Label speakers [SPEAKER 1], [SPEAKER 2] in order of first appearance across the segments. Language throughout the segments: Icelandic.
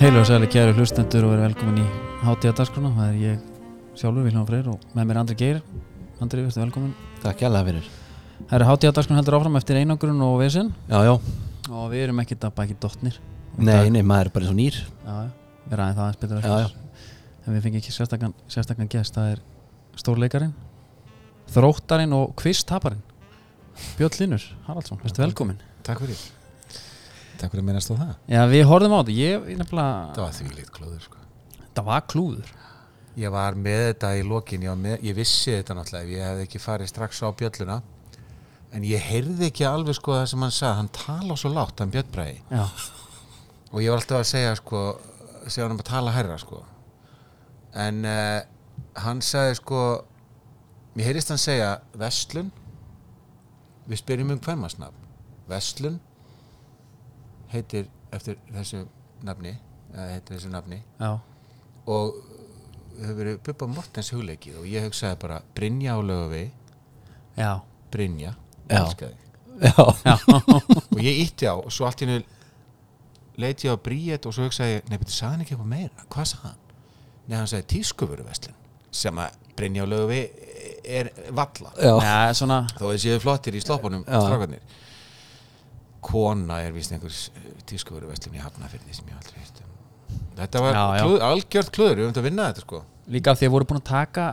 [SPEAKER 1] Heilu og sæli kæru hlustendur og verið velkomin í hátíða dagskona Það er ég sjálfur, Vilhelm Freyr og með mér Andri Geir Andri, verður velkomin
[SPEAKER 2] Takk hjá það fyrir
[SPEAKER 1] Það eru hátíða dagskona heldur áfram eftir einangrun og vesinn
[SPEAKER 2] Já, já,
[SPEAKER 1] Og við erum ekkert að baki dottnir
[SPEAKER 2] nei, nei, maður er bara eins og nýr
[SPEAKER 1] Já, já, við ræðum það aðeins betur á
[SPEAKER 2] Já,
[SPEAKER 1] eftir. En við fengum ekki sérstakann sérstakan gest Það er stórleikarin, þróttarin og kvisthaparinn Björn Linur Haraldsson, verður velkomin
[SPEAKER 3] Takk fyrir Takk fyrir að minnast á það
[SPEAKER 1] Já, við horfðum á þetta, ég
[SPEAKER 3] Það
[SPEAKER 1] nefnilega
[SPEAKER 3] var því lít klóður sko
[SPEAKER 1] Þetta var klúður
[SPEAKER 3] Ég var með þetta í lokin ég, var með, ég vissi þetta náttúrulega ef ég hefði ekki farið strax á bjölluna en ég heyrði ekki alveg sko það sem hann sagði hann tala svo látt, hann bjöllbræði
[SPEAKER 1] Já,
[SPEAKER 3] og ég var alltaf að segja sko segja hann um að tala hærra sko en uh, hann sagði sko mér heyrist hann segja Vestlun við spyrjum um kvenmasnafn Vestlun heitir eftir þessu nafni eða heitir þessu nafni
[SPEAKER 1] já,
[SPEAKER 3] og hefur verið Bubba Mortens hugleikið og ég hugsaði bara Brynja á lögavi
[SPEAKER 1] já,
[SPEAKER 3] Brynja
[SPEAKER 2] Já.
[SPEAKER 3] elska þig.
[SPEAKER 2] Já,
[SPEAKER 3] og ég ítti á og svo allt í hennu leit ég á Bríett og svo hugsaði ég, nei betur sagði hann ekki eitthvað meira, hvað sagði hann? Nei hann sagði tískufurverslun sem að Brynja á lögavi er valla
[SPEAKER 2] já,
[SPEAKER 1] já, svona
[SPEAKER 3] þó þessi séu flottir í sloppunum
[SPEAKER 2] Já.
[SPEAKER 3] strákarnir kona er víst einhver tískufurverslun í Hafnafyrði sem ég hef aldrei hýrt um þetta var
[SPEAKER 1] Já, já.
[SPEAKER 3] klúð, algjört klúður, við höfum þetta að vinna þetta sko
[SPEAKER 1] Líka af því að voru búin að taka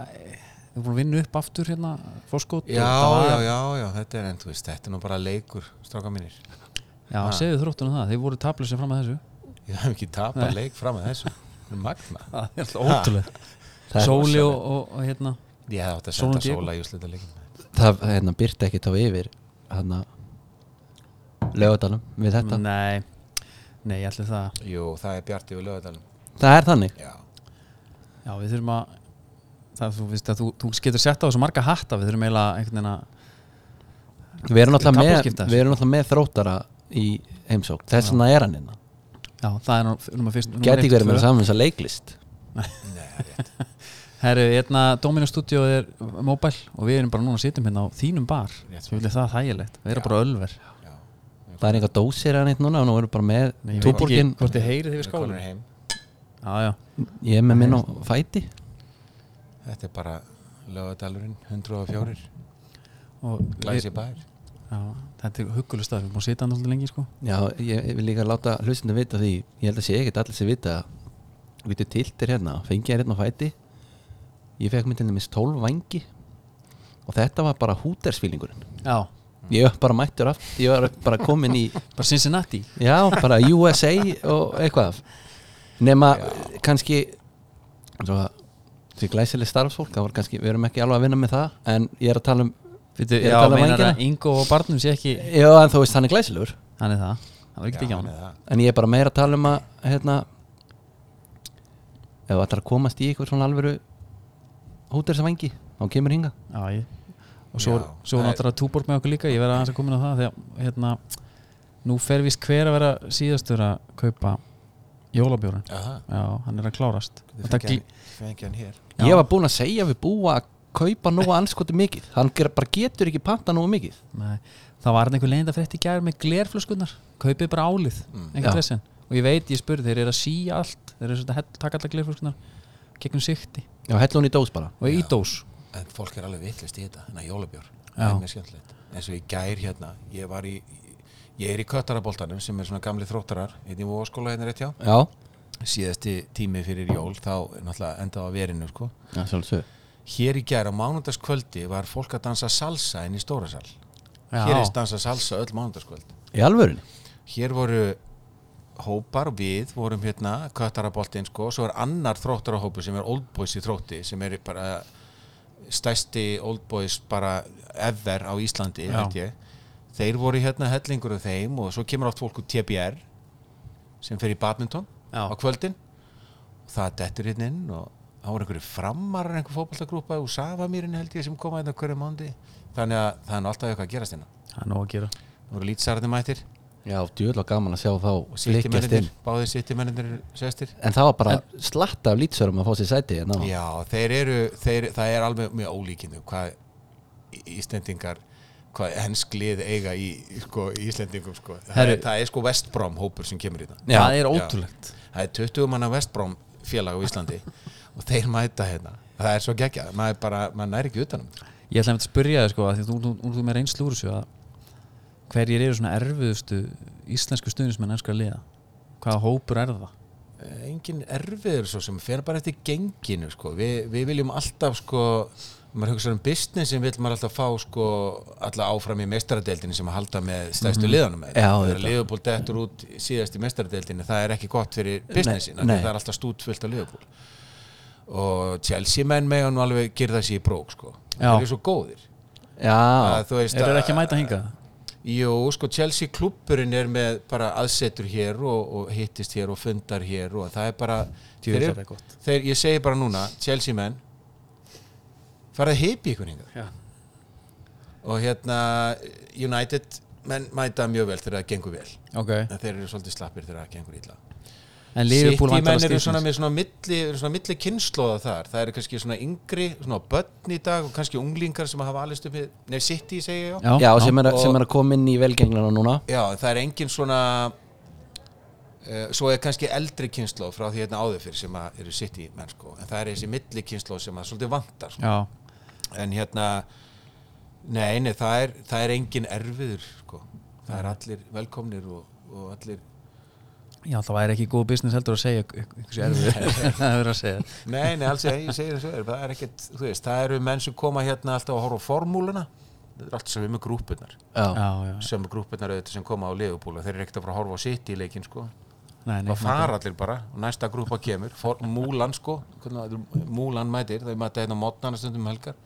[SPEAKER 1] Þau voru búin að vinna upp aftur hérna Fórskot
[SPEAKER 3] já, já, já, já, þetta er, en þú veist, þetta er nú bara leikur, stráka mínir.
[SPEAKER 1] já segðu þróttunum það, þeir voru tablusir fram að þessu
[SPEAKER 3] Ég hef ekki tapað leik fram að þessu. Það er magna.
[SPEAKER 1] Það er alltaf ótrúlega Sóli og, og, og hérna
[SPEAKER 3] Ég hef átt að
[SPEAKER 1] Sólon
[SPEAKER 3] senda
[SPEAKER 1] Diego.
[SPEAKER 3] sóla í úslita leikin.
[SPEAKER 2] það hérna, byrti ekki þá yfir hérna lögadalum við þetta
[SPEAKER 1] Nei, nei, ég ætli það
[SPEAKER 3] Jú, það er Bjarti og Lögadalum.
[SPEAKER 2] Það er þannig
[SPEAKER 3] Já.
[SPEAKER 1] Já, við þurfum að það, þú, veist, að þú, þú getur sett á þessu marga hatta Við þurfum eiginlega einhvern veginn að
[SPEAKER 2] Við erum náttúrulega með,
[SPEAKER 1] Kaflaskipta.
[SPEAKER 2] við erum náttúrulega með þróttara í heimsók Þess vegna er hann innan
[SPEAKER 1] Já, það er nú nummer fyrst númer
[SPEAKER 2] Gæti
[SPEAKER 1] eitt,
[SPEAKER 2] ekki verið
[SPEAKER 1] tvö.
[SPEAKER 2] með saman þess að leiklist
[SPEAKER 1] Herru, hérna Dominus Studio er mobile og við erum bara núna að sitjum hérna á þínum bar
[SPEAKER 3] Rétt.
[SPEAKER 1] Svo vil ég það þægilegt, við erum bara ölver
[SPEAKER 3] Já.
[SPEAKER 2] Það er einhver dósir hann eitt núna og nú erum við bara
[SPEAKER 1] Nei,
[SPEAKER 2] með
[SPEAKER 1] ég veit
[SPEAKER 2] túborgin
[SPEAKER 1] ekki Hvort þið heyrið
[SPEAKER 3] Við
[SPEAKER 1] yfir
[SPEAKER 3] komum
[SPEAKER 1] skálum
[SPEAKER 3] heim.
[SPEAKER 1] Já, já,
[SPEAKER 2] Ég er með minn á fæti
[SPEAKER 3] Þetta er bara Lögadalurinn, 104.
[SPEAKER 1] og við,
[SPEAKER 3] Glæsi bær.
[SPEAKER 1] já, þetta er hugguleg stað, við erum búin að sitja hann alltaf lengi sko.
[SPEAKER 2] Já, ég, ég vil líka láta hlustinu vita því ég held að sé ekkert allir sem vita við þú tiltir hérna, fengið er hérna á fæti ég fekk mér til dæmis 12 vangi og þetta var bara hútersfílingurinn
[SPEAKER 1] Já,
[SPEAKER 2] ég var bara mættur aftur, ég var bara komin í
[SPEAKER 1] bara Cincinnati
[SPEAKER 2] já, bara USA og eitthvað nema kannski svo að því glæsileg starfsfólk, það var kannski, við erum ekki alveg að vinna með það en ég er að tala um
[SPEAKER 1] Fytu,
[SPEAKER 2] Ég er
[SPEAKER 1] Já,
[SPEAKER 2] að tala um
[SPEAKER 1] meinar
[SPEAKER 2] vængina.
[SPEAKER 1] að Ingo og barnum sé ekki
[SPEAKER 2] já, en þú veist, hann er glæsilegur
[SPEAKER 1] Hann er það, það var ekki ekki á
[SPEAKER 3] hann
[SPEAKER 1] hann
[SPEAKER 3] er það.
[SPEAKER 2] En ég er bara meira að tala um að hérna ef það er að komast í eitthvað svona alvöru hútersvangi, þá kemur hinga
[SPEAKER 1] Já, ég Og svo,
[SPEAKER 3] Já,
[SPEAKER 1] svo
[SPEAKER 3] það er-
[SPEAKER 1] náttúrulega túborg með okkur líka, ég verði aðeins að koma inn á það Þegar, hérna, nú fer vist hver að vera síðastur að kaupa jólabjórin
[SPEAKER 3] Aha.
[SPEAKER 1] Já, hann er að klárast Og
[SPEAKER 3] Við
[SPEAKER 1] það gl-
[SPEAKER 3] fengi hann hér.
[SPEAKER 1] Já.
[SPEAKER 2] Ég var búinn að segja við búa að kaupa nóga anskotu mikið hann ger, bara getur ekki panta nóga mikið
[SPEAKER 1] Nei, það var hann einhver leiðinda frétt í gær með glerflöskunnar kaupið bara álið,
[SPEAKER 2] Já.
[SPEAKER 3] Mm.
[SPEAKER 1] ekkert þessin og ég veit, ég spurði, þeir eru að síja allt þeir eru svolítið að hell- taka allar glerflöskunnar gegnum sikti
[SPEAKER 2] Já, hella hún í dós bara
[SPEAKER 1] og í dós
[SPEAKER 3] En fólk er alveg vittlist í þetta, þannig að jólabjór.
[SPEAKER 1] Já.
[SPEAKER 3] Það er mér skemmtilegt. En svo ég gær hérna, ég var í, ég er í köttaraboltanum sem er svona gamli þróttarar, hérna í Vóskóla hérna rétt hjá.
[SPEAKER 2] Já,
[SPEAKER 3] síðasti tími fyrir jól þá er náttúrulega endað á verinu sko.
[SPEAKER 2] Já svolítið
[SPEAKER 3] hér í gær á mánudagskvöldi var fólk að dansa salsa inn í stóra sal
[SPEAKER 1] Já.
[SPEAKER 3] hér er dansa salsa öll mánudagskvöld
[SPEAKER 2] Í alvörunni?
[SPEAKER 3] hér voru hópar við vorum hérna köttaraboltinn sko svo er annar þróttarahópu sem er Old Boys í þrótti sem er bara stæsti Old Boys bara ever á Íslandi
[SPEAKER 1] Já.
[SPEAKER 3] held ég þeir voru hérna hellingur af þeim og svo kemur oft fólk úr TBR sem fer í badminton
[SPEAKER 1] Já.
[SPEAKER 3] á kvöldin það dettur hérna inn og það voru einhverju framarar einhver fótballtagrúpa úr Savamýrin held ég sem koma hérna hverju mándi þannig að það er nú alltaf eitthvað að gerast hérna
[SPEAKER 1] það er nóg að gera
[SPEAKER 3] það voru lýtsarðin mættir
[SPEAKER 2] Já, djúvel var gaman að sjá þá líkjast inn
[SPEAKER 3] sittimennir, báðir sittimennir sestir
[SPEAKER 2] En það var bara slatta af lýtsörum að fá sér sæti hérna en það
[SPEAKER 3] Já, þeir eru, þeir, það er alveg mjög ólíkinu hvað í- Íslendingar hvað hensk lið eiga í, í, sko, í Íslendingum sko. það,
[SPEAKER 1] Herru.
[SPEAKER 3] er, það er sko Vestbrom hópur sem kemur í það
[SPEAKER 2] Já.
[SPEAKER 1] það er ótrúlegt
[SPEAKER 3] það er 20 manna Vestbrom félag á Íslandi og þeir mæta hérna það er svo geggja, maður bara, maður næri ekki utanum
[SPEAKER 1] ég ætla einmitt að spyrja þig sko að því að þú, þú, þú, þú með reynslu úr þessu að hverjir eru svona erfiðustu íslensku stuðnismenn ennskra liða hvaða hópur er það
[SPEAKER 3] engin Eh, erfiður svo sem fer bara eftir genginu sko. Vi, við viljum alltaf sko, maður hugsa um businessin vil maður alltaf fá sko, alla áfram í mestaradeildinu sem að halda með stæðstu liðanum
[SPEAKER 2] Já,
[SPEAKER 3] með. það er
[SPEAKER 2] auðvitað.
[SPEAKER 3] liðupól dettur út síðast í mestaradeildinu það er ekki gott fyrir businessin af því
[SPEAKER 2] nei.
[SPEAKER 3] það er alltaf stút fullt af liðupól og Chelsea menn með hann alveg gyrða sér í brók sko.
[SPEAKER 1] Já.
[SPEAKER 3] þeir eru svo góðir
[SPEAKER 2] Já,
[SPEAKER 3] að, þú veist
[SPEAKER 1] eru þeir ekki að mæta hingað
[SPEAKER 3] Jú, sko Chelsea klúppurinn er með bara aðsetur hér og, og hittist hér og fundar hér og það er bara
[SPEAKER 1] Djú,
[SPEAKER 3] þeir,
[SPEAKER 1] það er gott.
[SPEAKER 3] þeir, ég segi bara núna, Chelsea menn farið að heipi ykkur hingað
[SPEAKER 1] Já.
[SPEAKER 3] og hérna United menn mæta mjög vel þegar það gengur vel
[SPEAKER 1] okay.
[SPEAKER 3] en þeir eru svolítið slappir þegar það gengur illa
[SPEAKER 1] en
[SPEAKER 3] City
[SPEAKER 1] Liverpool væntanlega
[SPEAKER 3] menn eru
[SPEAKER 1] stýrt
[SPEAKER 3] svona
[SPEAKER 1] þessu.
[SPEAKER 3] með svona milli, eru svona milli kynnslóða þar það eru kannski svona yngri, svona börn í dag og kannski unglingar sem hafa alist upp við, nefn City segi ég já
[SPEAKER 2] já, sem, er, að-
[SPEAKER 3] og-
[SPEAKER 2] sem er að koma inn í velgenglana núna
[SPEAKER 3] Já, en það er engin svona uh, svo er kannski eldri kynnslóð frá því hérna áður fyrir sem að eru sitt í menn sko en það er þessi milli kynnslóð sem að svolítið vantar sko.
[SPEAKER 1] já,
[SPEAKER 3] en hérna nei, nei, það er, það er engin erfiður sko, það er allir velkomnir og, og allir
[SPEAKER 1] já, það væri ekki góð business heldur að segja einhversu erfið það er að segja
[SPEAKER 3] nei, nei, alls ég, ég segi þessu er, það er ekkit, þú veist, það eru menn sem koma hérna alltaf að horfa á formúluna það er allt sem við með grúpunar
[SPEAKER 2] Já,
[SPEAKER 1] já, já,
[SPEAKER 3] sem grúpunar auðvitað sem koma á liðupúla þeir eru ekkert að fara að horfa á sitt í leikin sko
[SPEAKER 1] nei, nei,
[SPEAKER 3] Það fara allir bara og næsta grúpa kemur For, Múlan sko, hvernig það er, Múlan mætir þau mæta hérna á mótnana stundum um helgar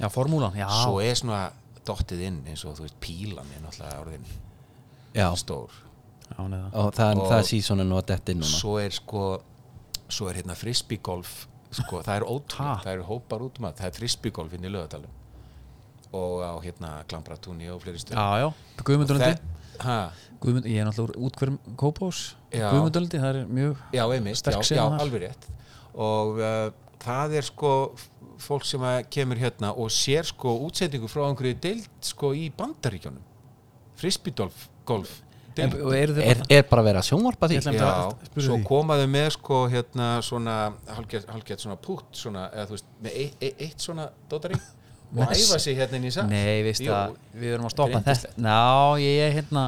[SPEAKER 1] já, formúlan, já,
[SPEAKER 3] svo er svona dottið inn eins og þú veist pílan er náttúrulega orðin
[SPEAKER 2] já
[SPEAKER 3] stór
[SPEAKER 1] já, hún er það.
[SPEAKER 2] Og það,
[SPEAKER 3] Og-
[SPEAKER 2] það er sísonin nú að detti núna
[SPEAKER 3] svo er sko svo er hérna frisbeegolf sko, það er
[SPEAKER 1] Ha?
[SPEAKER 3] ótrúlega, það eru hópar út um að það er frisbeegolf inn í lögadalum og á hérna Glambratúni og fleiri stöð
[SPEAKER 1] já, já, Guðmundurlandi
[SPEAKER 3] ha,
[SPEAKER 1] Guðmund, ég er náttúrulega úr útkverjum Kópás
[SPEAKER 3] Já.
[SPEAKER 1] Guðmundurlandi, það er mjög
[SPEAKER 3] Já, einmitt,
[SPEAKER 1] Sterk
[SPEAKER 3] já,
[SPEAKER 1] sena
[SPEAKER 3] já
[SPEAKER 1] þar.
[SPEAKER 3] alveg rétt og uh, það er sko f- fólk sem að kemur hérna og sér sko útsendingu frá einhverju deild sko í bandaríkjónum frisbydolf, golf
[SPEAKER 1] en,
[SPEAKER 3] deild.
[SPEAKER 1] og eru þeir
[SPEAKER 2] er, er bara að vera að sjónvarpa því
[SPEAKER 1] Ég ætla-
[SPEAKER 3] Já,
[SPEAKER 1] spurðu
[SPEAKER 3] svo
[SPEAKER 1] því.
[SPEAKER 3] komaðu með sko hérna svona hálfgert, hálfgert svona pútt svona, eða þú veist, með eitt, eitt, eitt svona dótari og
[SPEAKER 1] Nei,
[SPEAKER 3] æfa sig hérna inn í sal
[SPEAKER 1] Nei, veist
[SPEAKER 3] Jú,
[SPEAKER 1] að við erum að stoppa
[SPEAKER 3] Reyndislegt.
[SPEAKER 1] þetta Ná, ég er hérna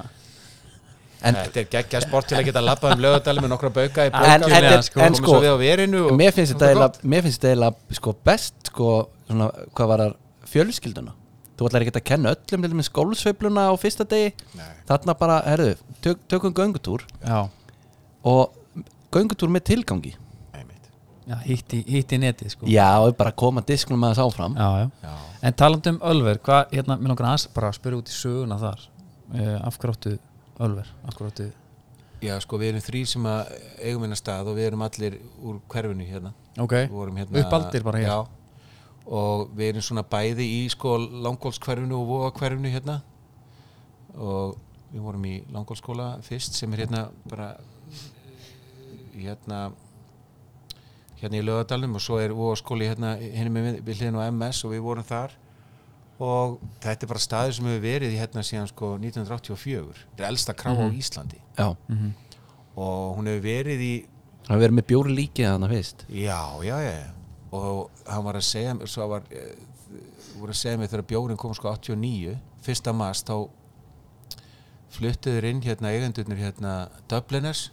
[SPEAKER 2] En-
[SPEAKER 3] Þetta er geggja sport til að geta labbað um lögadalum með nokkra bauka í
[SPEAKER 2] En-
[SPEAKER 3] bókjum
[SPEAKER 2] en- en- en
[SPEAKER 3] komið
[SPEAKER 2] sko-
[SPEAKER 3] svo við á verinu og-
[SPEAKER 2] Mér finnst
[SPEAKER 3] og
[SPEAKER 2] þetta
[SPEAKER 3] það er gott.
[SPEAKER 2] eiginlega- mér finnst þetta eiginlega sko best sko, svona, hvað var það fjölskylduna Þú ætlar ekki að kenna öllum til með skólsveifluna á fyrsta degi
[SPEAKER 3] Nei.
[SPEAKER 2] Þarna bara, herðu, tök, tökum göngutúr
[SPEAKER 1] Já,
[SPEAKER 2] og göngutúr með tilgangi
[SPEAKER 3] Einmitt.
[SPEAKER 1] já hitti, hitti netið sko
[SPEAKER 2] Já, og bara koma disknum aðeins
[SPEAKER 1] já,
[SPEAKER 2] áfram
[SPEAKER 1] já.
[SPEAKER 3] Já.
[SPEAKER 1] En talandi um Ölver, hvað, hérna, mér langar aðeins bara að spyrja út í söguna þar uh, Af hverju áttu Ölver, af hverju áttu
[SPEAKER 3] Já, sko, við erum þrý sem að eigum hérna stað og við erum allir úr hverfinu hérna.
[SPEAKER 1] Ok,
[SPEAKER 3] Við vorum hérna...
[SPEAKER 1] uppaldir bara hér
[SPEAKER 3] Já, og við erum svona bæði í, sko, langólskverfinu og vóakverfinu hérna. Og við vorum í langólskóla fyrst sem er hérna bara, eh, hérna, hérna í lögadalum og svo er vóaskóli hérna, hérna með við hliðin á MS og við vorum þar. Og þetta er bara staður sem hefur verið í hérna síðan, sko, 1984. Þetta er elsta krá
[SPEAKER 1] Mhm.
[SPEAKER 3] á Íslandi
[SPEAKER 2] Já,
[SPEAKER 3] og hún hefur verið í
[SPEAKER 2] það verður með bjóri líkið þannig fyrst
[SPEAKER 3] já, já, já já. og hann var að segja mér svo var, eh, voru að segja mér þegar bjórin kom sko 89, fyrsta mast þá fluttuður inn hérna eigendurnir hérna Dubliners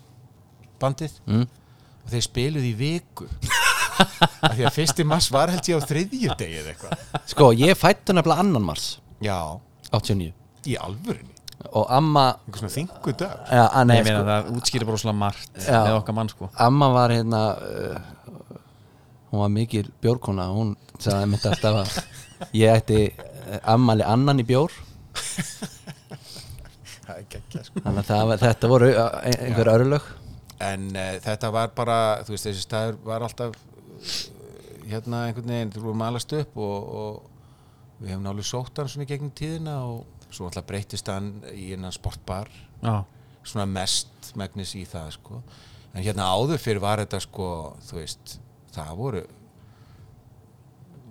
[SPEAKER 3] bandið
[SPEAKER 2] mm.
[SPEAKER 3] og þeir spiluðu í viku af því að fyrsti mast var held ég á þriðju degi eða eitthvað
[SPEAKER 2] Sko, ég fættu nefnilega annan mars
[SPEAKER 3] já,
[SPEAKER 2] 89
[SPEAKER 3] í alvörinni
[SPEAKER 2] og amma
[SPEAKER 3] einhver svona þingu dag
[SPEAKER 2] Já, að
[SPEAKER 1] Nei,
[SPEAKER 2] nei,
[SPEAKER 1] ég meina
[SPEAKER 2] sko,
[SPEAKER 1] það útskýri bara úslega margt
[SPEAKER 2] Já.
[SPEAKER 1] með okkar mann sko
[SPEAKER 2] amma var hérna uh, hún var mikil bjórkona hún sagði mitt alltaf að ég ætti eh, ammali annan í bjór
[SPEAKER 3] það er geggja sko
[SPEAKER 2] þannig að það, var- þetta voru eh, einhver örlög
[SPEAKER 3] en uh, þetta var bara þú veist þessi staður var alltaf uh, hérna einhvern veginn þú vorum alast upp og, og við hefum nálega sótt hann svona í gegnum tíðina og svo alltaf breytist hann í innan sportbar
[SPEAKER 1] Já,
[SPEAKER 3] svona mest megnis í það sko. en hérna áður fyrir var þetta sko, þú veist, það voru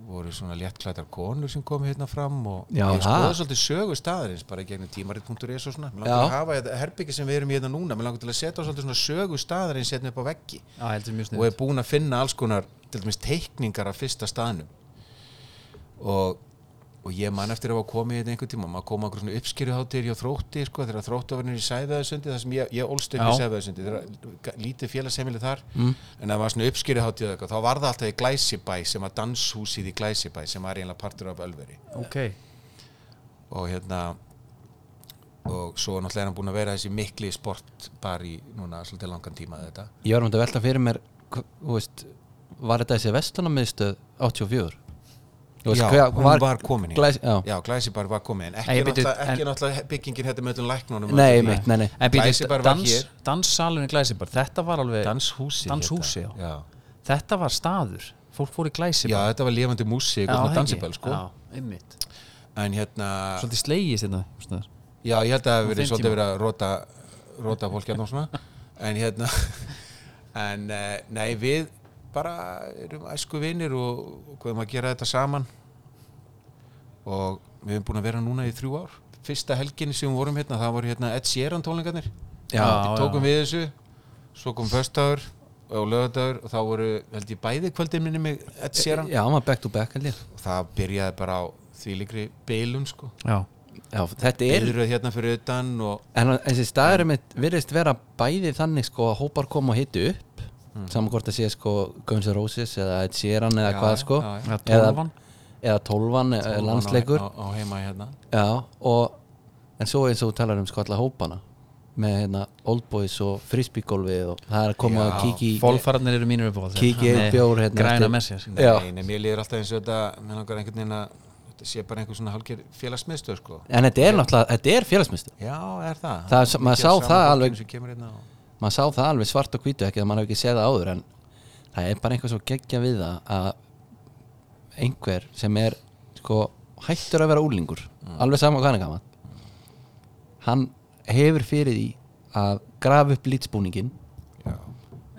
[SPEAKER 3] voru svona léttklætar konur sem komu hérna fram og
[SPEAKER 2] Já,
[SPEAKER 3] ég
[SPEAKER 2] það.
[SPEAKER 3] skoði svolítið sögu staðarins bara í gegnum tímarit.is og svona mér
[SPEAKER 2] Já.
[SPEAKER 3] langar að hafa þetta herbyggi sem við erum í hérna núna mér langar til að setja svolítið svona sögu staðarins hérna upp á veggi
[SPEAKER 1] Já, heldur mjög
[SPEAKER 3] og er
[SPEAKER 1] sniðut
[SPEAKER 3] búin að finna alls konar til dæmis teikningar af fyrsta staðnum og, og ég man eftir að hafa komið þetta einhvern tíma maður kom að svona uppskýruháttir hjá þrótti sko, þegar þróttofurnir í sæðaðasundi þar sem ég, ég ólst upp í
[SPEAKER 1] Já.
[SPEAKER 3] sæðaðasundi þegar lítið félagsheimili þar mm. en það var svona uppskýruháttir þá var það alltaf í Glæsibæ sem var danshúsið í Glæsibæ sem var eiginlega partur af Ölveri
[SPEAKER 1] Ok,
[SPEAKER 3] og hérna og svo náttúrulega er hann búin að vera þessi mikli sportbar í núna svolítið langan tíma þetta
[SPEAKER 2] Ég var um þetta að velta fyrir mér hva- þú veist, Var þetta þessi vestlunarmiðstöð 84? Þú
[SPEAKER 3] Já,
[SPEAKER 2] hver-
[SPEAKER 3] hún var komin í.
[SPEAKER 2] glæs, já.
[SPEAKER 3] Já, Glæsibar var komið en ekki,
[SPEAKER 1] Nei, ég byrju-
[SPEAKER 3] náttúrulega, ekki
[SPEAKER 1] en-
[SPEAKER 3] náttúrulega byggingin hérna með öllum læknunum
[SPEAKER 2] Nei, mitt, nei, nei
[SPEAKER 1] en býtu,
[SPEAKER 3] Glæsibar var
[SPEAKER 1] dans,
[SPEAKER 3] hér.
[SPEAKER 1] danssalun í Glæsibar Þetta var alveg,
[SPEAKER 3] Danshúsi
[SPEAKER 1] Danshúsi,
[SPEAKER 3] já.
[SPEAKER 1] já.
[SPEAKER 3] já
[SPEAKER 1] þetta var staður Fólk fór í
[SPEAKER 3] Já,
[SPEAKER 1] Glæsibar
[SPEAKER 3] þetta var lifandi músík og svona
[SPEAKER 1] það ekki.
[SPEAKER 3] dansibæl sko
[SPEAKER 1] Já, einmitt
[SPEAKER 3] En hérna,
[SPEAKER 1] Svolítið slegist hérna einhvers staðar.
[SPEAKER 3] já, ég held að það hafi verið
[SPEAKER 1] þeim
[SPEAKER 3] svolítið
[SPEAKER 1] tíma.
[SPEAKER 3] verið að róta, róta fólk hérna og svona En hérna, en eh, nei, við bara erum æsku vinnir og og hvað um að gera þetta saman Og við erum búin að vera núna í þrjú ár Fyrsta helgin sem við vorum hérna, það voru hérna Ed Sheeran tónlingarnir
[SPEAKER 2] Já,
[SPEAKER 1] Já,
[SPEAKER 3] við tókum við þessu svo kom föstaður og lögadagur og þá voru held ég bæði kvöldin minni mig Ed
[SPEAKER 1] Eh,
[SPEAKER 3] Sheeran
[SPEAKER 2] Já, hann var back to back allir
[SPEAKER 3] og það byrjaði bara á því líkri bilun sko
[SPEAKER 1] Já,
[SPEAKER 2] Já, þetta er
[SPEAKER 3] Bilröð hérna fyrir utan og
[SPEAKER 2] En hann- þessi staður mitt virðist vera bæði þannig sko að hópar koma og hitu upp saman hvort að sé sko Guns N' Roses eða Ed Sheeran eða
[SPEAKER 3] Mhm. Já,
[SPEAKER 2] hvað
[SPEAKER 3] já,
[SPEAKER 2] sko
[SPEAKER 3] já, já.
[SPEAKER 1] eða
[SPEAKER 2] Eða-
[SPEAKER 1] tólfan
[SPEAKER 2] eða tólvan eða landsleikur
[SPEAKER 3] á, á heima hérna
[SPEAKER 2] Já, og en svo eins og þú talar um sko alla hópana með hérna Old Boys og frisbeegolfið og það er að koma
[SPEAKER 3] Já,
[SPEAKER 2] að kíkja í
[SPEAKER 1] Fólfararnir eru mínir uppáhalds
[SPEAKER 2] Kíkja í
[SPEAKER 1] Nei,
[SPEAKER 2] bjór hérna eftir-
[SPEAKER 1] Græna með sér
[SPEAKER 2] Já.
[SPEAKER 3] nei, nei, mér líður alltaf eins og þetta mér langar einhvern veginn að þetta sé bara einhver svona hálfgerð félagsmiðstöð sko
[SPEAKER 2] En þetta er náttúrulega, þetta er félagsmyndstu
[SPEAKER 3] já, er það,
[SPEAKER 2] Það er s- maður
[SPEAKER 3] Mikið
[SPEAKER 2] sá
[SPEAKER 3] af sama
[SPEAKER 2] það
[SPEAKER 3] fólkinu
[SPEAKER 2] alveg-
[SPEAKER 3] sem kemur hérna og-
[SPEAKER 2] maður sá það alveg svart og hvítu ekki að maður hefur ekki séð það áður en það er bara einhver svo geggja við það að einhver sem er sko, hættur að vera úlingur alveg sama hvað hann er gaman hann hefur fyrir því að grafa upp litsbúningin
[SPEAKER 3] já,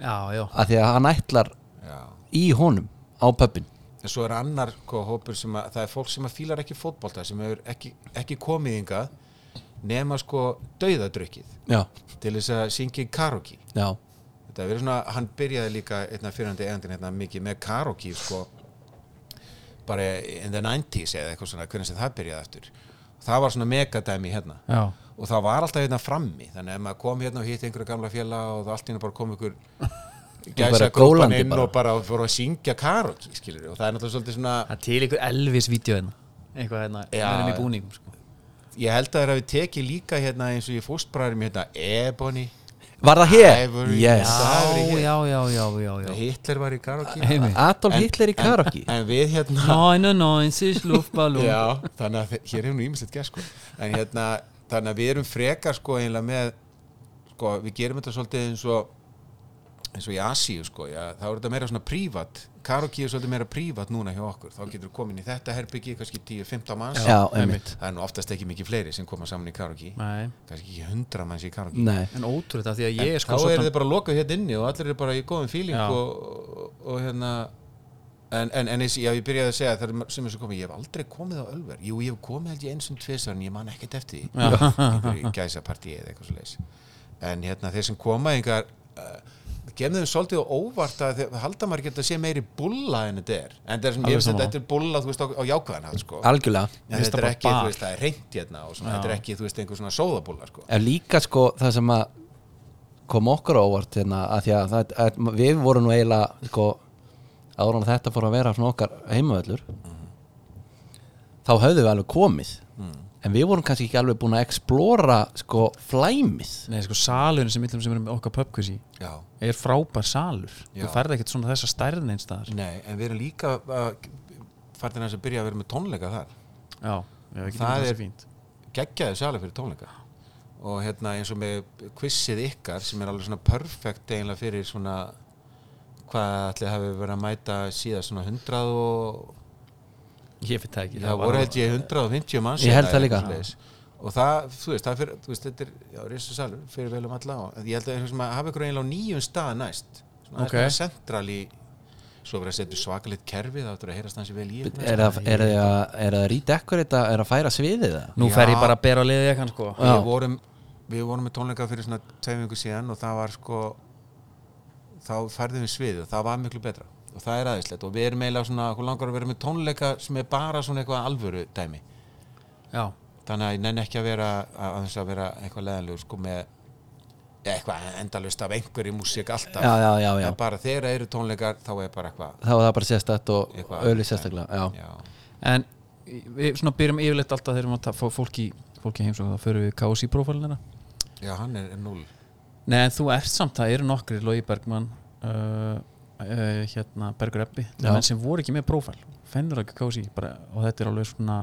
[SPEAKER 1] Já, já
[SPEAKER 2] að því að hann ætlar
[SPEAKER 3] já
[SPEAKER 2] í honum á pöppin
[SPEAKER 3] en svo er annar ko, hópur sem að það er fólk sem að fílar ekki fótbolta sem hefur ekki, ekki komið yngað nema sko dauðadrykkið
[SPEAKER 2] já,
[SPEAKER 3] til þess að syngja í karaoke
[SPEAKER 2] já,
[SPEAKER 3] þetta er verið svona, hann byrjaði líka einna fyrrandi eigandinn hérna mikið með karaoke sko bara in the 90s eða eitthvað svona hvernig sem það byrjaði eftir það var svona megadæmi hérna
[SPEAKER 1] Já,
[SPEAKER 3] og það var alltaf hérna frammi þannig að ef maður kom hérna og hitt einhverja gamla fjalla og það allt hérna bara kom ykkur gæsa
[SPEAKER 2] bara
[SPEAKER 3] grópan
[SPEAKER 2] gólandi
[SPEAKER 3] inn
[SPEAKER 2] bara.
[SPEAKER 3] og bara fór að syngja karaoke skilur og það er náttúrulega svolítið svona
[SPEAKER 1] það er til ykkur Elvis-vídeó hérna Eitthvað hérna, við
[SPEAKER 3] Já,
[SPEAKER 1] erum í
[SPEAKER 3] já.
[SPEAKER 1] búningum sko.
[SPEAKER 3] ég held að það hafi tekið líka hérna eins og ég fóstbræðum hérna Ebony
[SPEAKER 2] var það hér?
[SPEAKER 3] Ivory.
[SPEAKER 2] yes.
[SPEAKER 3] Það er
[SPEAKER 1] Já,
[SPEAKER 3] ekki-
[SPEAKER 1] já, já, já, já, já.
[SPEAKER 3] Hitler var í karaoke
[SPEAKER 1] Heimi
[SPEAKER 2] Adolf Hitler í karaoke
[SPEAKER 3] en við hérna
[SPEAKER 1] Náinu, náin, síðs, lúfbalú
[SPEAKER 3] já, þannig að þe- hér hefur nú ímislegt gert sko. en hérna, þannig að við erum frekar sko einlega með sko, við gerum þetta svolítið eins og eins og í Asíu sko, já, þá er þetta meira svona prívat, karaoke er svolítið meira prívat núna hjá okkur, þá getur þú komin í þetta herbyggi kannski 10-15 manns
[SPEAKER 2] já, einmitt
[SPEAKER 3] það er nú oftast ekki mikið fleiri sem koma saman í karaoke
[SPEAKER 1] Nei,
[SPEAKER 3] kannski ekki 100 manns í karaoke
[SPEAKER 2] Nei.
[SPEAKER 1] en ótrúið það því að ég er
[SPEAKER 3] þá
[SPEAKER 1] sko
[SPEAKER 3] eru
[SPEAKER 1] svolítið
[SPEAKER 3] þið bara lokuð hérna inni og allir eru bara í góðum
[SPEAKER 1] Já.
[SPEAKER 3] fíling og, og, og hérna en, en, en eins, já, ég byrjaði að segja það er sem er svo komið, ég hef aldrei komið á Ölver jú, ég hef komið held ég eins og tvisar en ég man ekkert eftir því einhverju gæsapartíi eða eitthvað svo leis en hérna þeir sem koma einhver uh, gemðum svolítið á óvart að þeir, halda maður geta að sé meiri bulla en þetta er en það er sem
[SPEAKER 1] Alveg
[SPEAKER 3] ég finnst
[SPEAKER 1] sammála.
[SPEAKER 3] þetta þetta er bulla þú veist á, á jákvæðan hátt, sko.
[SPEAKER 2] algjörlega
[SPEAKER 3] en
[SPEAKER 1] Finnst
[SPEAKER 3] þetta er
[SPEAKER 1] það
[SPEAKER 3] ekki,
[SPEAKER 1] bara
[SPEAKER 3] þú
[SPEAKER 1] bar.
[SPEAKER 3] veist, það er reynd hérna og svona, þetta er ekki, þú veist, einhver svona sóðabulla sko.
[SPEAKER 2] En líka sko það sem að kom okkur á óvart hérna að því að, það, að við vorum nú eiginlega sko áður en þetta fór að vera svona okkar heimavöllur þá höfðum við alveg komið
[SPEAKER 3] Mm.
[SPEAKER 2] en við vorum kannski ekki alveg búin að explora sko flæmið
[SPEAKER 1] Nei, sko, salurinn sem yllum sem erum okkar pubquiz í
[SPEAKER 3] já
[SPEAKER 1] er frábær salur
[SPEAKER 3] Já. Mm.
[SPEAKER 1] Þú færði ekkert svona þessa stærðin einn staðar
[SPEAKER 3] Nei, en við erum líka að færðin að byrja að vera með tónleika þar
[SPEAKER 1] Já, já, ekki
[SPEAKER 3] Það
[SPEAKER 1] það
[SPEAKER 3] er-
[SPEAKER 1] er fínt
[SPEAKER 3] geggjaði sjálf fyrir tónleika og hérna eins og með quizið ykkar sem er alveg svona perfekt eiginlega fyrir svona hvað ætli hafi verið að mæta síðast svona 100 og
[SPEAKER 1] Ég finn það ekki
[SPEAKER 3] það voru held ég 150 manns
[SPEAKER 2] Ég held
[SPEAKER 3] eða
[SPEAKER 2] það
[SPEAKER 3] eitthvað
[SPEAKER 2] líka.
[SPEAKER 3] svoleiðis. hérna og það, þú veist, það fyrir, þú veist, þetta er já, risu salur, fyrir vel um alla og ég held að einhvers maður hafa ykkur eiginlega á nýjum stað næst svona
[SPEAKER 1] Ok.
[SPEAKER 3] okay. aðeins central í svo verið að setja svakalitt kerfi þá áttur að heyrast hans í vel í ykkur.
[SPEAKER 2] Er það- er það að- er það rítekkur þetta, er að færa sviðið það?
[SPEAKER 1] Nú
[SPEAKER 3] Já.
[SPEAKER 1] fer ég bara að bera á liðið ekkan sko
[SPEAKER 2] Já.
[SPEAKER 3] við vorum við vorum með tónleika fyrir svona tveimingu síðan og það var sko þá færðum við sviðið og það var miklu betra og það er aðeinslegt og við erum eiginlega svona okkur langar að vera með tónleika sem er bara svona eitthvað alvöru dæmi
[SPEAKER 1] Já,
[SPEAKER 3] þannig að ég nenni ekki að vera að, að, að vera eitthvað leðanlegur sko með eitthvað endalust af einhverju músík alltaf
[SPEAKER 2] Já, já, já, já.
[SPEAKER 3] en bara þegar eru tónleikar þá er bara eitthvað
[SPEAKER 2] Þá var það bara sérstætt og
[SPEAKER 3] Eitthvað.
[SPEAKER 2] öllu sérstaklega, já.
[SPEAKER 3] já,
[SPEAKER 1] en við svona byrjum yfirleitt alltaf þegar við erum að ta- fá fólk í, fólk í heimsók þá förum við KSI prófælinina
[SPEAKER 3] já hann er, er núl
[SPEAKER 1] Nei, en þú ert samt, það eru nokkri Lói Bergmann uh, uh, hérna Bergur Ebbi, það
[SPEAKER 2] Já.
[SPEAKER 1] er menn sem voru ekki með prófæl fennur ekki KSI bara, og þetta er alveg svona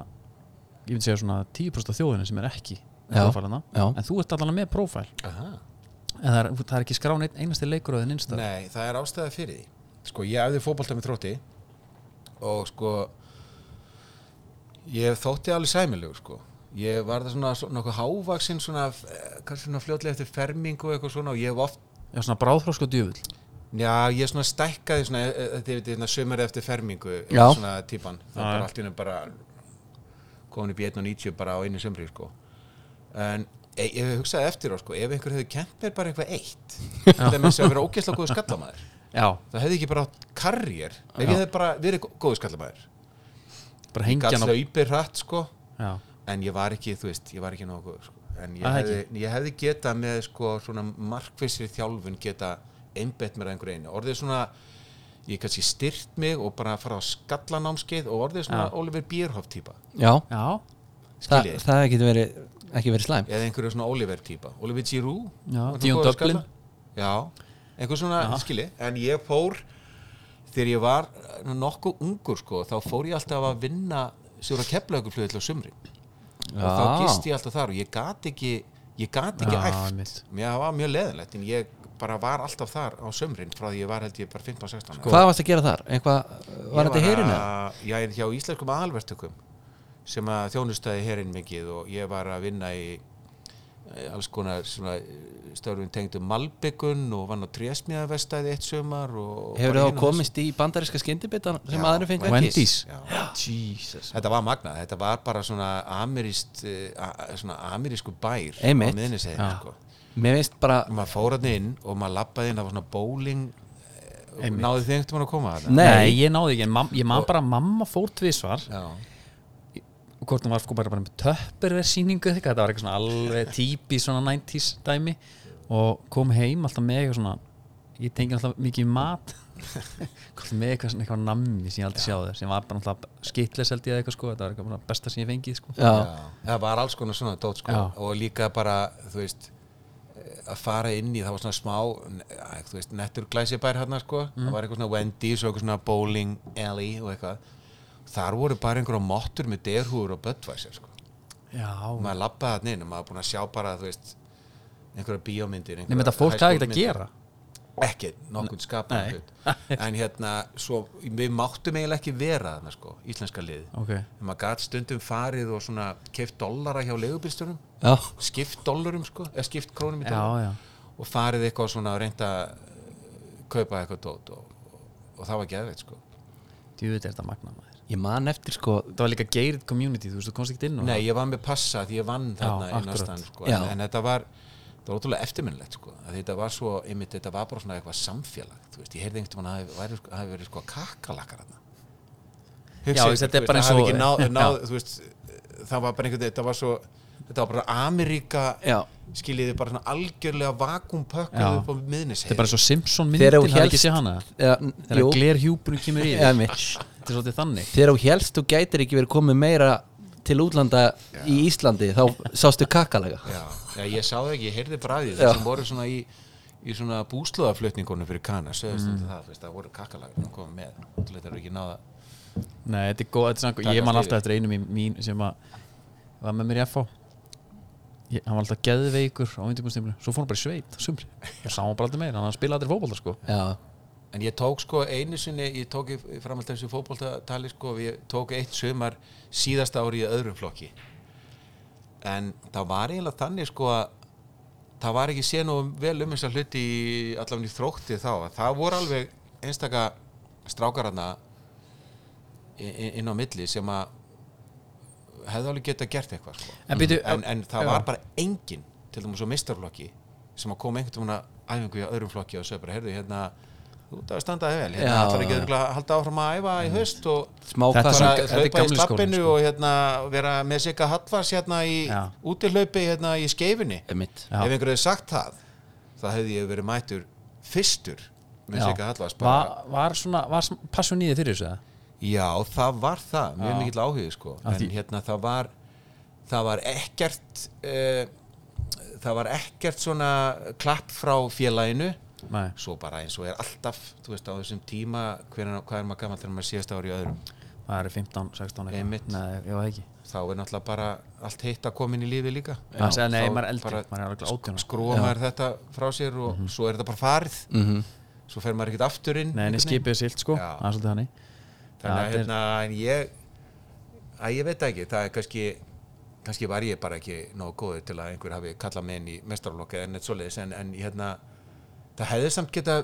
[SPEAKER 1] ég myndi segja svona 10% af þjóðinu sem er ekki með
[SPEAKER 2] Já.
[SPEAKER 1] prófælina,
[SPEAKER 2] Já.
[SPEAKER 1] en þú ert allavega með prófæl
[SPEAKER 3] Aha.
[SPEAKER 1] en það er, það er ekki skráin einn einasti leikur á þinn innstæð
[SPEAKER 3] Nei, það er ástæða fyrir því Sko, ég æfði fótbolta með þrótti og sko ég þótti alveg sæmilegur sko ég var það svona, svona nokkuð hávaksinn svona, eh, kannski svona fljótlega eftir fermingu og eitthvað svona og ég hef oft
[SPEAKER 1] Já, svona bráðfrósku djöfull
[SPEAKER 3] Já, ég svona stækkaði svona, eh, eh, þið veitir, svona sömur eftir fermingu,
[SPEAKER 2] Já.
[SPEAKER 3] svona típan, það
[SPEAKER 1] Já,
[SPEAKER 3] er
[SPEAKER 1] já.
[SPEAKER 3] bara allt innum bara komin upp í 1.90 bara á einu sömri, sko. En e, ég hugsaði eftir á, sko, ef einhver hefði kent mér bara eitthvað eitt, það er með þess að vera ógeðslega góðu skallamæður,
[SPEAKER 1] Já,
[SPEAKER 3] það hefði ekki bara átt karriér, ef ég hefði bara verið góðu skallamæður.
[SPEAKER 1] bara
[SPEAKER 3] Ég
[SPEAKER 1] hengja
[SPEAKER 3] gæti
[SPEAKER 1] hann á
[SPEAKER 3] hlaupið hratt, sko,
[SPEAKER 1] Já,
[SPEAKER 3] en ég var ekki, þú veist, ég var ekki nógu, góður, sko. En ég
[SPEAKER 1] Ah,
[SPEAKER 3] hefði, ég hefði geta með, sko, svona markvissir þjálfun geta einbett mér að einhverju einu. Orðið svona, ég kannski styrt mig og bara fara á skallanámskeið og orðið svona
[SPEAKER 1] Já.
[SPEAKER 3] Oliver Bierhoff típa,
[SPEAKER 2] Já,
[SPEAKER 1] já,
[SPEAKER 2] það,
[SPEAKER 3] skiljið.
[SPEAKER 2] það getur verið, ekki verið slæm.
[SPEAKER 3] Eða einhverju svona Oliver típa. Oliver Giroud.
[SPEAKER 1] Já,
[SPEAKER 3] var svona
[SPEAKER 1] Dion
[SPEAKER 3] góður
[SPEAKER 1] Dublin.
[SPEAKER 3] skalla. Já, einhver svona, skiljið. En ég fór, þegar ég var eh, nokkuð ungur, sko, þá fór ég alltaf að vinna Sigur að kepla ykkur flöðið til á sumri. og þá gist ég alltaf þar og ég gat ekki ég gat ekki
[SPEAKER 1] Já,
[SPEAKER 3] æft
[SPEAKER 1] einmitt.
[SPEAKER 3] mér það var mjög leðinlegt en ég bara var alltaf þar á sömrin frá því ég var held ég bara 15-16
[SPEAKER 2] Hvað varst að gera þar? Eitthvað, Sko, var þetta í heyrinu?
[SPEAKER 3] Já, ég er hjá íslenskum aðalvertökum sem að þjónustaði herinn mikið og ég var að vinna í eh, alls konar svona eh, störfum tengdum malbyggun og vann á trésmiðavestæði eitt sömar og
[SPEAKER 2] Hefur
[SPEAKER 3] bara
[SPEAKER 2] það
[SPEAKER 3] hinu og
[SPEAKER 2] komist í bandaríska skyndibita sem
[SPEAKER 3] Já,
[SPEAKER 2] aðri fengu ekki?
[SPEAKER 1] Wendy's
[SPEAKER 3] þessu. Já.
[SPEAKER 1] Jesus
[SPEAKER 3] Þetta var magnað, þetta var bara svona amirist, uh, svona amirísku bær
[SPEAKER 2] Einmitt.
[SPEAKER 3] á miðnisegin,
[SPEAKER 1] Já.
[SPEAKER 3] sko.
[SPEAKER 2] Mér finnst bara,
[SPEAKER 3] og maður fór hann inn og maður lappaði inn það var svona bowling eh, og náðu þið einhvern veginn að koma þarna
[SPEAKER 2] Nei.
[SPEAKER 1] Nei, ég náði ekki, en mam, ég man bara að mamma fór tvisvar
[SPEAKER 3] já,
[SPEAKER 1] og hvort hann var sko bara bara með töppurverð síningu eitthvað, þetta var eitthvað svona alveg típi svona 90s dæmi og kom heim alltaf með eitthvað svona ég tengi alltaf mikið við mat Kom með eitthvað svona eitthvað nammi sem ég aldrei sjáði sem var bara alltaf skitles held ég eða eitthvað sko þetta var eitthvað bara besta sem ég fengið sko
[SPEAKER 2] já,
[SPEAKER 3] já. það var alls konar svona dót sko
[SPEAKER 1] Já.
[SPEAKER 3] og líka bara, þú veist eh, að fara inn í, það var svona smá n- eh, þú veist, nettur glæsibær hann sko
[SPEAKER 1] Mhm.
[SPEAKER 3] það var eitthvað svona Wendy's og eitthvað svona bowling alley og eitthvað þar voru bara einhverja mottur með derhúur og Budweiser sko
[SPEAKER 1] Já
[SPEAKER 3] og maður lappaði hann inn og maður búin að sjá bara, þú veist einhverja bíómyndir
[SPEAKER 1] Nefnir þetta fólk hafði ekkert að gera
[SPEAKER 3] ekki nokkuð skapað hlut en hérna, svo, við máttum eiginlega ekki vera þarna sko, íslenska lið
[SPEAKER 1] Ok
[SPEAKER 3] en maður gat stundum farið og svona keift dollara hjá leigubílstjórum
[SPEAKER 2] já,
[SPEAKER 3] skipt dollarum sko, eða skipt krónum í
[SPEAKER 1] Já,
[SPEAKER 3] dollara
[SPEAKER 1] já
[SPEAKER 3] og farið eitthvað svona og reynda kaupa eitthvað dót og, og, og það var geðveitt sko
[SPEAKER 1] Djúið er þetta magna maður
[SPEAKER 2] ég man eftir sko,
[SPEAKER 1] Þetta var líka gated community, þú veist, þú komst ekki inn og
[SPEAKER 3] Nei, ég var með passa því ég vann þarna
[SPEAKER 1] Já, akkurat.
[SPEAKER 3] innastan sko.
[SPEAKER 2] Já.
[SPEAKER 3] en, en þetta var, þetta var ótrúlega eftirminnlegt sko. Að þetta var svo, einmitt, þetta var bara svona eitthvað samfélag, þú veist, ég heyrði einhvern veginn að það hafi, hafi verið sko kakalakar þarna
[SPEAKER 1] Já,
[SPEAKER 3] Hugsaðu,
[SPEAKER 1] þetta er
[SPEAKER 3] þú veist,
[SPEAKER 1] bara
[SPEAKER 3] það
[SPEAKER 1] eins
[SPEAKER 3] hafi ekki
[SPEAKER 1] og-
[SPEAKER 3] náð, náð, þú veist, það var bara einhvern veginn, þetta var svo þetta var bara Ameríka
[SPEAKER 2] Já.
[SPEAKER 3] skiljiði bara svona algjörlega
[SPEAKER 1] Já.
[SPEAKER 3] vakumpökkuð upp á miðnisheyð
[SPEAKER 1] Þetta er bara svo Simpson myndin,
[SPEAKER 2] Þegar þú
[SPEAKER 1] hafði ekki
[SPEAKER 2] hélst-
[SPEAKER 1] sé hana
[SPEAKER 2] já,
[SPEAKER 1] Þegar
[SPEAKER 2] jú,
[SPEAKER 1] Gler Hjúbrun kemur í
[SPEAKER 2] Eða
[SPEAKER 1] Þetta
[SPEAKER 2] mitt.
[SPEAKER 1] er svolítið þannig
[SPEAKER 2] þegar þú helst þú gætir ekki verið komið meira til útlanda í Íslandi, þá sástu kakalega.
[SPEAKER 3] já, já, ég sá það ekki, ég heyrði bara að því
[SPEAKER 2] Já.
[SPEAKER 3] þeir sem voru svona í, í svona búslóðaflutningunum fyrir Kana, sögðast mm. það, þú veist, það voru kakalagur að koma með, alltaf þetta eru ekki náða
[SPEAKER 1] Nei, þetta er góð, þetta er svona,
[SPEAKER 3] Taka
[SPEAKER 1] ég man
[SPEAKER 3] stigið.
[SPEAKER 1] alltaf eftir einum í mín sem að var með mér í FH ég, hann var alltaf geðveikur á undirbúrstimlu svo fór hann bara í sveit, á sumri og sá hann bara aldrei meira, hann spilaði aldrei fótbolta sko
[SPEAKER 2] Já,
[SPEAKER 3] en ég tók sko einu sinni, ég tók í framhald þessu fótboltatali sko, og ég tók eitt sumar síðasta ári í öðrum flokki en það var eiginlega þannig sko að það var ekki sé nú vel um þessa hluti í- allavega í þrótti þá það voru alveg einstaka strákarana inn á milli sem að hefði alveg getað gert eitthvað sko.
[SPEAKER 1] En býtu-
[SPEAKER 3] en, en það
[SPEAKER 1] Já.
[SPEAKER 3] var bara engin til dæmis á mistarflokki sem að koma einhvern veginn að æfingu í öðrum flokki og segja bara, heyrðu, hérna þú ert að standa vel, hérna
[SPEAKER 2] Já.
[SPEAKER 3] ætlar ekki örugglega að halda áfram að æfa
[SPEAKER 1] Mm.
[SPEAKER 3] í haust og
[SPEAKER 2] Smá
[SPEAKER 1] Þetta
[SPEAKER 2] hvað
[SPEAKER 1] er
[SPEAKER 3] bara
[SPEAKER 1] svo- þetta er
[SPEAKER 3] hlaupa í
[SPEAKER 1] gamli skólinn,
[SPEAKER 3] slappinu
[SPEAKER 1] sko.
[SPEAKER 3] og hérna, vera með sig að hattvars hérna í
[SPEAKER 1] Já.
[SPEAKER 3] útihlaupi hérna í skeifinni
[SPEAKER 2] Einmitt.
[SPEAKER 1] Já.
[SPEAKER 3] ef einhver hefði sagt það þá hefði ég verið mættur fyrstur með sig að hattvars bara
[SPEAKER 1] Va, var svona, var sm- passion í þið fyrir þessu það?
[SPEAKER 3] já, það var það, mjög mikill áhugi sko.
[SPEAKER 1] Af
[SPEAKER 3] en
[SPEAKER 1] því-
[SPEAKER 3] hérna það var það var ekkert uh, það var ekkert svona klapp frá félaginu
[SPEAKER 1] Nei.
[SPEAKER 3] svo bara eins og er alltaf þú veist á þessum tíma hvernig, hvað er maður gammal þegar maður síðast ári í öðrum
[SPEAKER 1] Það eru 15, 16 eitthvað.
[SPEAKER 3] Einmitt.
[SPEAKER 1] Nei, ég var ekki
[SPEAKER 3] þá er náttúrulega bara allt heitt að koma inn í lífi líka
[SPEAKER 1] Það segja, nei,
[SPEAKER 3] Þá
[SPEAKER 1] maður er eldri,
[SPEAKER 3] bara
[SPEAKER 1] maður er alveg átján
[SPEAKER 3] skrúa maður þetta frá sér og svo er þetta bara farið
[SPEAKER 2] Mhm.
[SPEAKER 3] svo fer maður ekkert aftur inn
[SPEAKER 1] Mm. Nei, en ég
[SPEAKER 3] einhvern veginn.
[SPEAKER 1] skipið silt sko,
[SPEAKER 3] Já.
[SPEAKER 1] það er svolítið þannig
[SPEAKER 3] þannig að
[SPEAKER 1] þetta er-
[SPEAKER 3] hérna, en ég að ég veit það ekki, það er kannski kannski var ég bara ekki nógu góður til að einhver hafi kallað mig inn í mestarlokka en eitthvað svoleiðis, en, en hérna það hefði samt geta,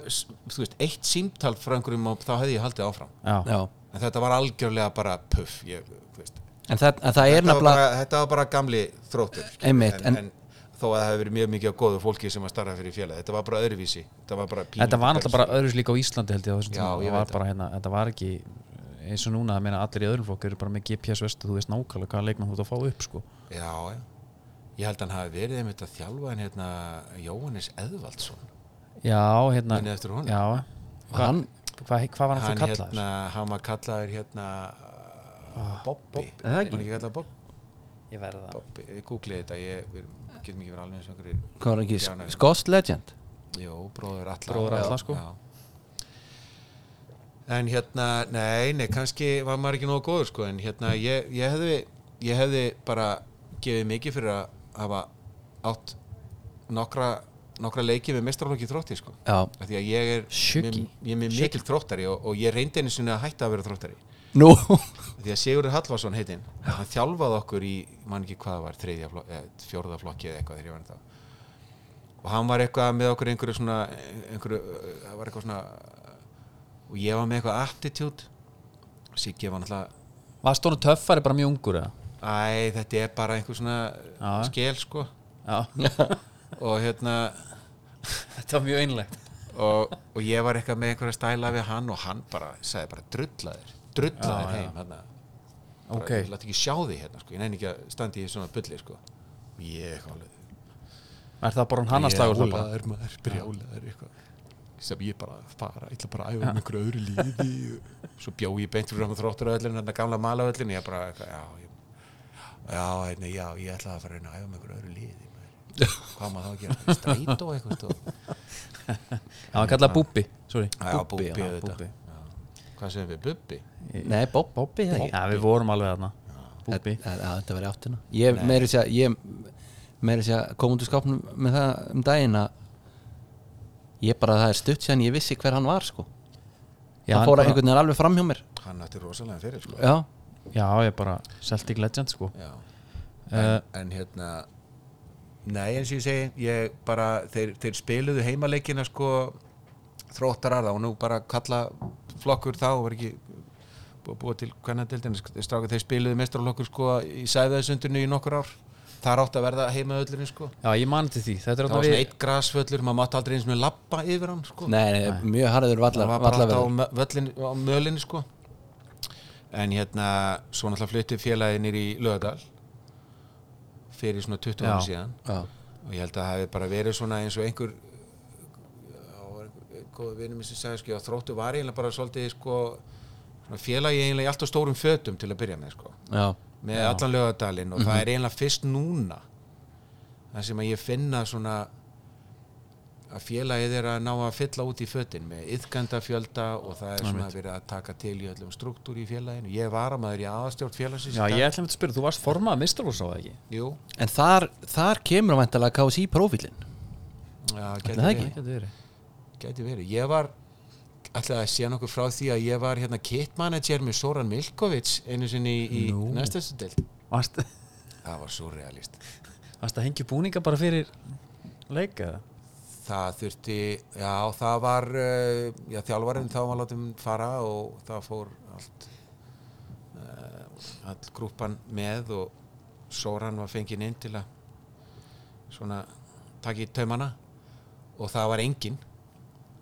[SPEAKER 3] þú veist, eitt símtal frá einhverjum og þá hefði ég haldið áfram
[SPEAKER 1] Já,
[SPEAKER 2] Já.
[SPEAKER 3] en þetta var algjörlega bara puff, ég, þú veist
[SPEAKER 2] En það, en það er
[SPEAKER 3] þetta, var
[SPEAKER 2] nefnilega
[SPEAKER 3] bara, þetta var bara gamli þróttur skilur.
[SPEAKER 2] Einmitt, en-
[SPEAKER 3] en, en, þó að það hefði verið mjög mikið á góðu fólki sem að starfa fyrir félagi, þetta var bara öðruvísi þetta var bara pínu
[SPEAKER 1] þetta var náttúrulega bara öðruðs líka á Íslandi held ég á þessum
[SPEAKER 3] Já,
[SPEAKER 1] tíma
[SPEAKER 3] ég
[SPEAKER 1] Það var
[SPEAKER 3] veit
[SPEAKER 1] bara hérna, þetta var ekki eins og núna, það meina allir í öðrum flokk eru bara með GPS vestu, þú veist nákvæmlega hvaða leikmann þú ert að fá upp sko
[SPEAKER 3] já, já. ég held að hann hafi verið einmitt að þjálfa hann hérna Jóhannes Eðvaldsson
[SPEAKER 1] Já, hérna
[SPEAKER 3] Munið eftir honum?
[SPEAKER 1] Já, hvað
[SPEAKER 2] Hann-
[SPEAKER 1] hva, hva var hann
[SPEAKER 3] hann,
[SPEAKER 1] fyrir kallaður? Ah,
[SPEAKER 3] hérna, hann var kallaður hérna Bobbi
[SPEAKER 2] Er það ekki?
[SPEAKER 3] hann ekki kallaður Bob-
[SPEAKER 1] Ég verði það
[SPEAKER 3] Bobbi, ég googlaði þetta ég við getum ekki verið alveg eins og einhverjir
[SPEAKER 2] hvað var ekki,
[SPEAKER 3] Já, nei.
[SPEAKER 2] Scots Legend
[SPEAKER 3] Jó, bróður Alla
[SPEAKER 1] Bróðir Atla, sko.
[SPEAKER 3] já. En hérna, nei, nei, kannski var maður ekki nógu góður sko En hérna, ég, ég, hefði, ég hefði bara gefið mikið fyrir að hafa átt nokkra, nokkra leiki með mestrarlokki þrótti sko
[SPEAKER 2] Já,
[SPEAKER 3] Af Því að ég er,
[SPEAKER 1] Sjöggi.
[SPEAKER 3] mér- ég er mér mikil þróttari og, og ég reyndi einu sinni að hætta að vera þróttari
[SPEAKER 2] nú
[SPEAKER 3] Af Því að Sigurður Hallvarsson heitinn, hann þjálfaði okkur í, mann ekki hvað það var, þriðja flokki, eða fjórða flokki eða eitthvað þegar ég var þetta og hann var eitthvað með okkur einhverju svona einhverju, uh, það var eitthvað svona uh, og ég var með eitthvað attitude Siggi var náttúrulega
[SPEAKER 1] Varst honum töffari bara mjög ungur eða?
[SPEAKER 3] æ, þetta er bara einhver svona
[SPEAKER 1] Já.
[SPEAKER 3] Já. skel sko
[SPEAKER 1] Já,
[SPEAKER 3] og hérna
[SPEAKER 1] þetta var mjög einlegt
[SPEAKER 3] og, og ég var eitthvað með einhverja stæla við hann og hann bara sagði bara drullaðir drullaðir heim hérna bara,
[SPEAKER 1] Ok.
[SPEAKER 3] ég læt ekki sjá því hérna sko, ég nefn ekki að standa í svona bulli sko og ég eitthvað alveg
[SPEAKER 1] Er það bara hann að slagur það bara?
[SPEAKER 3] brjálaður maður, brjálaður eitthvað sem ég bara fara, ég ætla bara að æfa um einhverju öðru lífi svo bjó ég beint fyrir hann þróttur öllin hann gamla malavöllin, ég bara eitthvað, já, ég, já, hérna, já, ég ætla að fara að reyna að æfa um einhverju öðru lífi maður. hvað maður þá að gera, streit og eitthvað sko. stóð.
[SPEAKER 1] Já, hann kallaði Búbbi, sorry
[SPEAKER 3] já, búbbi,
[SPEAKER 2] já,
[SPEAKER 1] Búbbi.
[SPEAKER 3] þetta hvað sem við, bubbi
[SPEAKER 2] Nei, Bob, Bobby hefði
[SPEAKER 1] Já, við vorum alveg þarna Búbbi
[SPEAKER 2] Já, þetta var í áttina Ég meiri sér ég meiri sér kom út úr skápnum með það um daginn að ég bara það er stutt sér en ég vissi hver hann var sko
[SPEAKER 1] Já,
[SPEAKER 2] hann
[SPEAKER 1] hann
[SPEAKER 2] fór
[SPEAKER 1] bara-
[SPEAKER 2] einhvern veginn alveg fram hjá mér
[SPEAKER 3] hann ætti rosalega fyrir
[SPEAKER 1] Eh.
[SPEAKER 3] sko
[SPEAKER 2] Já,
[SPEAKER 1] Já, ég bara Celtic Legend sko
[SPEAKER 3] já.
[SPEAKER 1] Eh,
[SPEAKER 3] en, en hérna nei eins og ég segi ég bara, þeir, þeir spiluðu heimaleikina sko þróttarar þá og nú bara kalla flokkur þá var ekki búið, búið til kvennadeildin stráka þeir spiluðu mestrarlokkur sko í sæðaðsundinu í nokkur ár þar átt að verða heimavöllurinn sko
[SPEAKER 1] Já, ég mani til því Þetta er
[SPEAKER 3] það var
[SPEAKER 1] þarna
[SPEAKER 3] svona
[SPEAKER 1] við
[SPEAKER 3] eitt grasvöllur maður mátti aldrei eins með labba yfir hann sko
[SPEAKER 2] nei, nei, mjög harður
[SPEAKER 3] það
[SPEAKER 2] vallar
[SPEAKER 3] var bara alltaf á mö- völlin, á mölinni sko en hérna svo náttúrulega flutti félagið nýri í Lögadal fyrir svona 20 ára
[SPEAKER 1] Já.
[SPEAKER 3] síðan
[SPEAKER 2] Já,
[SPEAKER 3] og ég held að það hefði bara verið svona eins og einhver það var einhver góðu vinnum sem sagði sko að þróttu var eiginlega bara svolítið sko svona félagi eiginlega í allt á stórum fötum til að byrja með sko
[SPEAKER 2] já, Mhm.
[SPEAKER 3] með allan lögadalinn og það er eiginlega fyrst núna það sem að ég finna svona að félagið er að ná að fylla út í fötin með yðganda fjölda og það er svona verið að taka til í öllum struktúr í félaginu ég var að maður í aðastjórn félagsins í
[SPEAKER 1] Já,
[SPEAKER 3] dag.
[SPEAKER 1] ég ætlum að spyrja Þú varst formað að mistalúsa það ekki?
[SPEAKER 3] Jú,
[SPEAKER 2] En þar, þar kemur væntalega KSI prófílinn
[SPEAKER 3] já, gæti,
[SPEAKER 2] það
[SPEAKER 3] verið,
[SPEAKER 2] ekki?
[SPEAKER 1] Gæti verið.
[SPEAKER 3] gæti verið ég var, ætlaði að sé nokkuð frá því að ég var hérna kitmanager með Soran Milkovic einu sinni í, í næstastu delt
[SPEAKER 1] Varst
[SPEAKER 3] það var svo realist
[SPEAKER 1] Varst að hengja búninga bara fyrir leika?
[SPEAKER 3] það þurfti, já það var uh, já þjálfarinn þá var látum fara og það fór allt uh, all grúpan með og Sóran var fenginn inn til að svona taka í taumana og það var enginn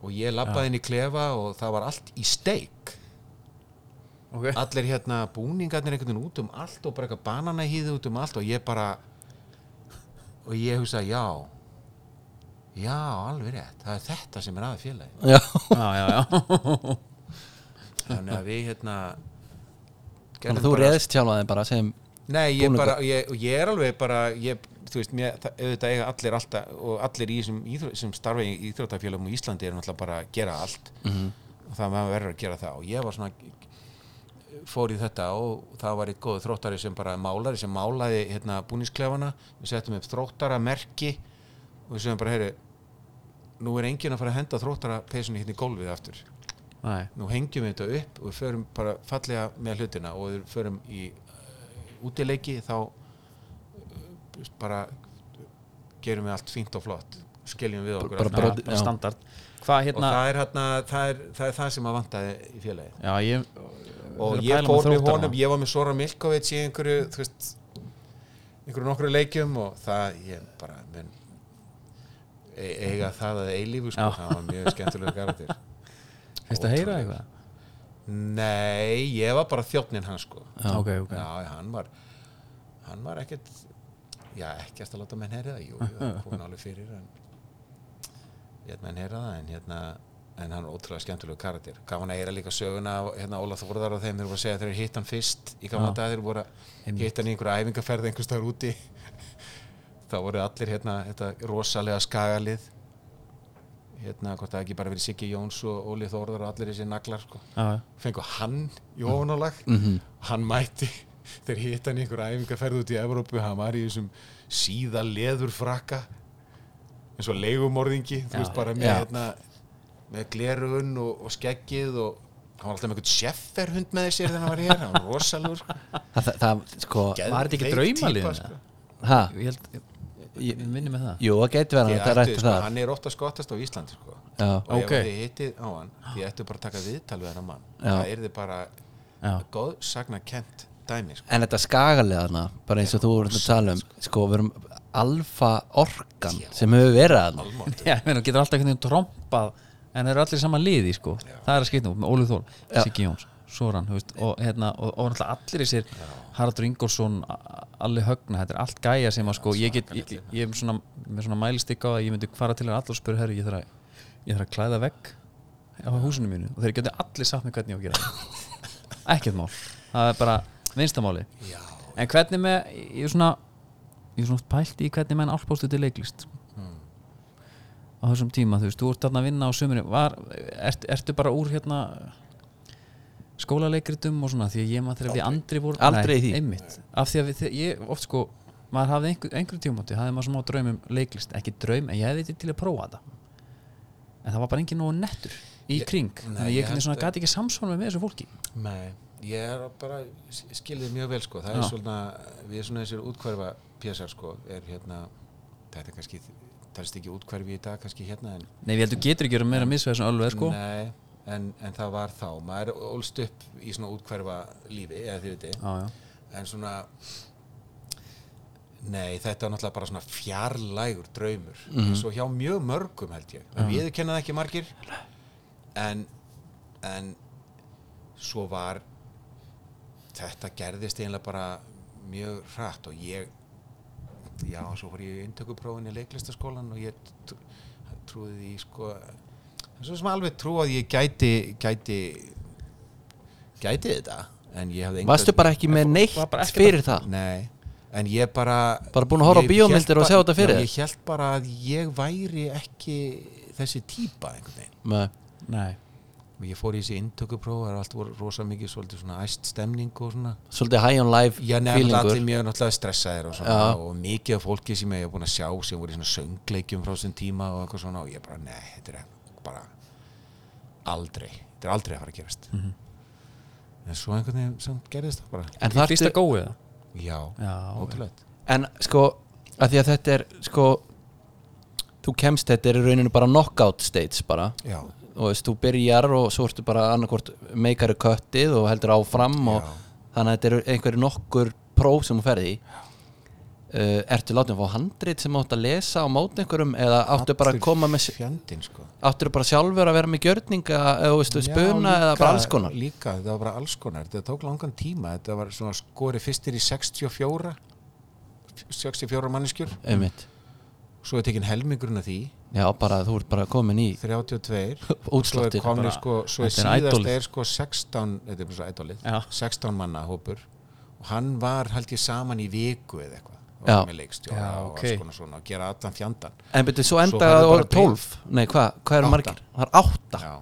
[SPEAKER 3] og ég labbaði inn í klefa og það var allt í steik
[SPEAKER 1] Okay.
[SPEAKER 3] allir hérna búningarnir einhvern veginn út um allt og bara eitthvað bananahýði út um allt og ég bara og ég hugsa já já alveg rétt það er þetta sem er aðeins félagi
[SPEAKER 2] Já,
[SPEAKER 1] Já, Ah, já, já.
[SPEAKER 3] þannig að við hérna
[SPEAKER 2] þannig
[SPEAKER 3] gerðum
[SPEAKER 2] að þú
[SPEAKER 3] bara-
[SPEAKER 2] reðst sjálf aðeim bara sem
[SPEAKER 3] Nei, ég
[SPEAKER 2] búninga.
[SPEAKER 3] bara, ég, og ég er alveg bara ég, þú veist, mér, það, auðvitað eiga allir alltaf og allir í þessum, íþró, sem starfa í íþróttafélagum í Íslandi er náttúrulega bara að gera allt og það maður verður að gera það og ég var svona fór í þetta og það var eitt góð þróttari sem bara málari sem málaði hérna búningsklefana, við settum upp þróttara merki og við sem bara, heyri nú er enginn að fara að henda þróttara peysunni hérna í gólfið aftur
[SPEAKER 1] Nei,
[SPEAKER 3] nú hengjum við þetta upp og við förum bara fallega með hlutina og við förum í uh, útileiki þá uh, bara gerum við allt fínt og flott skiljum við okkur
[SPEAKER 2] Bara
[SPEAKER 3] allt.
[SPEAKER 1] bara,
[SPEAKER 2] brot-
[SPEAKER 1] bara
[SPEAKER 2] já.
[SPEAKER 1] standard. Hvað
[SPEAKER 3] og
[SPEAKER 1] hérna?
[SPEAKER 3] það er, hérna, það, er, það er það sem að vantaði í félagi
[SPEAKER 1] Já, ég...
[SPEAKER 3] og
[SPEAKER 1] er að
[SPEAKER 3] ég
[SPEAKER 1] pæla
[SPEAKER 3] fór með
[SPEAKER 1] þróttarana.
[SPEAKER 3] honum, ég var með Sora Milkovic í einhverju þú veist, einhverju nokkru leikjum og það ég bara menn, e eiga það að eilífu sko,
[SPEAKER 1] Já.
[SPEAKER 3] það var mjög skemmtilega karakter
[SPEAKER 1] Fyrst að heyra eitthvað?
[SPEAKER 3] nei, ég var bara þjófnin hans sko
[SPEAKER 1] Já, ok, ok.
[SPEAKER 3] Já, hann var hann var ekkert já, ekkert að láta menn heyra það jú, jú, hann kom alveg fyrir en ég menn heyra það en hérna en hann er ótrúlega skemmtilegu karakter gaf hann að heyra líka söguna af, hérna Óla Þórðar og þeim þeir voru að segja að þeir hitt hann fyrst í gamla
[SPEAKER 1] Já.
[SPEAKER 3] dag þeir voru að hitt hann í einhverja æfingaferð einhvers staðar úti þá voru allir hérna þetta rosalega skagalið hérna hvort það ekki bara verið Siggi Jóns og Óli Þórðar og allir þessi naglar sko
[SPEAKER 1] Já, já.
[SPEAKER 3] fengu hann í ofanálag
[SPEAKER 2] Mm.
[SPEAKER 3] hann mætti þeir hitt hann í einhver æfingarferð út í Evrópu hann var í þessum síða leður frakka eins og leigumorðingi þú
[SPEAKER 1] Já,
[SPEAKER 3] veist bara með,
[SPEAKER 2] já.
[SPEAKER 3] hérna, með glerugun og, og skeggið og hann var alltaf með einhvern sjefferhund með sér þegar hann var hér, hann var rosalur sko.
[SPEAKER 2] það, það, það sko
[SPEAKER 1] Var þetta ekki
[SPEAKER 3] Geðveik
[SPEAKER 1] draumaliðin,
[SPEAKER 3] típa,
[SPEAKER 1] eða?
[SPEAKER 3] sko.
[SPEAKER 2] ha,
[SPEAKER 1] Ég held, ég, við minnum með það.
[SPEAKER 2] Jú, það getur verið
[SPEAKER 3] Ég
[SPEAKER 2] að þetta
[SPEAKER 3] ætti,
[SPEAKER 2] rættu
[SPEAKER 3] sko,
[SPEAKER 2] það
[SPEAKER 3] hann er ofta skottast á Íslandi sko.
[SPEAKER 2] Já,
[SPEAKER 3] og ef
[SPEAKER 1] Ok.
[SPEAKER 3] þið hittið á hann þið ættu bara að taka viðtal við hann mann
[SPEAKER 2] Já.
[SPEAKER 3] það er þið bara
[SPEAKER 1] Já.
[SPEAKER 3] góð sagna kent dæmi sko.
[SPEAKER 2] En þetta skagalega þarna, bara eins og þú voru að tala um Sko, við erum alfa orkan sem hefur verið þarna
[SPEAKER 3] Almáttugur.
[SPEAKER 1] Já, ég meina, hún getur alltaf einhvern veginn trompað en þeir eru allir í sama liði, sko það er að skipta út með Ólið Þól, Siggi Jóns Soran, þú veist, og hérna og, og náttúrulega allir þessir, Haraldur Ingolson allir högna, þetta er allt gæja sem að sko, ég get, ég, ég, ég er svona með svona mælistikk á að ég myndi fara til þeirra allar og spyrja, herru, ég þarf að, ég þarf að klæða vegg á húsinu mínu og þeir getur allir sagt mig hvernig ég á að gera það. ekkert mál, það er bara vinstamáli,
[SPEAKER 3] Já.
[SPEAKER 1] en hvernig með ég er svona, ég er svona oft pælt í hvernig menn álpástu til leiklist á þessum tíma, þú veist, þú ert þarna að vinna á sömurinn, var, ert, ertu bara úr hérna skólaleikritum og svona, því að ég maður þegar við andri vorum
[SPEAKER 2] Aldrei
[SPEAKER 1] Nei,
[SPEAKER 2] í því.
[SPEAKER 1] einmitt, af því að við, þegar ég oft sko maður hafði einhver, einhverjum tímúti, hafði maður smá draum um leiklist, ekki draum, en ég hefði þetta til að prófa þetta en það var bara engin nógu nettur í kring, þannig að
[SPEAKER 3] ég
[SPEAKER 1] ég ekki
[SPEAKER 3] held
[SPEAKER 1] svona
[SPEAKER 3] að-
[SPEAKER 1] gæti ekki samsvonum með þessu fólki
[SPEAKER 3] Nei, ég er bara skilðið mjög vel sko,
[SPEAKER 1] Já.
[SPEAKER 3] það er svona við svona þessir útkverfa pjæsar sko er hérna, þetta er kannski talst ekki útkverfi í dag kannski hérna en,
[SPEAKER 1] Nei, við heldur getur ekki verið meira að missa þessum öllu sko.
[SPEAKER 3] Nei, en, en það var þá maður er ólst upp í svona útkverfa lífi, eða þið veitir
[SPEAKER 1] Já, já.
[SPEAKER 3] en svona Nei, þetta var náttúrulega bara svona fjarlægur draumur,
[SPEAKER 2] Mhm.
[SPEAKER 3] eins og hjá mjög mörgum held ég, mm. við kennaði ekki margir en en svo var þetta gerðist einlega bara mjög hratt og ég já, svo fór ég í inntökuprófin í leiklistaskólan og ég tr- trúði því sko það er svo sem alveg trú að ég gæti gæti gæti þetta en ég hafði engan-
[SPEAKER 2] Varstu bara ekki með
[SPEAKER 1] var bara
[SPEAKER 2] neitt
[SPEAKER 1] ekkert
[SPEAKER 2] fyrir það
[SPEAKER 3] Nei, en ég bara
[SPEAKER 2] Bara búin að horfa á
[SPEAKER 3] Ég
[SPEAKER 2] bíómyndir
[SPEAKER 3] hélt
[SPEAKER 2] og sjá
[SPEAKER 3] bara-
[SPEAKER 2] þetta fyrir
[SPEAKER 3] Já,
[SPEAKER 2] þér?
[SPEAKER 3] Ég held bara að ég væri ekki þessi típa einhvern veginn
[SPEAKER 2] Nei,
[SPEAKER 1] Nei.
[SPEAKER 3] og ég fór í þessi inntökupróf og allt voru rosa mikið svolítið svona æst stemning og svona
[SPEAKER 2] svolítið high on life
[SPEAKER 3] Já, nefnir allir
[SPEAKER 2] feelingur
[SPEAKER 3] mjög náttúrulega stressaðir og svona
[SPEAKER 2] Já.
[SPEAKER 3] og mikið af fólki sem ég hef búin að sjá sem voru í svona söngleikjum frá þessum tíma og eitthvað svona og ég bara, nei, þetta er bara aldrei, þetta er aldrei að fara að gerast
[SPEAKER 2] Mhm.
[SPEAKER 3] en svo einhvern veginn sem gerðist það bara
[SPEAKER 2] En
[SPEAKER 1] Í fyrsta
[SPEAKER 2] þarftu,
[SPEAKER 1] góið
[SPEAKER 3] Já,
[SPEAKER 1] Já,
[SPEAKER 3] ótrúlega
[SPEAKER 2] en sko að því að þetta er sko þú kemst þetta er í rauninu bara knockout stage bara
[SPEAKER 3] já,
[SPEAKER 2] og veist, þú byrjar og svo ertu bara annarkvort meikari köttið og heldur áfram og
[SPEAKER 3] Já.
[SPEAKER 2] þannig að þetta eru einhverju nokkur próf sem þú ferði í uh, ertu látið að fá handrit sem áttu að lesa á móti einhverjum eða áttu bara að koma með
[SPEAKER 3] fjandinn sko
[SPEAKER 2] áttu bara sjálfur að vera með gjörninga eða þú veistu,
[SPEAKER 3] Já,
[SPEAKER 2] spuna eða
[SPEAKER 3] líka-
[SPEAKER 2] bara alls konar
[SPEAKER 3] líka, þetta var bara alls konar, þetta tók langan tíma þetta var svona skori fyrstir í 64 64 manneskjur
[SPEAKER 2] einmitt,
[SPEAKER 3] svo er tekin helmingurinn af því
[SPEAKER 2] já bara þú ert bara komin í
[SPEAKER 3] 32 svo er
[SPEAKER 2] útsláttir
[SPEAKER 3] komni
[SPEAKER 1] Bara-
[SPEAKER 3] sko, svo er
[SPEAKER 1] þetta er
[SPEAKER 3] síðast
[SPEAKER 1] idolið.
[SPEAKER 3] er sko 16 þetta er bara svo ædolið,
[SPEAKER 1] Já.
[SPEAKER 3] 16 manna hópur og hann var held ég saman í viku eða eitthvað og
[SPEAKER 2] Já.
[SPEAKER 3] var með leikstjóra
[SPEAKER 1] Já,
[SPEAKER 3] og
[SPEAKER 1] ok.
[SPEAKER 3] alls konar svona og gera allan fjandan
[SPEAKER 2] en betur svo
[SPEAKER 3] Svo
[SPEAKER 2] enda
[SPEAKER 3] færðu
[SPEAKER 2] það
[SPEAKER 3] bara
[SPEAKER 2] voru
[SPEAKER 3] bréf.
[SPEAKER 2] 12 nei hvað, hvað eru
[SPEAKER 3] Átta.
[SPEAKER 2] margir? það er 8
[SPEAKER 3] já,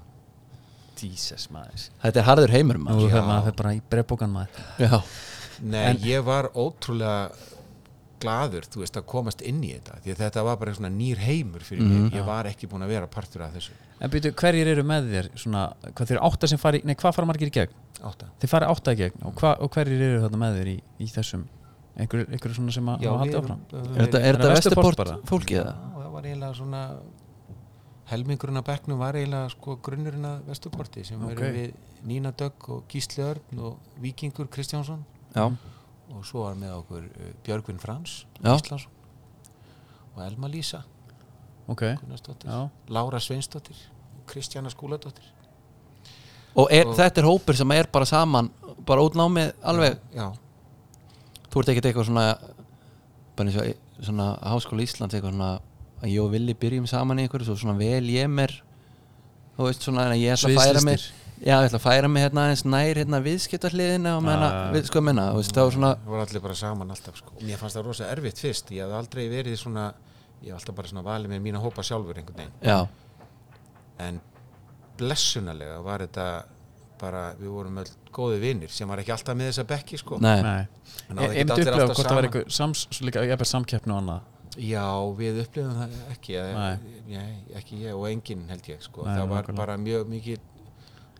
[SPEAKER 1] Jesus maður
[SPEAKER 2] þetta er harður heimur
[SPEAKER 1] Nú
[SPEAKER 2] maður
[SPEAKER 1] höfum maður fer bara í brefbókan maður
[SPEAKER 2] já,
[SPEAKER 3] Nei, ég var ótrúlega gladur, þú veist, að komast inn í þetta því að þetta var bara svona nýr heimur fyrir mig ég var ekki búin að vera partur af þessu
[SPEAKER 1] En byrju, hverjir eru með þér? Svona, hvað þeir átta sem fari, nei hvað fara margir í gegn?
[SPEAKER 3] átta
[SPEAKER 1] Þeir fara átta í gegn og, hva, og hverjir eru þarna með þér í, í þessum? Einhver, einhver svona sem að hafa haldið áfram?
[SPEAKER 2] er þetta,
[SPEAKER 1] Þannig að
[SPEAKER 2] er þetta
[SPEAKER 1] Vesturport
[SPEAKER 2] vesturport
[SPEAKER 1] bara?
[SPEAKER 2] fólkið það?
[SPEAKER 3] eh, Já, það var eiginlega svona helmingurinn að bekknum var eiginlega sko grunnurinn að Vesturporti sem
[SPEAKER 1] Ok.
[SPEAKER 3] verið við Nína Dögg og Gísli Örn og Víkingur Kristjánsson
[SPEAKER 2] já,
[SPEAKER 3] og svo var með okkur uh, Björgvin Frans
[SPEAKER 2] Já.
[SPEAKER 3] Íslandsson og Elma Lísa
[SPEAKER 1] Ok,
[SPEAKER 3] Gunnarsdóttir,
[SPEAKER 1] já,
[SPEAKER 3] Lára Sveinsdóttir og Kristjana Skúladóttir
[SPEAKER 2] og, er,
[SPEAKER 3] Og-
[SPEAKER 2] þetta er hópur sem er bara saman bara útnámið alveg
[SPEAKER 3] Já,
[SPEAKER 2] þú ert ekkert eitthvað svona bara eins og svona háskóla Íslands eitthvað svona að ég og Vili byrjum saman í einhverju svo svona vel ég mér þú veist svona að ég ætla að færa mig
[SPEAKER 1] Sviðslistir.
[SPEAKER 2] já, ég ætla að færa mig hérna aðeins nær hérna viðskiptarliðina og menna,
[SPEAKER 1] Já, já, já.
[SPEAKER 2] við, sko menna, þú veist það var svona
[SPEAKER 3] það voru allir bara saman alltaf sko. og mér fannst það rosa erfitt fyrst ég hafði aldrei verið svona ég hafði alltaf bara svona valið með mína hópa sjálfur einhvern veginn
[SPEAKER 2] já,
[SPEAKER 3] en blessunarlega var þetta bara, við vorum öll góði vinnir sem var ekki alltaf með þessa bekki sko.
[SPEAKER 2] nei,
[SPEAKER 1] nei
[SPEAKER 3] En náðu
[SPEAKER 1] Ég
[SPEAKER 3] ekkert
[SPEAKER 1] myndi
[SPEAKER 3] allir
[SPEAKER 1] upplega
[SPEAKER 3] alltaf
[SPEAKER 1] hvort það var
[SPEAKER 3] saman.
[SPEAKER 1] einhver sams, svo líka, ég er bara samkeppni og annað
[SPEAKER 3] já, við upplifum það ekki
[SPEAKER 1] Nei.
[SPEAKER 3] ég, ekki ég og enginn held ég sko.
[SPEAKER 1] Nei,
[SPEAKER 3] það var
[SPEAKER 1] nákvæmlega.
[SPEAKER 3] bara mjög mikið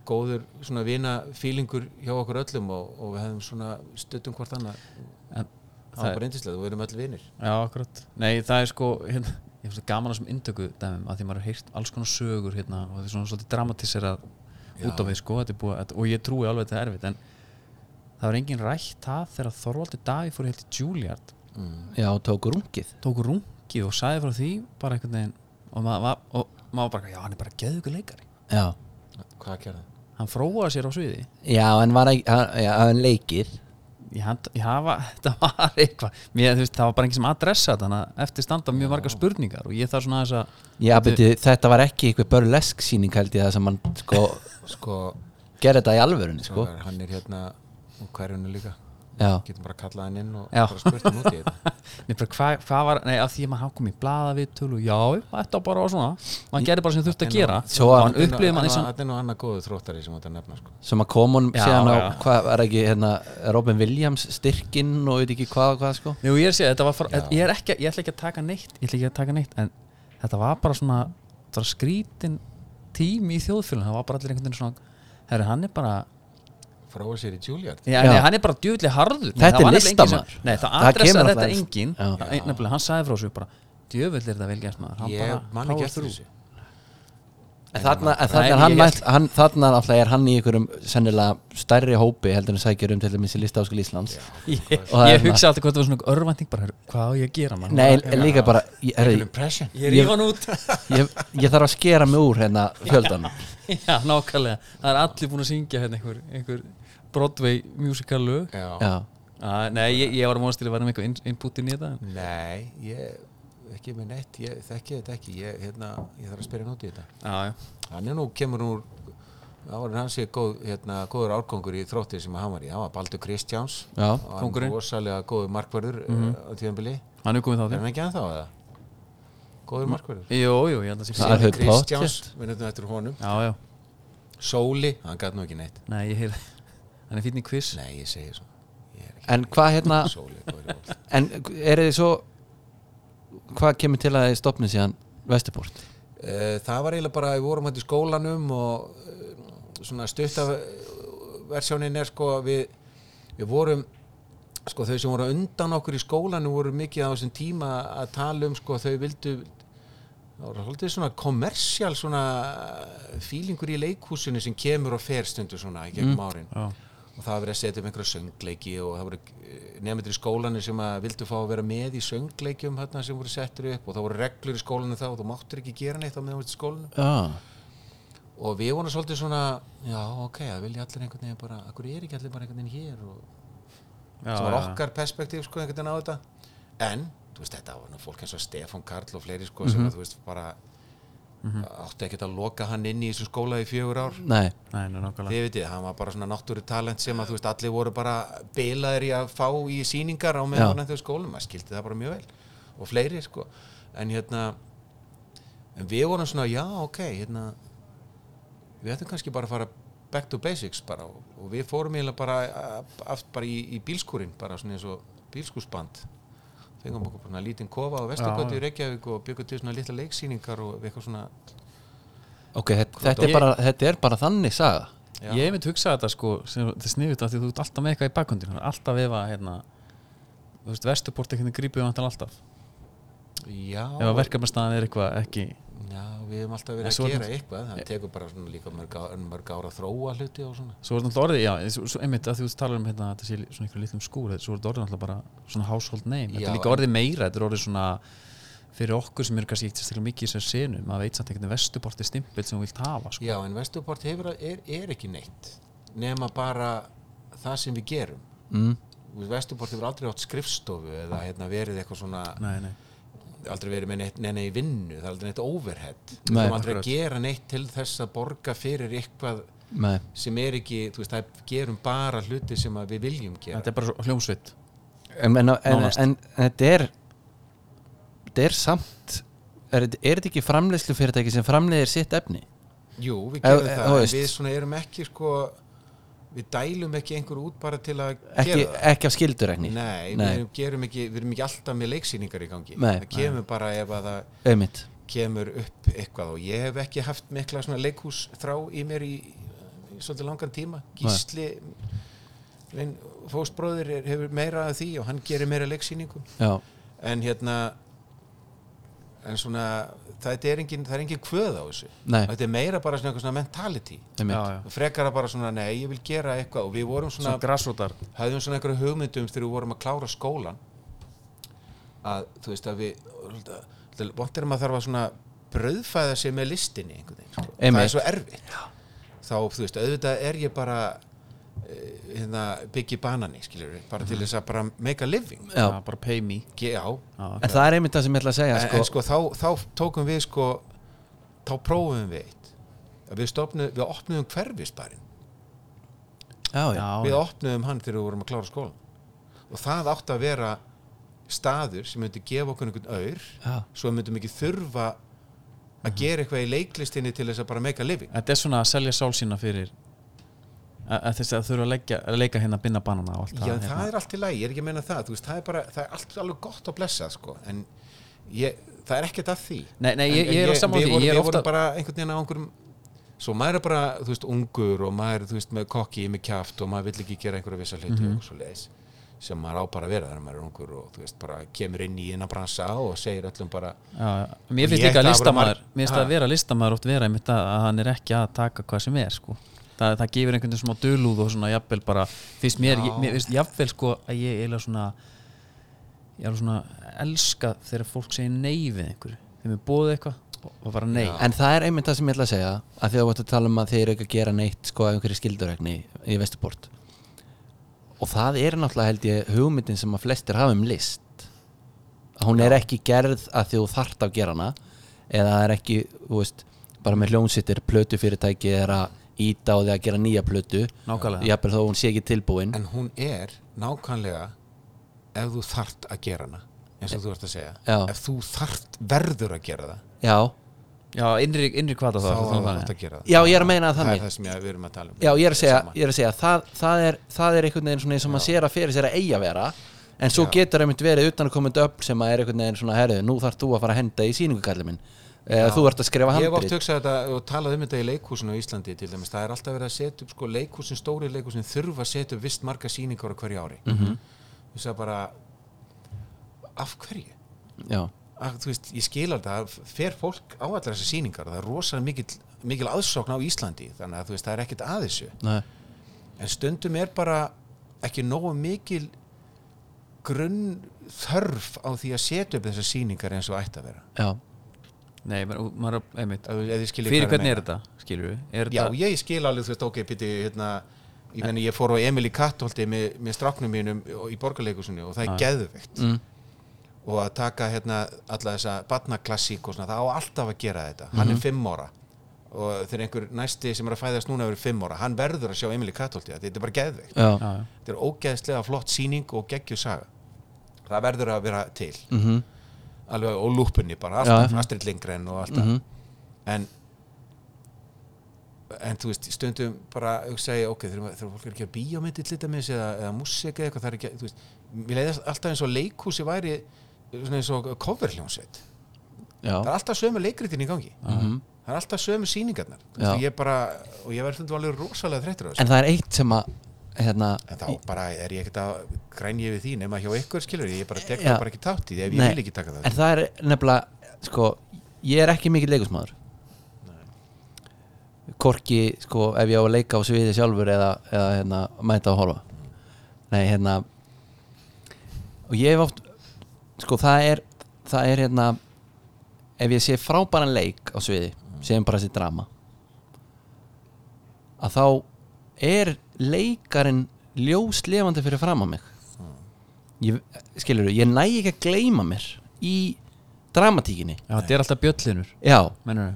[SPEAKER 3] góður svona vina fílingur hjá okkur öllum og, og við hefðum svona stuttum hvort annað
[SPEAKER 1] En
[SPEAKER 3] það var bara eindislega, við erum öll vinnir
[SPEAKER 1] Já, akkurat. Nei, það er sko, hérna, ég finnst það gaman að sem indöku dæmum að því maður har heyrt alls konar sögur hérna og það er svona svolítið dramatiserað út á við sko, þetta er búið, að, og ég trúi alveg að þetta er erfitt, en það var engin rætt það þegar Þorvaldi Davi fór helt í Juilliard,
[SPEAKER 3] mm.
[SPEAKER 2] já, tók rungið
[SPEAKER 1] tók rungið og sagði frá því bara einhvern veginn og maður var, og maður var bara, já, hann er bara geðugur leikari.
[SPEAKER 2] já,
[SPEAKER 3] hvað gerði?
[SPEAKER 1] Hann fróaði sér á sviði.
[SPEAKER 2] já, en var ekki hann, já, hann leikir
[SPEAKER 1] Ég, hann, ég hafa, þetta var eitthvað, mér, þú veist, það var bara engin sem adressa þetta, þannig að eftir standa mjög margar spurningar og ég þarf svona þess að,
[SPEAKER 2] já, beti, þetta var ekki eitthvað börlesk síning held ég það sem hann sko
[SPEAKER 3] sko,
[SPEAKER 2] gerði þetta í alvörunni sko
[SPEAKER 3] Svo er, hann er hérna úr hverjunu líka
[SPEAKER 2] já,
[SPEAKER 3] getum bara kallað hann inn og
[SPEAKER 1] Já.
[SPEAKER 3] bara spurt um hann út í þetta
[SPEAKER 1] Nei, bara hvað hva var, nei, að því að maður hann kom í blaða við tölu, já, þetta var bara var svona, maður gerði bara sem þurfti að gera
[SPEAKER 2] Svo
[SPEAKER 1] og
[SPEAKER 2] að-
[SPEAKER 1] hann upplifði maður eins og
[SPEAKER 3] Þetta er nú annað góðu þróttari sem þetta nefna sko.
[SPEAKER 2] sem að kom hún
[SPEAKER 1] Já,
[SPEAKER 2] síðan á,
[SPEAKER 1] já.
[SPEAKER 2] hvað var ekki hérna, Robin Williams styrkinn og veit ekki hvað og hvað sko
[SPEAKER 1] Jú, ég er að segja, þetta var, fara, ég er ekki, ég ætla ekki að taka neitt, ég ætla ekki að taka neitt, en þetta var bara svona, þetta var skrítin tími í þjóðfjölun, það var bara allir einhvern veginn svona, herri, hann er bara,
[SPEAKER 3] Fróa sér í Juilliard
[SPEAKER 1] já,
[SPEAKER 2] Já.
[SPEAKER 1] Nei, hann er bara djúvillig harður. Nei, það
[SPEAKER 2] Þetta er
[SPEAKER 1] var nefnilega enginn sem-
[SPEAKER 2] listamaður.
[SPEAKER 1] Nei, það
[SPEAKER 2] Það kemur
[SPEAKER 1] adressaði þetta
[SPEAKER 2] alltaf-
[SPEAKER 1] enginn,
[SPEAKER 2] Já.
[SPEAKER 1] Nei, nefnilega, hann sagði frá svo bara, djúvill er þetta vel gert maður, hann bara,
[SPEAKER 3] Ég man ekki
[SPEAKER 1] power
[SPEAKER 3] eftir
[SPEAKER 1] through.
[SPEAKER 3] þessu
[SPEAKER 2] en þarna, en
[SPEAKER 1] Nei,
[SPEAKER 2] þarna,
[SPEAKER 1] ég
[SPEAKER 2] er hann,
[SPEAKER 1] held-
[SPEAKER 2] mætt, hann, þarna alltaf er hann í einhverjum sennilega stærri hópi heldur en sækjur um til dæmis í listáskil Íslands
[SPEAKER 1] Ég,
[SPEAKER 2] Og það er
[SPEAKER 1] ég hugsa alltaf hvort það var svona örvænting bara, "Herru, hvað á ég að gera maður?
[SPEAKER 2] nei, en líka bara ég,
[SPEAKER 3] An
[SPEAKER 2] herri,
[SPEAKER 3] impression
[SPEAKER 1] Ég ríf hann út
[SPEAKER 2] ég, ég þarf að skera mig úr hérna fjöldan
[SPEAKER 1] Já, nákvæmlega Það er allir búin að syngja hérna einhver, einhver Broadway musical lög
[SPEAKER 3] Já.
[SPEAKER 2] já,
[SPEAKER 1] ah, Nei, ég, ég var að mónast til að vera með einhver inn- input inn í þetta
[SPEAKER 3] Nei, ég ekki með neitt, ég þekki þetta ekki ég, hérna, ég þarf að spyrja hann út í þetta
[SPEAKER 1] Já, já
[SPEAKER 3] Hann er nú, kemur úr áður en hann sé góð, hérna, góður árkongur í þrótti sem hann var í, hann var Baldur Kristjáns
[SPEAKER 2] já,
[SPEAKER 3] og hann
[SPEAKER 1] Kóngurinn. Mhm.
[SPEAKER 3] rosalega góður markverður mm á tíðanbili
[SPEAKER 1] Hann er komið þá
[SPEAKER 3] Er
[SPEAKER 1] þér
[SPEAKER 3] hann ekki ennþá eða? Góður markverður
[SPEAKER 1] Jú, jú, ég held að sé
[SPEAKER 2] Það er
[SPEAKER 1] Já,
[SPEAKER 2] hug- pottþétt.
[SPEAKER 3] Kristjáns, við nefnum eftir honum
[SPEAKER 1] já
[SPEAKER 3] Sóli, hann gæti nú ekki neitt
[SPEAKER 1] Nei, ég heyrði Hann er fínni quiz
[SPEAKER 3] Nei, ég segi svona Ég er ekki
[SPEAKER 2] en hvað hérna
[SPEAKER 3] Sóli, góður í bólt
[SPEAKER 2] en er þið svo hvað kemur til að þið stopnið síðan Vesturport
[SPEAKER 3] Eh, Það var eiginlega bara, við vorum hætti í skólanum og eh, svona stutta versjónin er sko að við, við vorum sko þau sem voru á undan okkur í skólanu voru mikið á þessum tíma að tala um sko þau vildu það voru haldið svona kommersial svona fílingur í leikhúsinu sem kemur og fer stundu svona í gegnum árin
[SPEAKER 1] Já.
[SPEAKER 3] og það var verið að setja um einhverja söngleiki og það voru nefndir í skólanu sem að vildu fá að vera með í söngleikjum hérna sem voru settir upp og það voru reglur í skólanu þá og þú máttur ekki gera neitt á meðan þú ert í skólanu
[SPEAKER 2] Já,
[SPEAKER 3] og við vorum svolítið svona já ok, það vilja allir einhvern veginn bara akkur er ekki allir bara einhvern veginn hér og
[SPEAKER 1] já,
[SPEAKER 3] sem var
[SPEAKER 1] já.
[SPEAKER 3] okkar perspektíf sko einhvern veginn á þetta en, þú veist, þetta var nú fólk eins og Stefán Karl og fleiri sko
[SPEAKER 1] Mhm.
[SPEAKER 3] sem að þú veist bara átti ekkert að loka hann inn í þessu skóla í fjögur ár
[SPEAKER 2] nei,
[SPEAKER 1] Nei, nei, nákvæmlega
[SPEAKER 3] þið veitir, hann var bara svona náttúru talent sem að þú veist, allir voru bara bilaðir í að fá í sýningar á
[SPEAKER 2] Já.
[SPEAKER 3] meðan þau skólum maður skildi það bara mjög vel og fleiri sko, en hérna en við vorum svona, já, ok hérna, við ættum kannski bara að fara back to basics bara og, og við fórum eiginlega bara, a- aft- bara í, í bílskúrin, bara svona eins og bílskúsband fengum okkur bara lítinn kofa á Vesturgötu í Reykjavík og byggum til svona litla leiksýningar og eitthvað svona
[SPEAKER 2] ok, þetta, þetta, er
[SPEAKER 1] Ég-
[SPEAKER 2] bara, þetta er bara þannig saga
[SPEAKER 3] Já.
[SPEAKER 1] Ég hef myndi hugsað þetta sko sem, þetta er sniðut að því þú ert alltaf með eitthvað í bakkundin alltaf ef að hérna þú veist, vesturport ekkert grípið um alltaf
[SPEAKER 3] já,
[SPEAKER 1] ef að verkefnastæðan er eitthvað ekki
[SPEAKER 3] já, við hefum alltaf
[SPEAKER 1] En
[SPEAKER 3] verið
[SPEAKER 1] svo Eh.
[SPEAKER 3] að
[SPEAKER 1] er
[SPEAKER 3] gera eitthvað það tekur bara svona líka mörg, á- mörg ára að þróa hluti og svona
[SPEAKER 1] svo er þetta orðið, já, svo, svo einmitt að því þú talar um hérna, þetta sé svona einhverjum litlum skúr þetta- svo er þetta orðið alltaf bara svona household name þetta
[SPEAKER 3] Já,
[SPEAKER 1] er líka
[SPEAKER 3] en-
[SPEAKER 1] orðið meira, þetta er orðið svona fyrir okkur sem eru kannski ekki sérstaklega mikið í þessu senu, maður veit samt einhvern vestuporti stimpil sem þú vilt hafa, sko
[SPEAKER 3] já, en Vesturport hefur, að- er, er ekki neitt nema bara það sem við gerum
[SPEAKER 2] mm.
[SPEAKER 3] Vesturport hefur aldrei átt skrifstofu eða hérna, verið eitthvað svona
[SPEAKER 1] nei, nei.
[SPEAKER 3] aldrei verið með neitt, neina í vinnu það er aldrei neitt overhead við
[SPEAKER 2] Nei,
[SPEAKER 3] erum aldrei
[SPEAKER 1] akkurat.
[SPEAKER 3] að gera neitt til þess að borga fyrir eitthvað
[SPEAKER 2] nei,
[SPEAKER 3] sem er ekki, þú veist, það gerum bara hluti sem að við viljum gera
[SPEAKER 1] þetta er bara svo- hljómsveit
[SPEAKER 2] en, en, en,
[SPEAKER 1] Nánast.
[SPEAKER 2] en, en þetta er þetta er samt er, þetta- er þetta ekki framleiðslu fyrirtæki sem framleiðir sitt efni?
[SPEAKER 3] Jú, við
[SPEAKER 2] Ef-
[SPEAKER 3] gerum
[SPEAKER 2] ef- þú
[SPEAKER 3] það, en
[SPEAKER 2] veist.
[SPEAKER 3] við svona erum ekki sko, við dælum ekki einhver út bara til að
[SPEAKER 2] Ekki,
[SPEAKER 3] gera það
[SPEAKER 2] ekki af skilduregni?
[SPEAKER 3] Nei, við
[SPEAKER 2] nei,
[SPEAKER 3] erum, gerum ekki, við erum ekki alltaf með leiksýningar í gangi
[SPEAKER 2] Nei.
[SPEAKER 3] það kemur bara ef að það
[SPEAKER 2] auðvitað
[SPEAKER 3] kemur upp eitthvað og ég hef ekki haft mikla svona leikhús þrá í mér í, í svolítið langan tíma Gísli minn fóstbróðir er, hefur meira að því og hann gerir meira leiksýningum
[SPEAKER 2] Já,
[SPEAKER 3] en hérna en svona það er engin, það er engin kvöð á þessu
[SPEAKER 2] Nei.
[SPEAKER 3] þetta er meira bara svona, einhver svona mentality
[SPEAKER 2] einmitt
[SPEAKER 1] Já, já.
[SPEAKER 3] og frekara bara svona nei, ég vil gera eitthvað og við vorum svona,
[SPEAKER 1] svona grassrútar
[SPEAKER 3] höfðum svona einhverju hugmyndum þegar við vorum að klára skólan að þú veist að við vondir að maður þarf að svona brauðfæða sig með listinni einhvern veginn sko. það
[SPEAKER 2] Einmitt.
[SPEAKER 3] er svo erfitt þá þú veist, auðvitað er ég bara eh, hérna, byggi banani skilur við, bara
[SPEAKER 2] Mhm.
[SPEAKER 3] til þess að bara make a living
[SPEAKER 2] Já.
[SPEAKER 1] bara pay me
[SPEAKER 3] Ge- já,
[SPEAKER 1] já,
[SPEAKER 2] En það er einmitt það sem ég ætla að segja
[SPEAKER 3] en,
[SPEAKER 2] sko,
[SPEAKER 3] en sko þá, þá tókum við sko þá prófum við eitt við, stofnu, við opnum hverfisbarinn
[SPEAKER 2] já, já,
[SPEAKER 1] já,
[SPEAKER 3] við opnuðum hann þegar við vorum að klára skólan og það átti að vera staður sem myndi gefa okkur einhvern aur
[SPEAKER 2] já.
[SPEAKER 3] svo myndum ekki þurfa að gera eitthvað í leiklistinni til þess að bara make a living
[SPEAKER 1] þetta er svona að selja sál sína fyrir að, að þess að þurfa að, leggja, að leika hérna að binda banana og allt
[SPEAKER 3] Já, en það
[SPEAKER 1] hérna.
[SPEAKER 3] er allt í lagi, ég er ekki að meina það þú veist, það er bara, það er allt alveg gott að blessa sko, en ég, það er ekkert að því
[SPEAKER 1] Nei, nei,
[SPEAKER 3] En-
[SPEAKER 1] ég-
[SPEAKER 3] en
[SPEAKER 1] ég er á sammála
[SPEAKER 3] við
[SPEAKER 1] því,
[SPEAKER 3] vorum,
[SPEAKER 1] ég er
[SPEAKER 3] Við
[SPEAKER 1] ofta-
[SPEAKER 3] vorum bara einhvern veginn á einhverjum svo maður er bara, þú veist, ungur og maður, þú veist, með kokki með kjaft og maður vill ekki gera einhverja vissa hluti
[SPEAKER 1] Mhm.
[SPEAKER 3] og svo leiðis sem maður á bara að vera þegar maður er ungur og þú veist, bara kemur inn í innan bransa og segir öllum bara
[SPEAKER 1] Já, já. mér finnst
[SPEAKER 3] Ég
[SPEAKER 1] líka að
[SPEAKER 3] ætla að vera
[SPEAKER 1] listamaður
[SPEAKER 3] marg-
[SPEAKER 1] mér finnst það að
[SPEAKER 3] Ha.
[SPEAKER 1] vera listamaður oft vera einmitt að, að hann er ekki að taka hvað sem er sko. það, það gefur einhvern veginn smá dölúð og svona jafnvel bara finnst mér, ég, mér finnst jafnvel sko að ég eiginlega svona ég er alveg svona elska þegar fólk segir nei við einhverju þegar mér bóðið eitthvað og- og bara nei
[SPEAKER 2] En það er einmitt það sem ég ætla að segja að því að þú ætti að tala um að þeir eru ekki að gera neitt sko af einhverju skilduregni í Vesturport og það er náttúrulega held ég hugmyndin sem að flestir hafa um list að hún er ekki gerð að því þú þart að gera hana eða það er ekki, þú veist, bara með hljónsittir plötu fyrirtæki er að íta á því að gera nýja plötu
[SPEAKER 1] Nákvæmlega.
[SPEAKER 2] jafnvel þó hún sé ekki tilbúin
[SPEAKER 3] en hún er nákvæmlega ef þú þart að gera hana eins og þú ert að segja
[SPEAKER 2] Já.
[SPEAKER 3] ef þú þart verður að gera það
[SPEAKER 2] Já,
[SPEAKER 1] já, innri, innri kvata
[SPEAKER 3] þá
[SPEAKER 1] það,
[SPEAKER 3] er
[SPEAKER 1] það,
[SPEAKER 3] það að gera það
[SPEAKER 2] já ég er að meina það
[SPEAKER 3] það er
[SPEAKER 2] þannig
[SPEAKER 3] það sem ég- við erum að tala um
[SPEAKER 2] Já, ég er að segja,
[SPEAKER 3] Sama.
[SPEAKER 2] ég er að segja það, það, er, það er einhvern veginn svona eins og maður sér að fyrir sér að eiga að vera en svo getur einmitt verið utan að koma þetta upp sem að er einhvern veginn svona herðu, nú þarf þú að fara að henda í sýningukallið minn eða þú ert að skrifa
[SPEAKER 3] Ég hef oft
[SPEAKER 2] handrið
[SPEAKER 3] hugsað þetta og talað um þetta í leikhúsinu á Íslandi til dæmis, það er
[SPEAKER 2] Mhm.
[SPEAKER 3] alltaf verið að setja upp sko, leikhúsin, stóri leikhúsin þurfa að setja upp vist marga sýningar á hverju ári ég sagði bara af hverju?
[SPEAKER 2] já,
[SPEAKER 3] Af, þú veist, ég skilar það, fer fólk á allar þessar sýningar, það er rosalega mikil, mikil aðsókn á Íslandi, þannig að þú veist, það er ekkert að þessu,
[SPEAKER 2] nei,
[SPEAKER 3] en stundum er bara ekki nógu mikil grunn þörf á því að setja upp þessar sýningar eins og ætti að vera
[SPEAKER 2] já
[SPEAKER 1] Nei, maður, maður einmitt,
[SPEAKER 3] Ef þú- ef þið skiljið
[SPEAKER 1] fyrir
[SPEAKER 3] hvað ég
[SPEAKER 1] hvernig
[SPEAKER 3] meina.
[SPEAKER 1] er þetta, skilur við er
[SPEAKER 3] Já,
[SPEAKER 1] þetta,
[SPEAKER 3] ég skil alveg, þú veist, ok, píti, hérna, ég meni, ég fór á Emil í Kattholti með, með stráknum mínum og- í borgarleikusunni og það er geðveikt
[SPEAKER 2] mm.
[SPEAKER 3] og að taka, hérna, alla þessa batnaklassík og svona, það á alltaf að gera þetta hann
[SPEAKER 1] Mhm.
[SPEAKER 3] er fimm ára og þegar einhver næsti sem er að fæðast núna verið fimm ára hann verður að sjá Emil í Kattholti, þetta er bara geðveikt
[SPEAKER 2] já,
[SPEAKER 1] já, já.
[SPEAKER 3] þetta er ógeðslega flott sýning og geggjuð saga það verður að vera til
[SPEAKER 2] mhm
[SPEAKER 3] alveg og lúpunni bara alltaf,
[SPEAKER 2] Já.
[SPEAKER 3] Astrid Lindgren og alltaf
[SPEAKER 2] Mhm.
[SPEAKER 3] en en þú veist, stundum bara segja, ok, þurfum, þurfum fólk er ekki að bíómyndi til þetta með þessi eða, eða músik eða eitthvað það er ekki, þú veist, mér leiðast alltaf eins og leikhúsi væri svona eins og coverljónsveit,
[SPEAKER 2] já,
[SPEAKER 3] það er alltaf sömu leikritin í gangi,
[SPEAKER 2] Mhm.
[SPEAKER 3] það er alltaf sömu sýningarnar, þú
[SPEAKER 2] Já.
[SPEAKER 3] veist, og ég bara og ég verður stundum alveg rosalega þreyttur á þessu
[SPEAKER 2] en það er eitt sem að hérna,
[SPEAKER 3] en þá bara er ég ekkert að grænja við því nema hjá ykkur skilur, ég bara tek
[SPEAKER 2] Já.
[SPEAKER 3] það bara ekki tátt í því ef
[SPEAKER 2] Nei.
[SPEAKER 3] ég vil ekki taka það sko.
[SPEAKER 2] en það er nefnilega sko, ég er ekki mikill leikusmaður Korki, sko, ef ég á að leika á sviði sjálfur eða, eða hérna, mæta að horfa
[SPEAKER 3] Mm.
[SPEAKER 2] nei, hérna og ég hef oft sko, það er, það er hérna ef ég sé frábæran leik á sviði,
[SPEAKER 3] Mm.
[SPEAKER 2] sem bara sér drama að þá er leikarinn ljóslefandi fyrir fram á mig
[SPEAKER 3] Mm.
[SPEAKER 2] ég, skilur ég næ ekki að gleyma mér í dramatíkinni
[SPEAKER 1] já, þetta er alltaf bjöllinur
[SPEAKER 2] já,
[SPEAKER 1] mennur við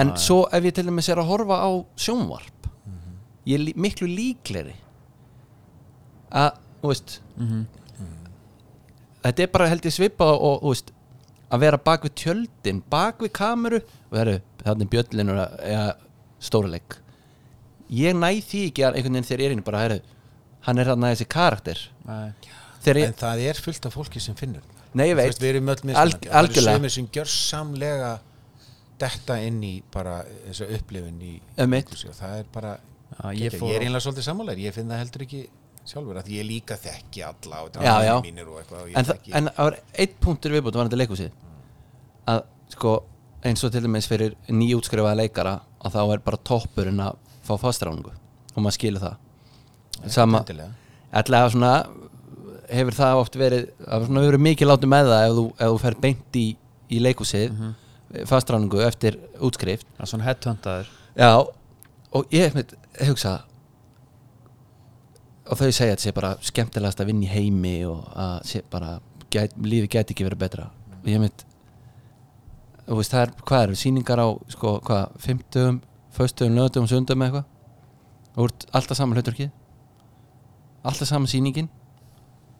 [SPEAKER 2] en svo ef ég til dæmis er að horfa á sjónvarp
[SPEAKER 3] Mhm.
[SPEAKER 2] ég er lí- miklu líkleri að, þú veist
[SPEAKER 1] Mhm.
[SPEAKER 2] þetta er bara held ég svipa og, þú veist að vera bak við tjöldin, bak við kameru og það eru, þannig bjöllin eða stóruleik ég næ því ekki að einhvern veginn þegar ég er inn bara, heru, hann er þarna þessi karakter
[SPEAKER 1] Nei.
[SPEAKER 2] þegar ég,
[SPEAKER 3] en það er fullt af fólki sem finnur það.
[SPEAKER 2] nei ég
[SPEAKER 3] Þú
[SPEAKER 2] veit
[SPEAKER 3] veist, við erum öll með
[SPEAKER 2] Alg-
[SPEAKER 3] það eru
[SPEAKER 2] algjörlega.
[SPEAKER 3] sömur sem gjör samlega detta inn í bara þessa upplifin í
[SPEAKER 2] Einmitt.
[SPEAKER 3] leikhúsi og það er bara
[SPEAKER 1] Já,
[SPEAKER 3] ég,
[SPEAKER 1] ég
[SPEAKER 3] ég,
[SPEAKER 1] fór á-
[SPEAKER 3] er einlega svolítið sammálaður, ég finn það heldur ekki sjálfur að ég líka þekki alla og
[SPEAKER 2] Já, já.
[SPEAKER 3] dramaðið mínir og eitthvað og ég
[SPEAKER 2] en, það-
[SPEAKER 3] þekki-
[SPEAKER 2] en það var eitt punktur viðbútt var þetta leikhúsið að sko eins og til dæmis fyrir nýjútskrifaða leikara að þá er bara toppurinn að fá fastráningu og maður skilur það
[SPEAKER 3] Nei,
[SPEAKER 2] sama,
[SPEAKER 3] endilega.
[SPEAKER 2] allega svona hefur það oft verið, það hefur svona verið mikið látum með það ef þú, ef þú fer beint í, í leikhúsið mm
[SPEAKER 3] Mhm.
[SPEAKER 2] fastráningu eftir útskrift
[SPEAKER 1] það er svona headhuntaður
[SPEAKER 2] Já, og ég mitt, hugsa og þau segja að þetta sé bara skemmtilegast að vinna í heimi og að sé bara gæt, lífi gæti ekki verið betra og ég mitt þú veist, það er, hvað er, sýningar á sko, hvað, fimmtugum, föstugum, lögdugum sundum eða eitthvað og úr alltaf saman hluturkið alltaf saman sýningin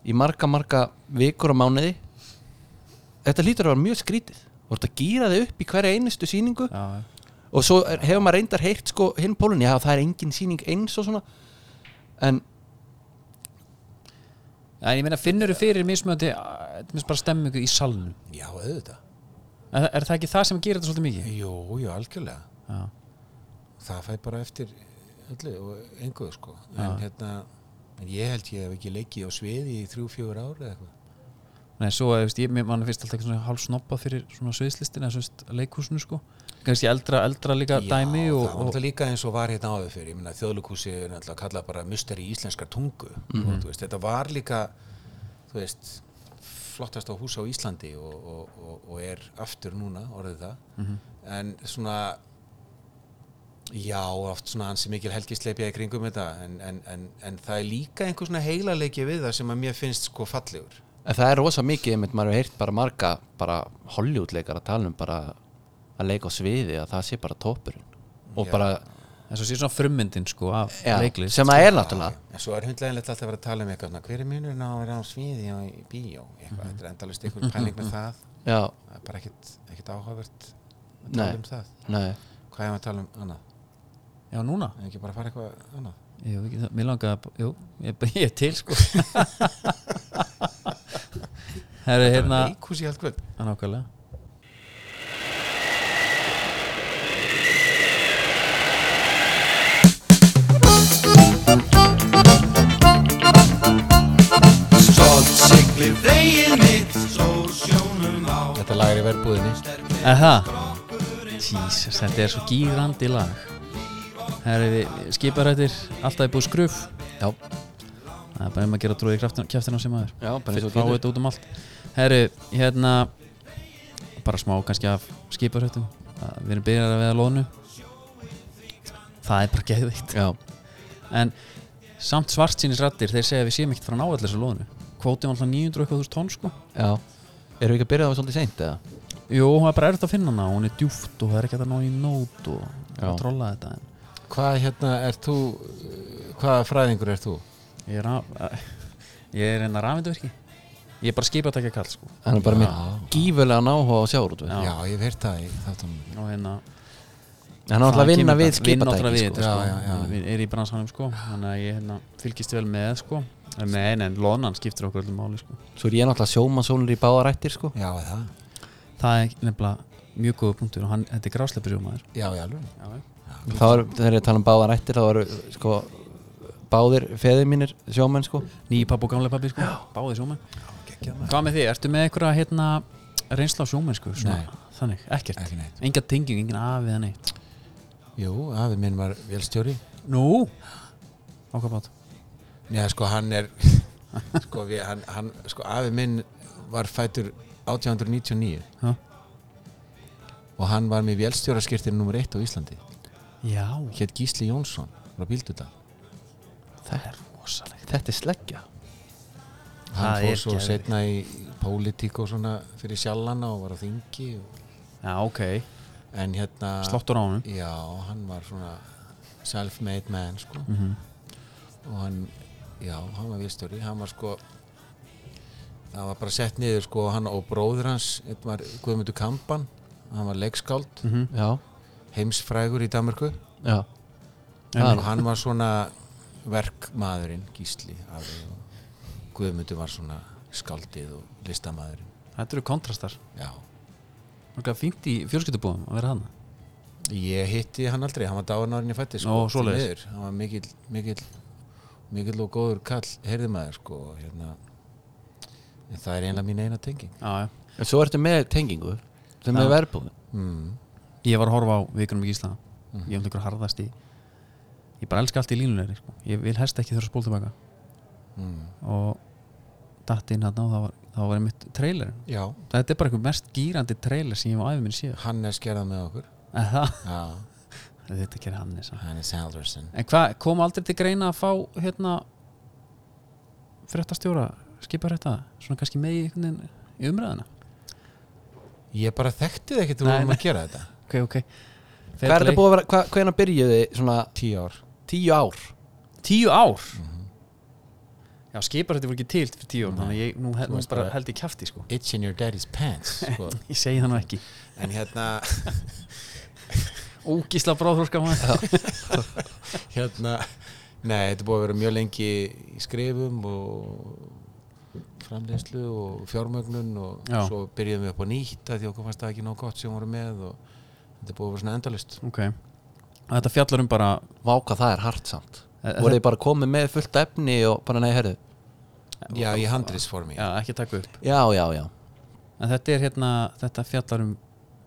[SPEAKER 2] í marga, marga vikur og mánuði þetta hlýtur að vera mjög skrítið og þetta gýra þau upp í hverja einustu sýningu
[SPEAKER 1] já, já.
[SPEAKER 2] og svo er, hefur maður reyndar heyrt sko hinn pólun, já það er engin sýning eins og svona en
[SPEAKER 1] en ég meina finnur þú fyrir mismöndi mismöndi bara stemmingu í salnum
[SPEAKER 3] já, auðvitað
[SPEAKER 1] er, er það ekki það sem gerir þetta svolítið mikið
[SPEAKER 3] jú, jú, algjörlega
[SPEAKER 1] já,
[SPEAKER 3] það fæ bara eftir öllu og engu sko en hérna, en ég held ég hef ekki leikið á sviði í þrjú, fjögur ár eða eitthvað
[SPEAKER 1] Nei, svo, þú veist, ég mér- mann finnst alltaf ekki svona hálf snoppað fyrir svona sviðslistin eða svist leikhúsinu, sko kannski eldra, eldra líka dæmi og,
[SPEAKER 3] Já, það var
[SPEAKER 1] og,
[SPEAKER 3] náttúrulega líka eins og var hérna áður fyrir ég meina þjóðlíkúsi er náttúrulega kallað bara mysteri íslenskar tungu
[SPEAKER 1] Mhm.
[SPEAKER 3] og, þú veist, þetta var líka þú veist, flottast á hús á Íslandi og, og, og, og er aftur núna orðið það
[SPEAKER 1] Mhm.
[SPEAKER 3] en svona já, oft svona ansi mikil helgisleipja í kringum þetta en, en, en, en það er líka einhver svona heilaleiki við það sem að mér finnst sko fallegur
[SPEAKER 2] en það er rosa mikið, einmitt, maður hefur heyrt bara marga bara Hollywoodleikar að tala um bara að leika á sviði að það sé bara toppurinn og bara,
[SPEAKER 1] eins og sé svona frummyndin, sko, af
[SPEAKER 2] já, sko.
[SPEAKER 1] leiklist
[SPEAKER 2] sem það er náttúrulega
[SPEAKER 3] En svo er hundlegilegt alltaf að vera að tala um eitthvað svona, hver er munurinn á að vera á sviði og í bíó
[SPEAKER 1] Mhm.
[SPEAKER 3] eitthvað, þetta er endalist einhver pæling með það
[SPEAKER 2] já,
[SPEAKER 3] það er bara ekkit, ekkit áhugavert að tala
[SPEAKER 2] Nei.
[SPEAKER 3] um það
[SPEAKER 2] nei,
[SPEAKER 3] hvað er að tala um annað,
[SPEAKER 1] Já, núna
[SPEAKER 3] en ekki bara að fara eitthvað annað
[SPEAKER 1] Jú, ekki, það- mér langaði, að- jú, ég, ég er til, sko Herru, hérna
[SPEAKER 3] leikhús í allt kvöld
[SPEAKER 1] Það nákvæmlega
[SPEAKER 4] Sól
[SPEAKER 3] verbúðinni
[SPEAKER 1] Er það? Jesus, þetta er svo gýrandi lag Það er við skiparættir Alltaf er búið skruf
[SPEAKER 2] Já.
[SPEAKER 1] Það er bara um að gera tróði kjæftina sem maður
[SPEAKER 2] Já, bara eins og
[SPEAKER 1] Fá
[SPEAKER 2] getur.
[SPEAKER 1] þetta út um allt Herru, hérna Bara smá kannski af skiparættum Við erum byrjar að veða lónu Það er bara geðveikt
[SPEAKER 2] Já,
[SPEAKER 1] En samt svartsýnis rættir Þeir segja að við séum ekkert frá náallir þessu lónu Kvótið var alltaf 900 og eitthvað þúsund tónn sko
[SPEAKER 2] já Erum við ekki að byrja það svolítið seint eða?
[SPEAKER 1] Jú, það er bara erfitt að finna hana og hún er djúft og það er ekki hægt að ná í nót og
[SPEAKER 2] Já.
[SPEAKER 1] að trolla þetta en
[SPEAKER 3] Hvað hérna er þú uh, hvaða fræðingur er þú?
[SPEAKER 1] ég er að ég er enna rafindurki ég er bara skipatækja kall sko
[SPEAKER 2] Hann er bara með
[SPEAKER 3] Já.
[SPEAKER 2] gífulega náhuga á sjáurútveg
[SPEAKER 1] Já.
[SPEAKER 3] Já, ég hef heyrt það í þáttunum
[SPEAKER 1] og hérna
[SPEAKER 2] Hann er alltaf að
[SPEAKER 1] það
[SPEAKER 2] vinna
[SPEAKER 1] kemur
[SPEAKER 2] við
[SPEAKER 1] bara- vinna náttúrulega
[SPEAKER 2] skipatæki
[SPEAKER 1] við
[SPEAKER 2] sko.
[SPEAKER 1] þetta,
[SPEAKER 3] Já, já, já.
[SPEAKER 1] sko. við erum í bransanum sko þannig að ég hérna, fylgist vel með sko en nei, nei, lonan skiptir okkur öllum máli sko
[SPEAKER 2] Svo er ég náttúrulega sjómasónur í báðarættir sko.
[SPEAKER 3] Já, er það?
[SPEAKER 1] það er nefnilega mjög góða punktur og hann, þetta er grásleipurjómaður
[SPEAKER 3] Já, já, alveg
[SPEAKER 2] Þá er, þegar ég tala um báðarættir þá eru sko báðir feðir mínir sjómenn sko
[SPEAKER 1] nýji papp og gamlega pappi sko báði sjómenn hvað með því, ertu með einhverja hérna, reynsla á sjómenn sko
[SPEAKER 3] Nei.
[SPEAKER 1] þannig, ekkert,
[SPEAKER 3] Ekki neitt.
[SPEAKER 1] enga tenging, engin afið eða neitt
[SPEAKER 3] Jú, afi minn var velstjóri
[SPEAKER 1] Nú Á hvað bát?
[SPEAKER 3] Já, sko, hann er sko, við, hann, hann, sko, afi minn var fætur 1899
[SPEAKER 1] Ha?
[SPEAKER 3] og hann var með velstjóraskirtir nummer 1 á Íslandi
[SPEAKER 1] Já
[SPEAKER 3] hétt Gísli Jónsson frá Bíldudal
[SPEAKER 1] Það er rosalegt
[SPEAKER 2] Þetta er sleggja
[SPEAKER 3] hann
[SPEAKER 1] Það
[SPEAKER 3] fór
[SPEAKER 1] er
[SPEAKER 3] svo
[SPEAKER 1] geðveikt.
[SPEAKER 3] setna í pólitík og svona fyrir sjallana og var á þingi og,
[SPEAKER 1] Já, ok
[SPEAKER 3] en hérna
[SPEAKER 1] Sláttur á honum
[SPEAKER 3] já, hann var svona self-made man sko og hann, já, hann var vilstjóri hann var sko það var bara sett niður sko hann og bróður hans, einn var Guðmundur Kampan hann var leikskáld,
[SPEAKER 1] Mhm.
[SPEAKER 2] Já,
[SPEAKER 3] heimsfrægur í Danmarku
[SPEAKER 2] já Það
[SPEAKER 3] og hann var svona verkmaðurinn, gísli afi, og Guðmundur var svona skáldið og listamaðurinn
[SPEAKER 1] Þetta eru kontrastar
[SPEAKER 3] já,
[SPEAKER 1] Það er fínt í fjölskyldubúðum að vera hann
[SPEAKER 3] ég hitti hann aldrei hann var dáin árinni fætti sko,
[SPEAKER 1] Nó,
[SPEAKER 3] því
[SPEAKER 1] svoleiðis.
[SPEAKER 3] miður. hann var mikill mikill, mikill og góður kall heyrðumæður sko, og hérna en það er einlega mín eina tenging
[SPEAKER 1] Já, já
[SPEAKER 2] En svo ertu með tengingu sem er verðbúðin
[SPEAKER 3] mm.
[SPEAKER 1] Ég var að horfa á vikunum í Gísla Ég er um ykkur harðast í Ég bara elska allt í línunari sko. Ég vil helst ekki þurfa að spóla tilbaka
[SPEAKER 3] Mm.
[SPEAKER 1] Og datt inn hann og það var, það var einmitt trailer
[SPEAKER 3] já,
[SPEAKER 1] Þetta er bara einhver mest gýrandi trailer sem ég hef á æfum minn síðan
[SPEAKER 3] hann er skerðað með okkur
[SPEAKER 1] Það,
[SPEAKER 3] já,
[SPEAKER 1] þetta gerir hann þess
[SPEAKER 3] Hannes Haldursson
[SPEAKER 1] En hvað kom aldrei til greina að fá hérna fréttastjóra, skiparétta svona kannski með í, einhvern veginn í umræðina
[SPEAKER 3] ég bara þekkti það ekki til
[SPEAKER 1] Nei,
[SPEAKER 3] að
[SPEAKER 1] nei.
[SPEAKER 3] gera þetta
[SPEAKER 1] Ok, ok
[SPEAKER 2] Hvað er þetta búið að vera, hvað, hvenær byrjuði svona
[SPEAKER 3] tíu ár
[SPEAKER 2] tíu ár?
[SPEAKER 1] Tíu ár Já, skiparétti voru ekki til fyrir tíu ár
[SPEAKER 3] Mhm. Nei.
[SPEAKER 1] þannig að ég nú, he-
[SPEAKER 3] Þú
[SPEAKER 1] nú
[SPEAKER 3] varst
[SPEAKER 1] bara
[SPEAKER 3] bara-
[SPEAKER 1] held í kjafti sko
[SPEAKER 3] It's in your daddy's pants sko.
[SPEAKER 1] Ég segi það nú ekki
[SPEAKER 3] en hérna
[SPEAKER 1] Ógísla bráðhorska maður
[SPEAKER 3] hérna, nei, þetta er búið að vera mjög lengi í skrifum og framleiðslu og fjármögnun og
[SPEAKER 1] Já.
[SPEAKER 3] svo byrjuðum við upp á nýtt að því okkur fannst það ekki nóg gott sem voru með og þetta er búið að vera svona endalist
[SPEAKER 1] Ok Og Þetta fjallar um bara
[SPEAKER 2] Váka það er hart samt
[SPEAKER 1] Eh,
[SPEAKER 2] Voru þið bara komið með fullt efni og bara nei, herðu
[SPEAKER 3] já, í handriðsformi
[SPEAKER 1] Já, ekki taka upp
[SPEAKER 2] Já, já, já
[SPEAKER 1] En þetta er hérna, þetta fjallar um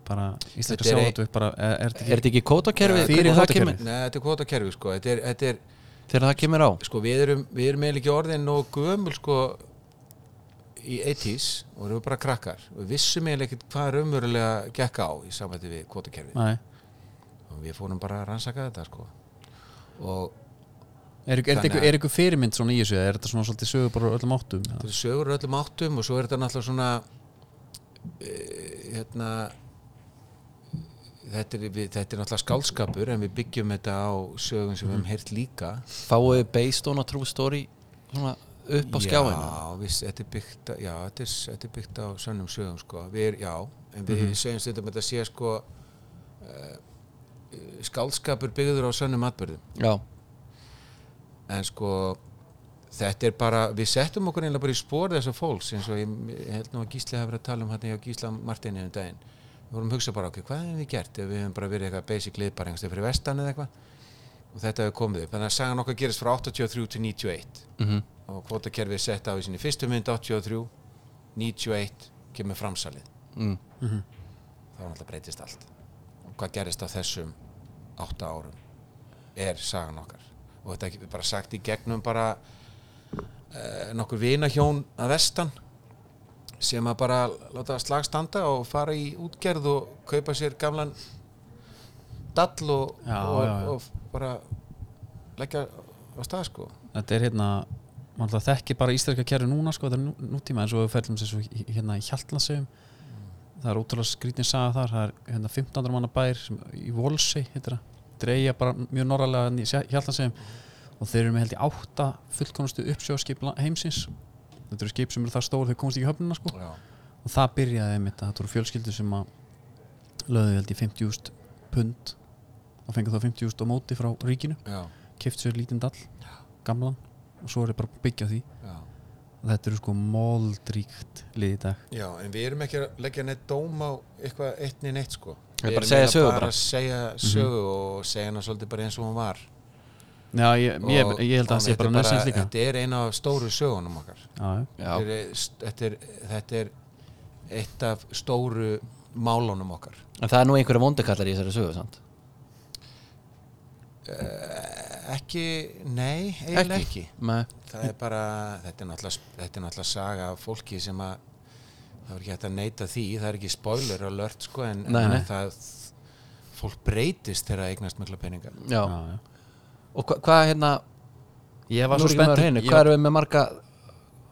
[SPEAKER 1] bara íslenska
[SPEAKER 3] Þetta er ein-
[SPEAKER 1] sjávatveg bara er, er þetta
[SPEAKER 2] Er þetta ekki kótakerfi?
[SPEAKER 1] Fyrir
[SPEAKER 2] Hvernig það
[SPEAKER 1] kvótakerfið.
[SPEAKER 2] kemur?
[SPEAKER 3] nei, þetta er kvota kerfi, sko þetta er, þetta er,
[SPEAKER 2] Þegar það kemur á?
[SPEAKER 3] sko, við erum, við erum eiginlega ekki orðin og gömul, sko í 80s og erum bara krakkar og við vissum eiginlega ekkert hvað raunverulega gekk á í samvætti við kvota kerfi
[SPEAKER 1] Nei
[SPEAKER 3] og við fórum bara að rannsaka þetta, sko og
[SPEAKER 1] Er, er,
[SPEAKER 3] Þannig
[SPEAKER 1] er,
[SPEAKER 3] að-
[SPEAKER 1] er ykkur fyrirmynd svona í þessu eða er þetta svona svolítið sögur bara úr öllum áttum
[SPEAKER 3] þetta er sögur úr öllum áttum og svo er þetta náttúrulega svona eh, hérna þetta er, við, þetta er náttúrulega skálskapur en við byggjum þetta á sögum sem við hefum heyrt líka
[SPEAKER 2] Fáið þið based on a true story svona upp á skjáinu?
[SPEAKER 3] já, viss, þetta er byggt á- já, þetta er, þetta er byggt á sönnum sögum sko. við er, já, en við
[SPEAKER 2] Mhm.
[SPEAKER 3] segjum stundum að þetta sé sko uh, skálskapur byggður á sönnum atbyrðum
[SPEAKER 2] Já,
[SPEAKER 3] en sko þetta er bara, við settum okkur einlega bara í spór þessar fólks eins og ég ég held nú að Gísli hafi verið að tala um hérna hjá Gísla Martini um daginn við vorum að hugsa bara okkur, hvað hefum við gert ef við hefum bara verið eitthvað basic lið bara einhverstað fyrir vestan eða eitthvað og þetta hefur komið upp, þannig að sagan okkar gerist frá 83 til 91
[SPEAKER 2] mm
[SPEAKER 3] og kvotakerfið er sett á í sinni fyrstu mynd 83 91 kemur framsalið
[SPEAKER 2] mm.
[SPEAKER 3] þá náttúrulega breytist allt og hvað gerist á þessum átta árum er sagan okkar og þetta er bara sagt í gegnum bara eh, nokkur vinahjón að vestan sem að bara láta slag standa og fara í útgerð og kaupa sér gamlan dall og,
[SPEAKER 1] Já,
[SPEAKER 3] og,
[SPEAKER 1] já, já.
[SPEAKER 3] og bara leggja á stað sko
[SPEAKER 1] þetta er hérna mann alltaf þekki bara íslenska kerfi núna sko, þetta er nú, nútíma eins og við ferðum sér svo í- hérna í Hjaltlandsegum
[SPEAKER 3] Mm.
[SPEAKER 1] það er ótrúlega skrítin saga þar það er hérna 15. manna bær sem, í Volsey heitir það, dreigja bara mjög norralega í Hjaltlandsegum og þeir eru með held í átta fullkomnustu uppsjóðskip la- heimsins þetta eru skip sem eru það stór þau komast ekki í höfnina sko
[SPEAKER 3] já,
[SPEAKER 1] og það byrjaði einmitt að það voru fjölskyldur sem að löðu held í 50.000 pund og fengið þá 50.000 á móti frá ríkinu
[SPEAKER 3] já,
[SPEAKER 1] keft sér lítinn dall, gamlan og svo er ég bara að byggja á því
[SPEAKER 3] já.
[SPEAKER 1] og þetta eru sko moldríkt lið í dag
[SPEAKER 3] Já, en við erum ekki að leggja neitt dóm á eitthvað eitt niður neitt sko
[SPEAKER 2] Við bara
[SPEAKER 3] erum
[SPEAKER 2] segja
[SPEAKER 3] eiginlega
[SPEAKER 2] sögu
[SPEAKER 3] bara
[SPEAKER 2] bara.
[SPEAKER 3] að segja sögu og segja hana svolítið bara eins og hún var
[SPEAKER 1] Já, ég,
[SPEAKER 3] og,
[SPEAKER 1] ég, ég held að það sé
[SPEAKER 3] þetta
[SPEAKER 1] bara
[SPEAKER 3] er
[SPEAKER 1] nöðsins líka
[SPEAKER 3] Þetta er eina af stóru sögunum okkar
[SPEAKER 1] Já, já.
[SPEAKER 2] Já,
[SPEAKER 3] þetta er, þetta, er, þetta er eitt af stóru málunum okkar
[SPEAKER 2] en það er nú einhverja vondakallar í þessari sögu, sant?
[SPEAKER 3] Eh, Ekki, nei, eiginlega ekki,
[SPEAKER 2] Nei,
[SPEAKER 3] Það er bara, þetta er náttúrulega, þetta er náttúrulega saga af fólki sem að það er ekki hægt að neita því, það er ekki spoiler alert sko en,
[SPEAKER 2] Nei,
[SPEAKER 3] en
[SPEAKER 2] nei.
[SPEAKER 3] það fólk breytist þegar það eignast mikla peninga
[SPEAKER 2] já.
[SPEAKER 1] Já, já.
[SPEAKER 2] Og hva, hvað hérna,
[SPEAKER 1] Ég var
[SPEAKER 2] nú
[SPEAKER 1] svo
[SPEAKER 2] erum við
[SPEAKER 1] spennt
[SPEAKER 2] á hreinu,
[SPEAKER 1] ég
[SPEAKER 2] hvað
[SPEAKER 1] var-
[SPEAKER 2] erum við með marga,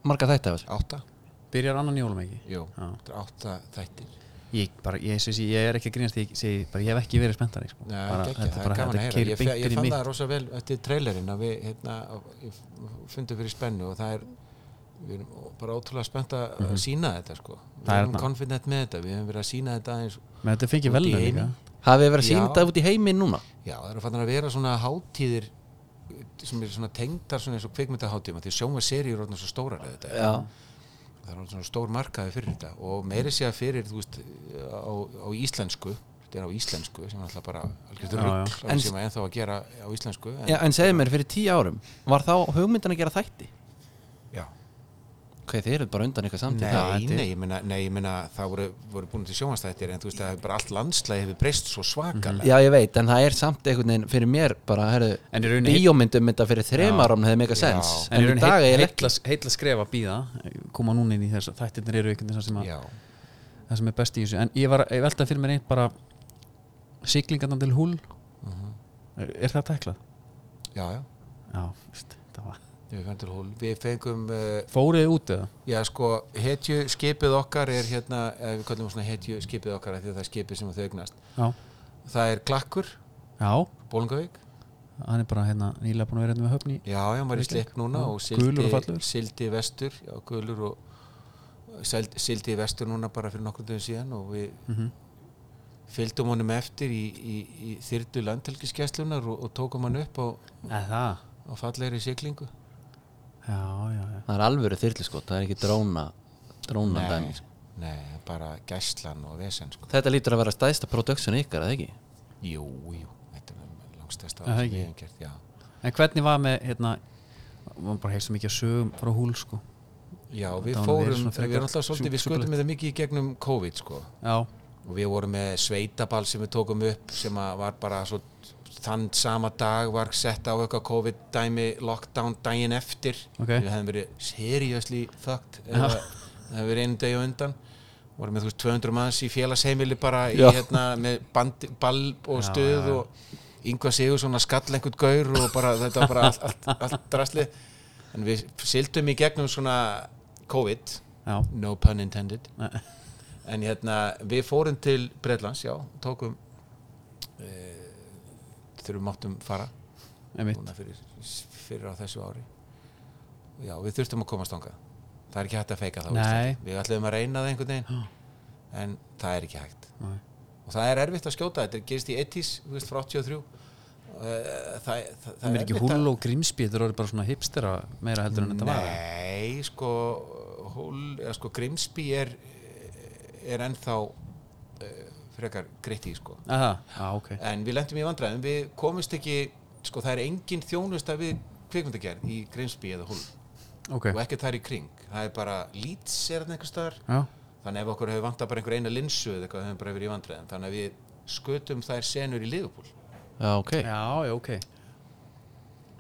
[SPEAKER 2] marga þætti af þessu?
[SPEAKER 3] Átta?
[SPEAKER 1] Byrjar annan jólum ekki
[SPEAKER 3] Jú,
[SPEAKER 1] Já.
[SPEAKER 3] þetta er átta þættir
[SPEAKER 1] Ég, bara, ég, ég, ég, ég er ekki að grínast ég, segi, bara, ég hef ekki verið spenntari sko.
[SPEAKER 3] Nei,
[SPEAKER 1] bara,
[SPEAKER 3] geggjað,
[SPEAKER 1] Þetta
[SPEAKER 3] það
[SPEAKER 1] er
[SPEAKER 3] er
[SPEAKER 1] bara
[SPEAKER 3] gaman
[SPEAKER 1] þetta
[SPEAKER 3] að heyra
[SPEAKER 1] keiri
[SPEAKER 3] Ég, fe-
[SPEAKER 1] beint
[SPEAKER 3] ég
[SPEAKER 1] inn í
[SPEAKER 3] fann
[SPEAKER 1] mitt
[SPEAKER 3] það rosa vel eftir trailerinn að við hérna, ég fundum fyrir spennu og það er við erum bara ótrúlega spennt að mm sína þetta sko Við
[SPEAKER 1] Mhm. Það er
[SPEAKER 3] erum
[SPEAKER 1] þarna.
[SPEAKER 3] confident með þetta, við hefum verið að sína þetta aðeins
[SPEAKER 1] Men þetta fengið
[SPEAKER 3] Út
[SPEAKER 1] vel
[SPEAKER 3] í heimi.
[SPEAKER 1] líka
[SPEAKER 2] Hafið þið verið að
[SPEAKER 3] Já.
[SPEAKER 2] sýna þetta út í heimi núna?
[SPEAKER 3] Já, það eru fann að vera svona hátíðir sem eru svona tengdar svona eins og kvikmyndahátíðum af því sjóma seríur orðnar svo stórar eða þetta
[SPEAKER 2] Já.
[SPEAKER 3] það er alveg svona stór markaði fyrir þetta og meiri sé að fyrir, þú veist, á, á íslensku þetta er á íslensku sem er alltaf bara algjörður
[SPEAKER 1] Já, já.
[SPEAKER 3] rugg
[SPEAKER 2] En-
[SPEAKER 3] sem er ennþá að gera á íslensku en,
[SPEAKER 2] Já, en segðu mér, fyrir tíu árum, var þá hugmyndin að gera þætti?
[SPEAKER 3] já.
[SPEAKER 2] Ok, þið eruð bara undan eitthvað samtíð.
[SPEAKER 1] Já,
[SPEAKER 3] Nei,
[SPEAKER 1] þetta er-
[SPEAKER 3] nei, ég meina, nei, ég meina það voru, voru búin til sjómanstættir en þú veist að bara allt landslæði hefur breyst svo svakalega
[SPEAKER 2] Já, ég veit, en það er samt einhvern veginn fyrir mér bara, herru,
[SPEAKER 1] En í rauninni
[SPEAKER 2] bíómyndum mynda fyrir
[SPEAKER 1] Já.
[SPEAKER 2] þrema árum hefði mega sens,
[SPEAKER 3] Já.
[SPEAKER 2] en í dag er ekki.
[SPEAKER 1] heitla, heitla skref að býða koma núna inn í þess þættirnir eru einhvern veginn sem að
[SPEAKER 3] Já,
[SPEAKER 1] það sem er best í þessu en ég var ég veltaði fyrir mér einn bara siglingarna til húl er, er það tæklað?
[SPEAKER 3] Mhm. já, já
[SPEAKER 1] já, veist, það var
[SPEAKER 3] Við fengum, til Hól- við fengum uh,
[SPEAKER 1] fóruðið út eða?
[SPEAKER 3] já sko, hetju skipið okkar er hérna, eh, við kallum það svona hetju skipið okkar af því að það er skipið sem þau eignast
[SPEAKER 1] já,
[SPEAKER 3] Það er Klakkur,
[SPEAKER 1] já,
[SPEAKER 3] Bólingavík
[SPEAKER 1] hann er bara hérna nýlega búin að vera hérna með höfni
[SPEAKER 3] Já, já, maður er í slepp núna
[SPEAKER 1] Já,
[SPEAKER 3] og
[SPEAKER 1] gulur og
[SPEAKER 3] sildi,
[SPEAKER 1] fallegur.
[SPEAKER 3] sildi vestur já, gulur og sild, sildi vestur núna bara fyrir nokkur dögum síðan og við
[SPEAKER 1] mm
[SPEAKER 3] fylgdum honum eftir í, í, í þyrdu landhelgiskeslunar og, og tókum hann upp á,
[SPEAKER 1] eða það?
[SPEAKER 3] á fallegri siglingu
[SPEAKER 1] já, já, já
[SPEAKER 2] Það er alvöru þyrlu sko, það er ekki dróna, dróna dæmi. sko.
[SPEAKER 3] nei, bara gæslan og vesen sko.
[SPEAKER 2] Þetta lítur að vera stæðsta production ykkar, eða ekki?
[SPEAKER 3] Jú, jú, þetta er langstæsta
[SPEAKER 1] Já,
[SPEAKER 3] sem
[SPEAKER 1] ekki.
[SPEAKER 3] við hefum gert, já
[SPEAKER 1] en hvernig var með hérna maður bara heyrst svo mikið að sögum frá húl sko
[SPEAKER 3] Já, við
[SPEAKER 1] Þetta var verið
[SPEAKER 3] fórum,
[SPEAKER 1] svona
[SPEAKER 3] við
[SPEAKER 1] frekar
[SPEAKER 3] erum alltaf svolítið,
[SPEAKER 1] sjú-
[SPEAKER 3] við skutum
[SPEAKER 1] sjúkulegt.
[SPEAKER 3] þetta mikið í gegnum COVID sko
[SPEAKER 1] já,
[SPEAKER 3] og við vorum með sveitaball sem við tókum upp sem að var bara svo þann sama dag var sett á eitthvað COVID-dæmi lockdown daginn eftir
[SPEAKER 1] Ok.
[SPEAKER 3] við hefðum verið seriously fucked eða það hefði verið einu degi á undan vorum með þú veist 200 manns í félagsheimili bara í,
[SPEAKER 2] Já.
[SPEAKER 3] hérna, með band, ball og
[SPEAKER 1] Já,
[SPEAKER 3] stuð
[SPEAKER 1] já, já.
[SPEAKER 3] og yngvað sigur svona skall einhvern gaur og bara þetta var bara allt, allt, allt drasli en við sildum í gegnum svona COVID
[SPEAKER 1] já,
[SPEAKER 3] no pun intended
[SPEAKER 1] Nei.
[SPEAKER 3] en hérna við fórum til Breitlands, já, tókum e, þurfum máttum fara
[SPEAKER 1] einmitt
[SPEAKER 3] núna fyrir, fyrir á þessu ári já, við þurftum að komast þangað það er ekki hægt að feika það á
[SPEAKER 1] Nei.
[SPEAKER 3] Íslandi. við ætlum að reyna það einhvern veginn en það er ekki hægt
[SPEAKER 1] Nei.
[SPEAKER 3] og það er erfitt að skjóta, þetta gerist í 80s þú veist, frá 83 Eh, það, það,
[SPEAKER 1] það er ekki
[SPEAKER 3] erfitt að-
[SPEAKER 1] húl og grímsby þetta eru bara svona hipstera meira heldur en þetta var eða?
[SPEAKER 3] Nei, sko, hól, eða, sko Grimsby er, er ennþá uh, frekar gritti, sko.
[SPEAKER 1] Aha, Eh, já, ok
[SPEAKER 3] En við lentum í vandræðum, við komumst ekki, sko það er engin þjónusta við kvikmyndagerð í Grimsby eða hól
[SPEAKER 1] ok,
[SPEAKER 3] og ekki þar í kring. Það er bara Leeds er hann einhver staðar,
[SPEAKER 1] já,
[SPEAKER 3] þannig ef okkur hefur vantað bara einhver eina linsu eða eitthvað höfum bara yfir í vandræðin þannig að við skutum þær senur í liðupúl
[SPEAKER 2] já, ok
[SPEAKER 1] já, já, ok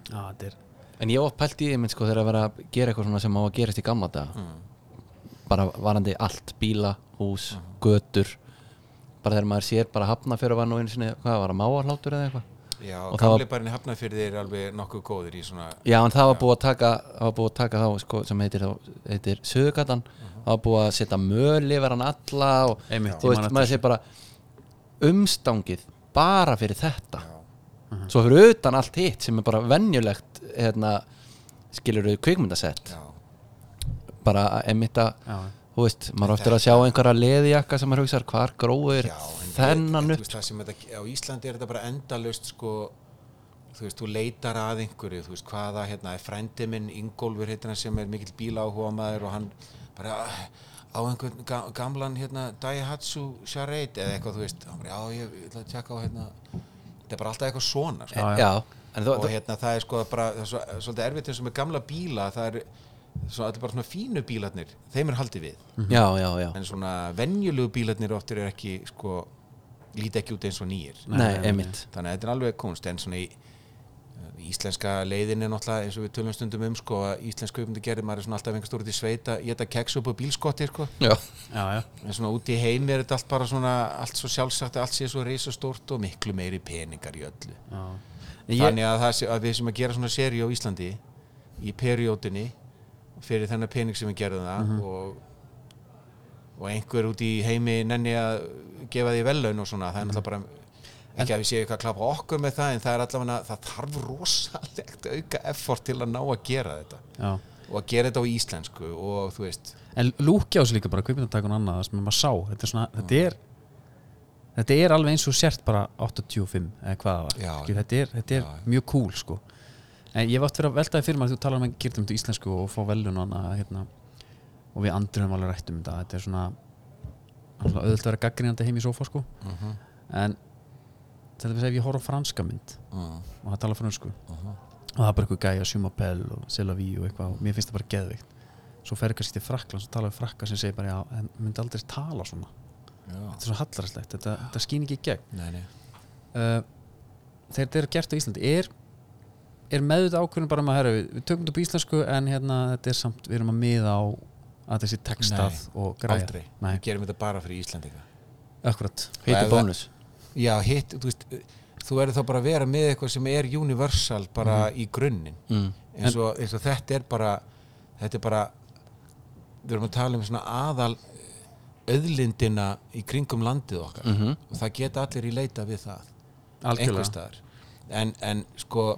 [SPEAKER 1] já, þetta er
[SPEAKER 2] En ég hef oft pælt í því mynd sko þegar að vera að gera eitthvað svona sem á að gerast í gamla daga
[SPEAKER 1] Mm.
[SPEAKER 2] bara varandi allt, bíla, hús, götur bara þegar maður sér bara hafna fyrir að var nú einu sinni, hvað var að máa hlátur eða eitthvað
[SPEAKER 3] já,
[SPEAKER 2] Og það var-
[SPEAKER 3] gamleiparinn í Hafnarfirði er alveg nokkuð góðir í svona
[SPEAKER 2] Já, en það var búið að taka, það var búið að taka þá sko, sem heitir, þá, heitir Söðugatan það var búið að setja möl yfir hann alla og
[SPEAKER 1] Mhm. Einmitt,
[SPEAKER 2] þú
[SPEAKER 1] ég man
[SPEAKER 2] veist,
[SPEAKER 1] eftir
[SPEAKER 2] maður sé bara umstangið bara fyrir þetta svo fyrir utan allt hitt sem er bara venjulegt hérna, skilur við kvikmyndasett
[SPEAKER 3] já,
[SPEAKER 2] bara eh, einmitt að
[SPEAKER 1] já,
[SPEAKER 2] þú veist, maður oftir að sjá einhverja leðijakka sem maður hugsaður hvar gróður
[SPEAKER 3] já, en
[SPEAKER 2] þennan
[SPEAKER 3] þú
[SPEAKER 2] upp
[SPEAKER 3] veist, það sem þetta, á Íslandi er þetta bara endalaust sko þú veist, þú leitar að einhverju þú veist, hvaða, hérna, er frændi minn Ingólfur heitir hann sem er mikill bíláhómaður og hann bara "Ah, á einhvern ga- gamlan, hérna, Daihatsu Charade eða eitthvað, þú veist hann bara, já, ég, ég ætla að tjekka á, hérna þetta er bara alltaf eitthvað svona, sko
[SPEAKER 2] Eh, já, en þú,
[SPEAKER 3] og hérna það er sko bara það er svo, svolítið erfitt eins og með gamla bíla það er svo, allir bara svona fínu bílarnir þeim er haldið við
[SPEAKER 2] hérna- já, já, já
[SPEAKER 3] en svona venjulegu bílarnir oftir er ekki sko líti ekki út eins og nýjir
[SPEAKER 2] nei, einmitt
[SPEAKER 3] þannig að þetta er alveg kunst en svona í íslenska leiðin er náttúrulega eins og við tölum stundum um sko að íslensk kaupmyndu gerði maður er svona alltaf einhver stórt í sveita ég þetta keks upp á bílskotti sko
[SPEAKER 2] já,
[SPEAKER 1] já, já.
[SPEAKER 3] en svona út í heim er þetta allt bara svona allt svo sjálfsagt allt sé svo reisastórt og miklu meiri peningar í öllu
[SPEAKER 1] já. Ég,
[SPEAKER 3] þannig að, það, sé- að við sem að gera svona seri á Íslandi í periódinni fyrir þennan pening sem við gerðum það
[SPEAKER 1] Mhm.
[SPEAKER 3] og, og einhver út í heimi nenni að gefa því vellaun og svona
[SPEAKER 1] Mhm.
[SPEAKER 3] það er náttúrulega bara ekki að við séu eitthvað að klappa okkur með það en það er allavega það þarf rosalegt auka effort til að ná að gera þetta
[SPEAKER 1] já.
[SPEAKER 3] og að gera þetta á íslensku og þú veist
[SPEAKER 1] en lúkja á sig líka bara kvikmyndatakun annað það sem maður sá, þetta er svona
[SPEAKER 3] Mm.
[SPEAKER 1] þetta er, þetta er alveg eins og sért bara 85 eða hvað það var
[SPEAKER 3] Já,
[SPEAKER 1] Skil, þetta er, þetta er mjög cool sko. en ég hef átt fyrir að veltaði fyrir maður þú talar um að gera þetta íslensku og fá velun og annað hérna, og við andrum höfum alveg rætt um þetta þetta er svona alltaf auðvitað að vera gaggrinandi heim í sofa sko. en til þess að ef ég horf á franska mynd
[SPEAKER 3] mm,
[SPEAKER 1] og það tala fransku
[SPEAKER 3] Mhm.
[SPEAKER 1] og það er bara eitthvað gæja, Sjumapel og Selaví og eitthvað og mér finnst það bara geðveikt svo fer kannski til Frakland, svo tala við frakka sem segir bara já, en myndi aldrei tala svona
[SPEAKER 3] já,
[SPEAKER 1] þetta er svo hallarslegt, þetta, þetta skýn ekki í gegn
[SPEAKER 3] nei, nei.
[SPEAKER 1] uh, þegar þetta er gert á Íslandi er, er meðvitað ákvörðin bara um að herra við, við tökum þetta upp á íslensku en hérna þetta er samt, við erum að miða á að þessi textað og græja
[SPEAKER 3] aldrei,
[SPEAKER 1] Nei,
[SPEAKER 3] við gerum þetta bara fyrir Íslandinga
[SPEAKER 1] akkurat
[SPEAKER 2] hittu
[SPEAKER 3] Ef það-
[SPEAKER 2] bónus
[SPEAKER 3] Já, hitt, þú veist þú verður þá bara að vera með eitthvað sem er universal bara í grunninn
[SPEAKER 2] Mm.
[SPEAKER 3] eins, og, eins og þetta er bara þetta er bara við erum að tala um svona aðal eh, auðlindina í kringum landið okkar
[SPEAKER 2] Mhm.
[SPEAKER 3] og það geta allir í leita við það einhvers
[SPEAKER 1] algjörlega,
[SPEAKER 3] staðar en, en sko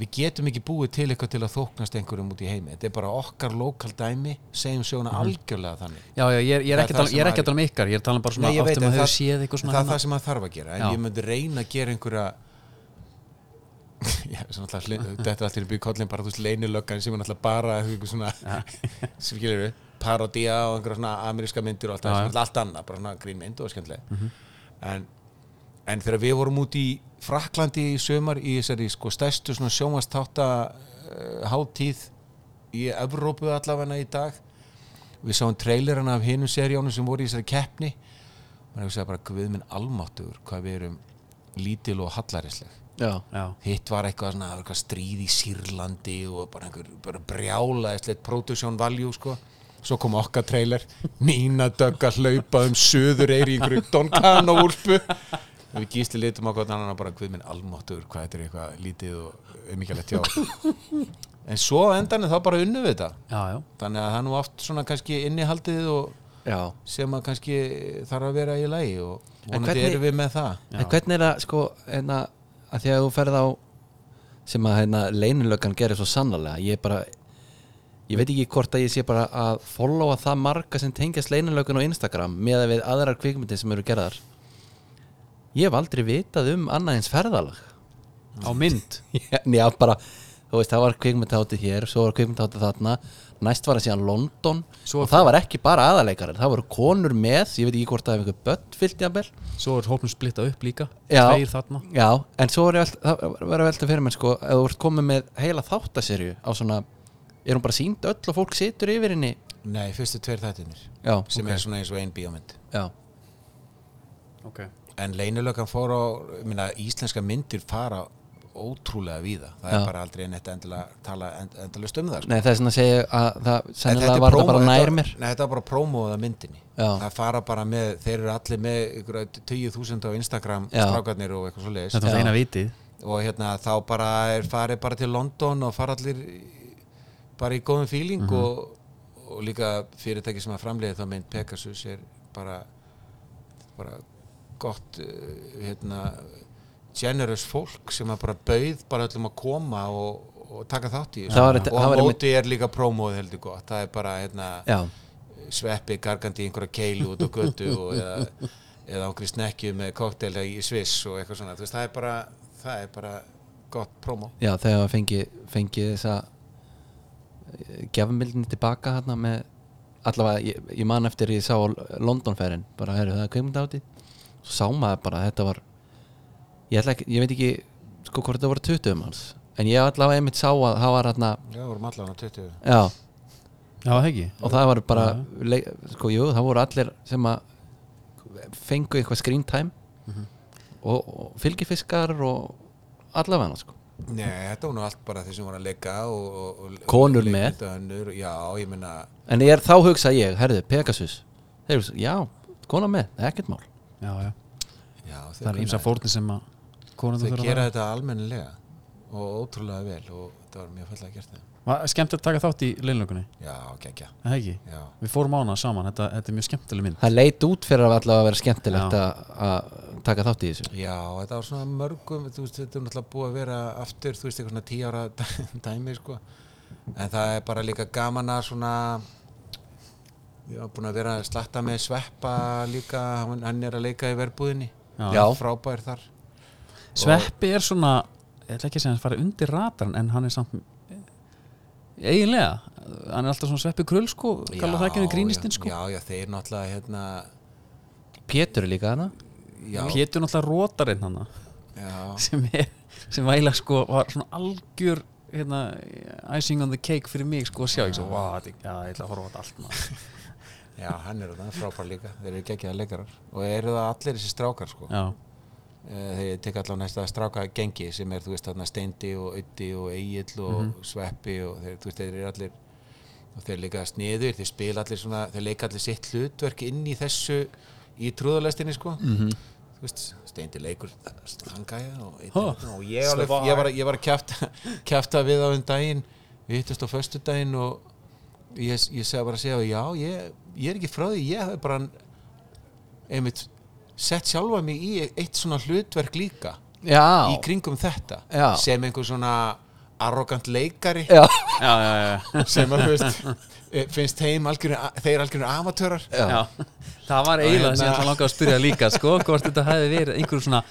[SPEAKER 3] við getum ekki búið til eitthvað til að þóknast einhverjum út í heimi, þetta er bara okkar lokal dæmi, segjum sjóna algjörlega þannig
[SPEAKER 1] já, já, ég, er- ég er
[SPEAKER 3] Það er
[SPEAKER 1] ekki að
[SPEAKER 3] það
[SPEAKER 1] tala- ég er
[SPEAKER 3] sem
[SPEAKER 1] ekki að tala um ykkar ég er að tala um bara svona
[SPEAKER 3] Nei, ég veit,
[SPEAKER 1] aftur
[SPEAKER 3] en
[SPEAKER 1] maður hefur
[SPEAKER 3] það-
[SPEAKER 1] séð eitthvað svona
[SPEAKER 3] það er
[SPEAKER 1] hérna.
[SPEAKER 3] það sem maður þarf að gera en
[SPEAKER 1] Já.
[SPEAKER 3] ég myndi reyna að gera einhverja Já, svona alltaf hli- þetta er alltaf í kollin bara þú veist leynilöggan sem er alltaf bara einhver svona, sem skilur við parodía og einhverja svona ameríska myndir og allt, það sem er alltaf allt annað, bara svona grínmynd og skemmtileg en, en þegar við vorum út í Fraklandi í sömar í þessari sko stærstu svona sjónvastátta uh, hátíð í Evrópu allavega í dag við sáum trailerana af hinum seríónum sem voru í þessari keppni maður hefur segja bara guð minn almáttugur hvað við erum lítil og hallarisleg
[SPEAKER 2] já,
[SPEAKER 1] já,
[SPEAKER 3] hitt var eitthvað svona það var eitthvað stríð í Sýrlandi og bara einhver bara brjálaðislegt production value sko svo kom okkar trailer Nína Dögg að hlaupa um söður eir í einhverju Donkana úlpu og við gísli litum á gott annan og bara guð minn almáttugur hvað þetta er eitthvað lítið og umíkjalegt hjá en svo á endanum þá bara unnum við þetta
[SPEAKER 1] já, já
[SPEAKER 3] þannig að það er nú oft svona kannski innihaldið og
[SPEAKER 2] já.
[SPEAKER 3] sem að kannski þarf að vera í lagi og
[SPEAKER 2] En
[SPEAKER 3] vonandi
[SPEAKER 2] hvernig-
[SPEAKER 3] erum við með það
[SPEAKER 2] en hvernig er það sko hérna, að því að þú ferð á sem að hérna, leynilöggan gerir svo sannlega ég er bara ég veit ekki hvort að ég sé bara að followa það marga sem tengjast leynilöggan á Instagram með að við aðrar kvikmyndir sem eru gerðar ég hef aldrei vitað um annað eins ferðalag
[SPEAKER 1] á mynd
[SPEAKER 2] Já, já, bara, þú veist, það var kvikmyndahátið hér svo var kvikmyndahátið þarna næst var það síðan London
[SPEAKER 1] Svo-
[SPEAKER 2] og það var ekki bara aðaleikarar, það voru konur með ég veit ekki hvort það hefur einhver börn fyllt jafnvel
[SPEAKER 1] Svo er hópnum splitta upp líka
[SPEAKER 2] Já.
[SPEAKER 1] Tveir þarna
[SPEAKER 2] já, en svo var ég velt, það var að velta fyrir mér sko, ef þú ert komið með heila þáttaserju á svona er hún bara sínd öll og fólk situr yfir henni
[SPEAKER 3] Nei, fyrstu tveir þættinir
[SPEAKER 2] já,
[SPEAKER 3] sem
[SPEAKER 2] ok.
[SPEAKER 3] er svona eins og ein bíómynd
[SPEAKER 2] já,
[SPEAKER 1] ok
[SPEAKER 3] En leynilökan fór á, ég meina, íslenska myndir fara ótrúlega víða Það
[SPEAKER 2] Já.
[SPEAKER 3] er bara aldrei neitt endilega tala end, endalust um það sko.
[SPEAKER 2] nei það er svona að segja að það
[SPEAKER 3] En þetta
[SPEAKER 2] sennilega
[SPEAKER 3] er
[SPEAKER 2] var
[SPEAKER 3] prómó-
[SPEAKER 2] það bara
[SPEAKER 3] þetta-
[SPEAKER 2] nær mér
[SPEAKER 3] Nei, þetta var bara prómóða myndinni
[SPEAKER 2] Já.
[SPEAKER 3] Það fara bara með, þeir eru allir með ykkur 20.000 á Instagram
[SPEAKER 2] Já.
[SPEAKER 3] strákarnir og eitthvað svo leiðis
[SPEAKER 1] þetta var
[SPEAKER 2] Já.
[SPEAKER 1] eina vitið
[SPEAKER 3] og hérna þá bara er farið bara til London og fara allir í- bara í góðum fíling
[SPEAKER 2] Mhm.
[SPEAKER 3] og, og líka fyrirtæki sem að framleiði þá mynd Pegasus er bara bara gott uh, hérna generous fólk sem að bara bauð bara öllum að koma og, og taka þátt í
[SPEAKER 2] Það var þetta-
[SPEAKER 3] og
[SPEAKER 2] það
[SPEAKER 3] á
[SPEAKER 2] var einmitt-
[SPEAKER 3] móti er líka prómóð heldur gott það er bara hérna
[SPEAKER 2] já,
[SPEAKER 3] sveppi gargandi í einhverja keilu út á götu og eða, eða ángri snekju með kokteila í Sviss og eitthvað svona Þú veist, það, er bara, það er bara gott promo
[SPEAKER 2] já þegar að fengi, fengi þessa gefumildinni tilbaka hérna með allavega, ég, ég man eftir ég sá Londonferðin, bara herru það er kveimund áti svo sá maður bara að þetta var ég, ætla ekki, ég veit ekki sko hvort þetta voru 20 manns en ég allavega einmitt sá að það var hérna
[SPEAKER 3] Já, vorum allan á 20
[SPEAKER 2] já,
[SPEAKER 1] já, það ekki
[SPEAKER 2] og það var bara leik, sko, jú, það voru allir sem að fengu eitthvað screen time og, og fylgifiskar og allavega sko.
[SPEAKER 3] Nei, þetta var nú allt bara þeir sem voru að leika og, og, og
[SPEAKER 2] Konur
[SPEAKER 3] og-
[SPEAKER 2] með.
[SPEAKER 3] önnur, Já, ég meina
[SPEAKER 2] en ég er þá hugsa ég, herðu, Pegasus þeir eru, svo, já, kona með, ekkert mál
[SPEAKER 1] já, já.
[SPEAKER 3] já, þeir,
[SPEAKER 1] það er
[SPEAKER 3] kunna-
[SPEAKER 1] ímsa fórnir sem að konur
[SPEAKER 3] þeir
[SPEAKER 1] þurfa að
[SPEAKER 3] gera þetta almennilega og ótrúlega vel og þetta var mjög fallega gert það
[SPEAKER 1] Var skemmt að taka þátt í leinlökunni
[SPEAKER 3] Já, geggja,
[SPEAKER 1] það ekki
[SPEAKER 3] já
[SPEAKER 1] við fórum á hana saman þetta, þetta er mjög skemmtileg mynd
[SPEAKER 2] það leit út fyrir að allavega vera skemmtilegt
[SPEAKER 1] Já.
[SPEAKER 2] að- að taka þátt í þessu
[SPEAKER 3] Já, þetta var svona mörgum, þú veist, þetta er náttúrulega búið að vera aftur, þú veist, eitthvað svona tíu ára dæ- dæmi, sko. En það er bara líka gaman að svona, ég var búin að vera að slatta með sveppa líka, hann, hann er að leika í verbúðinni.
[SPEAKER 1] Já.
[SPEAKER 2] Já.
[SPEAKER 3] Frábær þar.
[SPEAKER 1] Sveppi er svona ég ætla ekki að segja hann fara undir ratarn en hann er samt eiginlega hann er alltaf svona sveppi krull sko kalla það ekki
[SPEAKER 3] Já,
[SPEAKER 1] henni grínistinn
[SPEAKER 3] já,
[SPEAKER 1] sko
[SPEAKER 3] Já, já, þeir náttúrulega, hérna,
[SPEAKER 2] Pétur er líka hana
[SPEAKER 3] já,
[SPEAKER 1] Pétur náttúrulega rótarinn hann
[SPEAKER 3] já,
[SPEAKER 1] sem er sem væla sko var svona algjör hérna icing on the cake fyrir mig sko að sjá ég svo vá þetta er- já ég ætla að horfa á þetta allt maður
[SPEAKER 3] já, hann er það, frábær líka. Þeir eru geggjaða leikarar. Og eru það allir þessi strákar, sko.
[SPEAKER 1] já
[SPEAKER 3] Eh, þegar ég tek allan næsta stráka gengi sem er, þú veist, þarna Steindi og Öddi og Egil og Sveppi og þeir, þú veist, þeir eru allir og þeir líka sniður, þeir spila allir svona þeir leika allir sitt hlutverk inn í þessu í trúðalestinni, sko -hmm. þú veist, Steindi leikur þangæja og, Eyddi-
[SPEAKER 1] Ha,
[SPEAKER 3] og ég, alveg, ég var, ég var að kjafta, kjafta við á um daginn við hittast á föstudaginn og ég, ég segja bara að segja já, ég, ég er ekki frá því, ég hef bara einmitt sett sjálfa mig í eitt svona hlutverk líka
[SPEAKER 2] já,
[SPEAKER 3] í kringum þetta
[SPEAKER 2] Já.
[SPEAKER 3] sem einhver svona arrogant leikari
[SPEAKER 2] já,
[SPEAKER 1] já já já,
[SPEAKER 3] sem að þú veist, eh, finnst heim algjörn, þeir algjörnir amatörar
[SPEAKER 1] já. já. það var eiginlega
[SPEAKER 3] hérna-
[SPEAKER 1] sem ég langaði að spyrja líka sko hvort þetta hefði verið einhverjum svona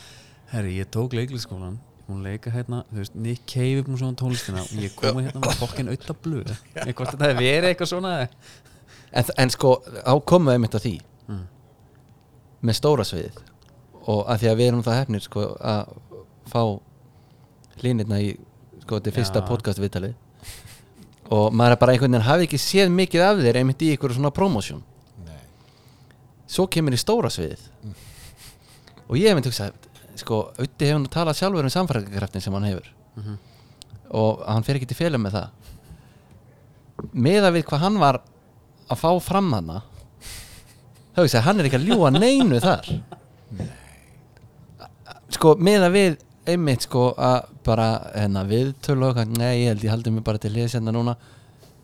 [SPEAKER 1] herri ég tók leiklisskólan hún leika hérna þú veist Nick Cave er búinn svona tónlistina og ég kom hérna með fokkin auðta blöð ég hvort þetta hefði verið eitthvað svona
[SPEAKER 2] En, en sko, á komum við einmitt að því
[SPEAKER 1] Mm.
[SPEAKER 2] með stóra sviðið og að því að við erum það hefnir sko, að fá línirna í sko, þetta er fyrsta
[SPEAKER 1] Já.
[SPEAKER 2] podcast viðtalið og maður er bara einhvern veginn hafi ekki séð mikið af þér einmitt í ykkur svona promósjón
[SPEAKER 3] Nei.
[SPEAKER 2] svo kemur í stóra sviðið og ég hef með hugsa sko, Utti hefur nú talað sjálfur um samfæringarkraftin sem hann hefur
[SPEAKER 3] Mhm.
[SPEAKER 2] og hann fer ekki til félum með það meða við hvað hann var að fá fram hana þá hugsa, hann er ekki að ljúga neinu þar sko, meða við einmitt sko að bara hérna, viðtölu og eitthvað, nei, ég held ég haldi mig bara til liðs hérna núna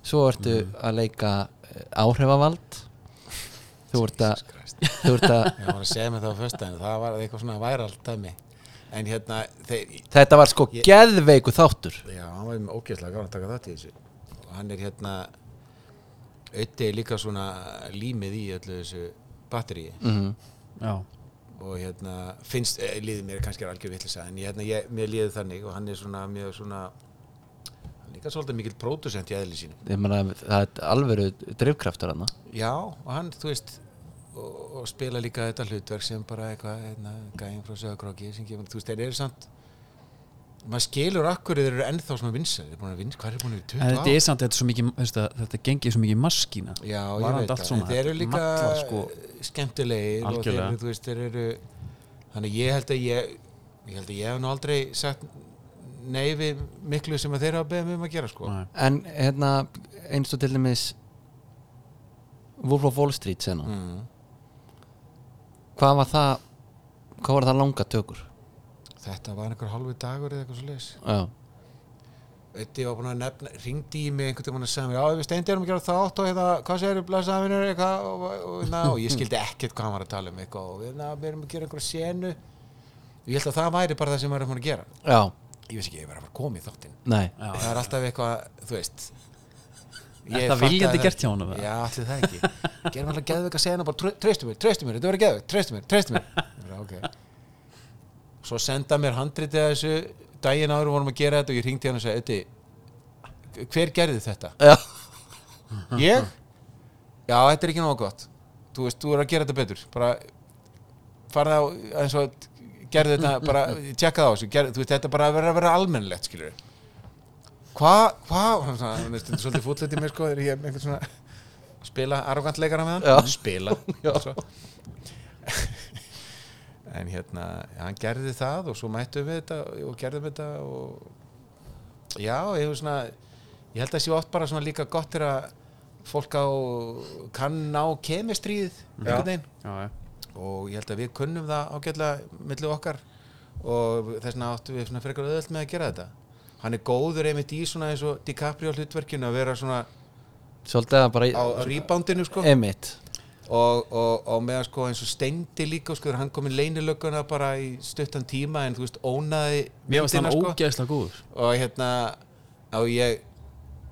[SPEAKER 2] svo ertu að leika eh, áhrifavald þú ert að þú ert að
[SPEAKER 3] ég var að segja mig það á föstudaginn það var eitthvað svona væralt dæmi en hérna, þeir,
[SPEAKER 2] Þetta var sko geðveiku þáttur
[SPEAKER 3] Já, hann var með ógeðslega gáðan að taka þátt í þessu og hann er hérna auðvitað líka svona límið í öllu þessu batteríi
[SPEAKER 2] Mhm.
[SPEAKER 1] já
[SPEAKER 3] og hérna finnst, eh, líðið mér kannski er algjör vitlisa en ég, hérna, ég, mér líðið þannig og hann er svona mjög svona hann er líka svolítið mikill pródusent í eðli sínu
[SPEAKER 2] Ég meina, Það er alvöru drifkraftur hann
[SPEAKER 3] Já, og hann, þú veist og, og spila líka þetta hlutverk sem bara eitthvað, hérna, gæðin frá sögurkróki sem kemur, þú veist, þeir eru samt maður skilur akkur þeir eru ennþá svona vinsæl þeir eru búin að vinsa, hvað er búin að
[SPEAKER 1] En
[SPEAKER 3] vera í
[SPEAKER 1] þetta
[SPEAKER 3] 20
[SPEAKER 1] er samt, þetta er svo mikið, veistu, það, þetta gengið svo mikið maskína
[SPEAKER 3] ár já, ég
[SPEAKER 1] Varandi
[SPEAKER 3] veit
[SPEAKER 1] allt
[SPEAKER 3] það,
[SPEAKER 1] svona,
[SPEAKER 3] þeir eru líka
[SPEAKER 1] malla, sko.
[SPEAKER 3] skemmtilegir og þeir
[SPEAKER 1] Algjörlega.
[SPEAKER 3] eru, þú veist, þeir eru þannig að ég held að ég ég held að ég hef nú aldrei sagt nei við miklu sem að þeir hafa beðið mig um að gera sko.
[SPEAKER 1] Nei.
[SPEAKER 2] En hérna eins og til dæmis Wolf of Wall Street sena
[SPEAKER 3] mm.
[SPEAKER 2] Hvað var það Hvað var það langa tökur
[SPEAKER 3] þetta var einhver halvu dagur eða eitthvað svo leis
[SPEAKER 2] Já,
[SPEAKER 3] Þetta ég var búin að nefna, ringdi í mig einhvern tímann að segja mér, já, við steindir erum að gera þátt og hérna, hvað segir við blæsaðafinur eitthvað og, og, og, na, og ég skildi ekkert hvað hann var að tala um eitthvað og við, na, við erum að gera einhverja senu ég held að það væri bara það sem við erum að gera
[SPEAKER 2] já,
[SPEAKER 3] ég veist ekki, ég var að fara að koma í þáttinn
[SPEAKER 2] nei
[SPEAKER 1] Já.
[SPEAKER 3] það er alltaf eitthvað, þú veist
[SPEAKER 1] Er
[SPEAKER 3] Ég
[SPEAKER 1] það
[SPEAKER 3] fattaði
[SPEAKER 1] viljandi gert
[SPEAKER 3] ekki.
[SPEAKER 1] hjá honum, eða?
[SPEAKER 3] Já, allir það ekki Gerum alltaf geðveika sena bara "Tre- treystu mér, treystu mér, þetta verður geðveik treystu mér, treystu mér Ég bara, okay. Svo senda mér handritið að þessu daginn áður vorum að gera þetta og ég hringdi hann og sagði Eddi, hver gerði þetta?
[SPEAKER 2] Já,
[SPEAKER 3] Ég? Já, þetta er ekki nóg gott Þú veist, þú er að gera þetta betur bara farða á eins og gerði þetta, bara tjekka það á þessu gerði, þú veist, þetta bara verður að vera almennlegt skilur Hva? Hva? Hann svona- hann er stundum svolítið fúllett í mér sko þegar ég er með einhvern svona spila arrogant leikara með hann
[SPEAKER 2] Já.
[SPEAKER 3] spila
[SPEAKER 2] Já.
[SPEAKER 3] Svo- en hérna, hann gerði það og svo mættum við þetta og gerðum þetta og Já, ég, hef svona, ég held að sé oft bara svona líka gott þegar fólk á kann ná kemistrið einhvern veginn
[SPEAKER 1] Já, já.
[SPEAKER 3] og ég held að við kunnum það ágætlega millu okkar og þess vegna áttum við svona frekar auðvöld með að gera þetta hann er góður einmitt í svona eins og DiCaprio hlutverkinu að vera svona á
[SPEAKER 2] svolítið að bara
[SPEAKER 3] reboundinu sko
[SPEAKER 2] Emmitt
[SPEAKER 3] og, og, og meðan sko eins og steindi líka sko þegar hann kom í leynilögguna bara í stuttan tíma en þú veist ónaði
[SPEAKER 1] Mér varst
[SPEAKER 3] myndina,
[SPEAKER 1] hann
[SPEAKER 3] sko
[SPEAKER 1] ógeðslega góður
[SPEAKER 3] og hérna og ég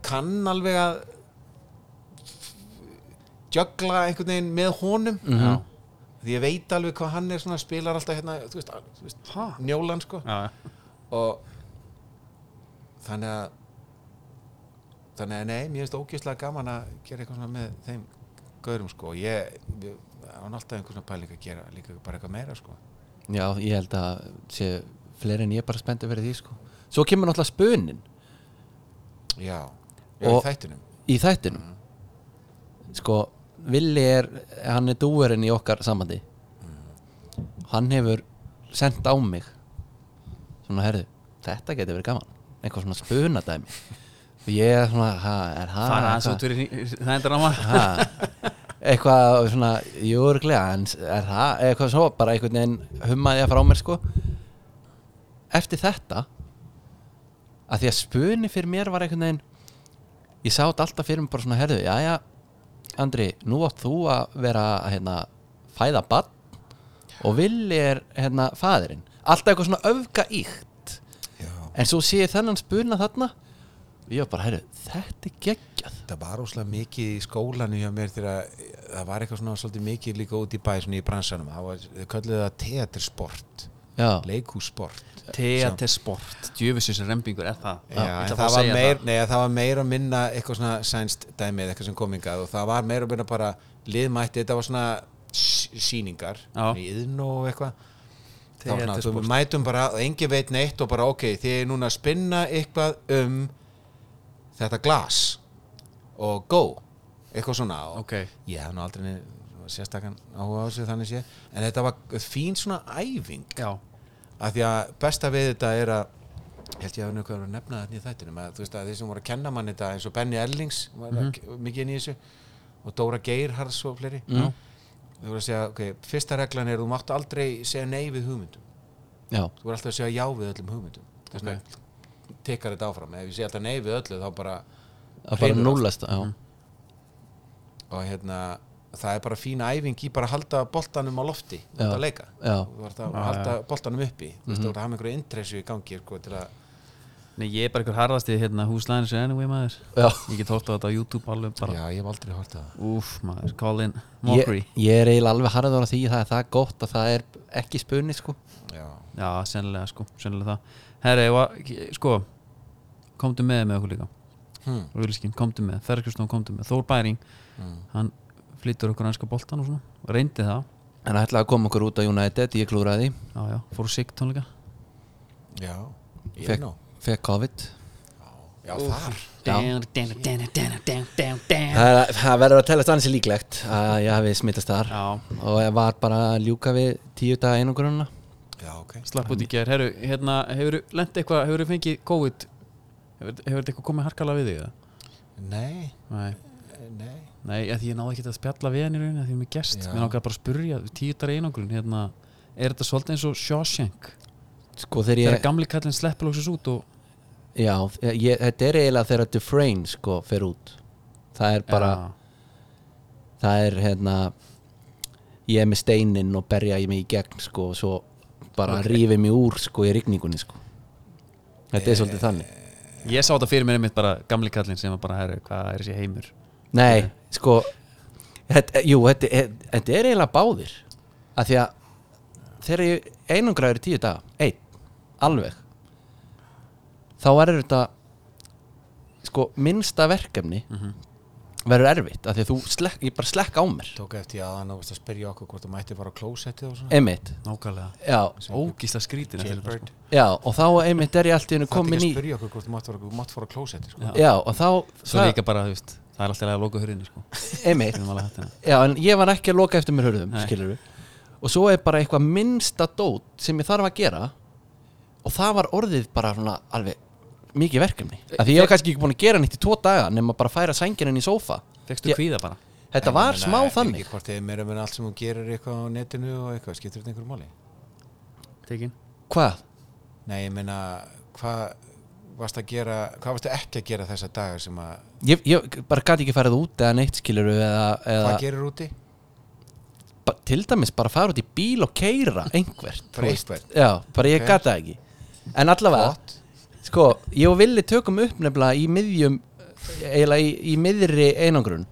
[SPEAKER 3] kann alveg að jögla einhvern veginn með honum
[SPEAKER 1] Já,
[SPEAKER 3] því ég veit alveg hvað hann er svona spilar alltaf hérna, þú veist, al- þú veist
[SPEAKER 1] Ha?
[SPEAKER 3] njólan sko
[SPEAKER 1] já, já.
[SPEAKER 3] og þannig að þannig að nei, mér finnst ógjöfslega gaman að gera eitthvað svona með þeim gaurum sko og ég, ég án alltaf einhvern svona pæling að gera líka bara eitthvað meira sko
[SPEAKER 2] Já, ég held að sé fleiri en ég bara spennti verið því sko Svo kemur náttúrulega spunin
[SPEAKER 3] já, já
[SPEAKER 2] Og-
[SPEAKER 3] í þættinum
[SPEAKER 2] í þættinum Sko, Willi er hann er dúverinn í okkar samandi
[SPEAKER 3] Mm.
[SPEAKER 2] Hann hefur sendt á mig svona, herðu, þetta getur verið gaman eitthvað svona spunadæmi og ég er svona, ha, er það
[SPEAKER 1] Fara aðeins út fyrir það endur á maður
[SPEAKER 2] Ha, eitthvað svona júrglega en er það eitthvað svo bara einhvern veginn hummaði að frá mér sko eftir þetta að því að spuni fyrir mér var einhvern veginn ég sá þetta alltaf fyrir mér bara svona herðu jæja Andri, nú átt þú að vera hérna, fæða barn og villi er hérna faðirinn alltaf eitthvað svona öfga íkt
[SPEAKER 3] já
[SPEAKER 2] en svo sé ég þennan spuna þarna og ég var bara, herru, þetta er geggjað
[SPEAKER 3] Það var óslega mikið í skólanu hjá mér þegar það var eitthvað svona svolítið mikið líka út í bæ svona í bransanum, það var, þau kölluðu það teatersport,
[SPEAKER 2] Já.
[SPEAKER 3] leikúsport
[SPEAKER 1] Teatersport, djöfisins rembingur er það
[SPEAKER 3] Já,
[SPEAKER 1] ég
[SPEAKER 3] en
[SPEAKER 1] ætla bara
[SPEAKER 3] það,
[SPEAKER 1] að
[SPEAKER 3] var
[SPEAKER 1] segja
[SPEAKER 3] meir, nei, það var meira minna eitthvað svona sænst dæmið, eitthvað sem komingað og það var meira minna bara liðmætti, þetta var svona s- sýningar
[SPEAKER 1] Já.
[SPEAKER 3] í yðn og eitthvað þá var svona,
[SPEAKER 1] Teatersport.
[SPEAKER 3] þú mætum bara og engi veit neitt og bara ok, þið er núna að spinna eitthvað um þetta glas og go eitthvað svona og
[SPEAKER 1] Ok.
[SPEAKER 3] ég hef nú aldrei neinn sérstakann áhuga á þessu þannig sé en þetta var fín svona æfing
[SPEAKER 1] Já,
[SPEAKER 3] að því að besta við þetta er að ég held ég að nefna að nefna þetta í þættinum að þú veist að þeir sem voru að kenna manni þetta eins og Benny Ellings var
[SPEAKER 2] Mhm.
[SPEAKER 3] mm mikið inn í þessu og Dóra Geirharðs og fleiri mm. þú voru að segja, ok, fyrsta reglan er þú mátt aldrei segja nei við hugmyndum
[SPEAKER 2] Já,
[SPEAKER 3] þú voru alltaf að segja já við öllum hugmyndum þess vegna tekkar þetta áfram ef ég segja alltaf nei við öllu þá bara
[SPEAKER 2] að bara
[SPEAKER 3] Hreinur
[SPEAKER 2] núllast já.
[SPEAKER 3] og hérna það er bara fín æfing í bara að halda boltanum á lofti
[SPEAKER 2] Já.
[SPEAKER 3] út að leika
[SPEAKER 2] Já. Mhm.
[SPEAKER 3] þú voru að halda boltanum uppi þú veist þú voru að hafa einhverju intressu í gangi sko, til að
[SPEAKER 1] nei ég er bara ykkur harðasti hérna húslæðin sem anyway maður
[SPEAKER 2] Já.
[SPEAKER 1] Ég get hótt á þetta á YouTube alveg bara
[SPEAKER 3] Já, ég hef aldrei hort það
[SPEAKER 1] Úf maður, Colin
[SPEAKER 2] Ég,
[SPEAKER 1] Mockery
[SPEAKER 2] ég er eiginlega alveg harður á því að það er það gott að það er ekki spunni sko
[SPEAKER 3] Já,
[SPEAKER 1] Já, sennilega sko, sennilega það Herri, ég var, sko komdu með með okkur líka
[SPEAKER 3] hmm.
[SPEAKER 1] Rúliskinn, komdu með, Ferguson komdu með Þór Bæring,
[SPEAKER 3] Hm.
[SPEAKER 1] hann flyttur okkur ænska boltan og svona, reyndi það
[SPEAKER 2] En ætlaði að koma okkur út á United, ég klúraði því.
[SPEAKER 1] Já, já, fór á sig tónleika
[SPEAKER 3] já Ég
[SPEAKER 2] fekk,
[SPEAKER 3] ná.
[SPEAKER 2] fekk COVID
[SPEAKER 3] Já, þar
[SPEAKER 1] Já,
[SPEAKER 2] Það er- það verður að tellast ansi líklegt að ég hafi smittast þar og ég var bara að ljúka við tíu daga einangrunna
[SPEAKER 3] Já, ok
[SPEAKER 1] slapp út í ger Herru, hérna, hefur þú lent eitthvað, hefur þú fengið COVID Hefur hefur þetta eitthvað komið harkalega við þig? eða?
[SPEAKER 3] Nei,
[SPEAKER 1] Nei,
[SPEAKER 3] Eh, nei
[SPEAKER 1] nei ég, því ég náði ekki að spjalla við hann í rauninni af Því ég er með gest,
[SPEAKER 3] Já.
[SPEAKER 1] mér náttúrulega bara að spurja Tíu dara einangrun, hérna Er þetta svolítið eins og Shawshank?
[SPEAKER 2] sko
[SPEAKER 1] Þegar
[SPEAKER 2] þegar ég,
[SPEAKER 1] gamli kallinn sleppur lóksins út og
[SPEAKER 2] já, ég þetta er eiginlega þegar Dufresne sko fer út það er bara, það er hérna ég er með steininn og berja ég mig í gegn sko og svo bara okay. rífi mig úr sko í rigningunni sko þetta er svolítið þannig
[SPEAKER 1] Já. Ég sá þetta fyrir mér einmitt bara gamli kallinn sem var bara, herru, hvað er þessi heimur?
[SPEAKER 2] nei, sko þetta, jú, þetta, þetta- þetta er eiginlega báðir af því að þegar ég einangraður í tíu daga einn, alveg þá verður þetta sko minnsta verkefni verður erfitt af því að þú slekk, ég bara slekk á mér
[SPEAKER 3] Tók eftir að hann ávist að spyrja okkur hvort þú mætti bara á klósettið og svona
[SPEAKER 2] einmitt,
[SPEAKER 1] Nákvæmlega
[SPEAKER 2] já,
[SPEAKER 1] Ógísla skrítin þetta sko. er það,
[SPEAKER 3] Jailbird
[SPEAKER 2] já og þá einmitt er ég allt í hennu
[SPEAKER 3] Það er
[SPEAKER 2] komin
[SPEAKER 3] ekki
[SPEAKER 2] í
[SPEAKER 3] að spyrja okkur hvort þú mátt fara, þú mátt fara á klósettið sko.
[SPEAKER 2] Já, og þá
[SPEAKER 1] sko. Svo líka bara, þú veist, það er alltaf að loka hurðinni sko.
[SPEAKER 2] einmitt,
[SPEAKER 1] Við erum alveg hætt hérna.
[SPEAKER 2] já, en ég var ekki að loka eftir mér hörðum,
[SPEAKER 1] Nei.
[SPEAKER 2] skilur og svo er bara eitthvað minnsta dót sem ég þarf að gera og það var orðið bara svona alveg mikið verkefni, af því ég var kannski ekki búin að gera nýtt í tvo daga nema bara að færa sængirinn í sófa
[SPEAKER 1] Fekstu
[SPEAKER 2] Ég-
[SPEAKER 1] kvíða bara?
[SPEAKER 2] þetta
[SPEAKER 3] En
[SPEAKER 2] var
[SPEAKER 3] ég meina,
[SPEAKER 2] smá
[SPEAKER 3] er
[SPEAKER 2] þannig
[SPEAKER 3] Ekki hvort þið meira meina allt sem þú gerir eitthvað á netinu og eitthvað, skiptir þetta einhverjum máli?
[SPEAKER 1] Tekin?
[SPEAKER 2] hvað?
[SPEAKER 3] Nei, ég meina, hvað varst að gera, hvað varst ekki að gera þessa daga sem að,
[SPEAKER 2] Ég, ég bara gæti ekki farið út eða neitt skilur eða,
[SPEAKER 3] hvað
[SPEAKER 2] eða
[SPEAKER 3] gerir úti?
[SPEAKER 2] ba- til dæmis bara fara út í bíl og keira einhvert
[SPEAKER 3] Bara eitthvað.
[SPEAKER 2] já, bara ég
[SPEAKER 3] Ok.
[SPEAKER 2] okay. gæti það ekki en allavega
[SPEAKER 3] Flott.
[SPEAKER 2] Sko, ég og Villi tökum upp nefnilega í miðjum eiginlega í, í miðri einangrun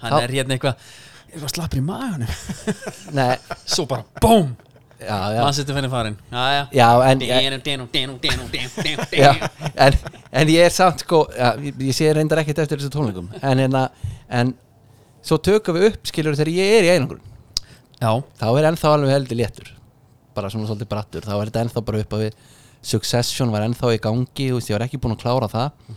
[SPEAKER 1] Hann
[SPEAKER 2] Þá-
[SPEAKER 1] er hérna eitthvað eitthvað slappur í maðunum
[SPEAKER 2] Nei,
[SPEAKER 1] Svo bara BOOM
[SPEAKER 2] já, já,
[SPEAKER 1] Mannsettin fennið farin Jæja
[SPEAKER 2] já en, en,
[SPEAKER 1] Denum, denum, denum, denum, denum,
[SPEAKER 2] já,
[SPEAKER 1] denum
[SPEAKER 2] en, en ég er samt sko, já, ég, ég sé reyndar ekkert eftir þessu tónleikum en, en, en svo tökum við upp skilur þegar ég er í einangrun
[SPEAKER 1] Já
[SPEAKER 2] þá er ennþá alveg heldur léttur bara svona svolítið brattur, þá er þetta ennþá bara upp að við Succession var ennþá í gangi þú veist, ég var ekki búin að klára það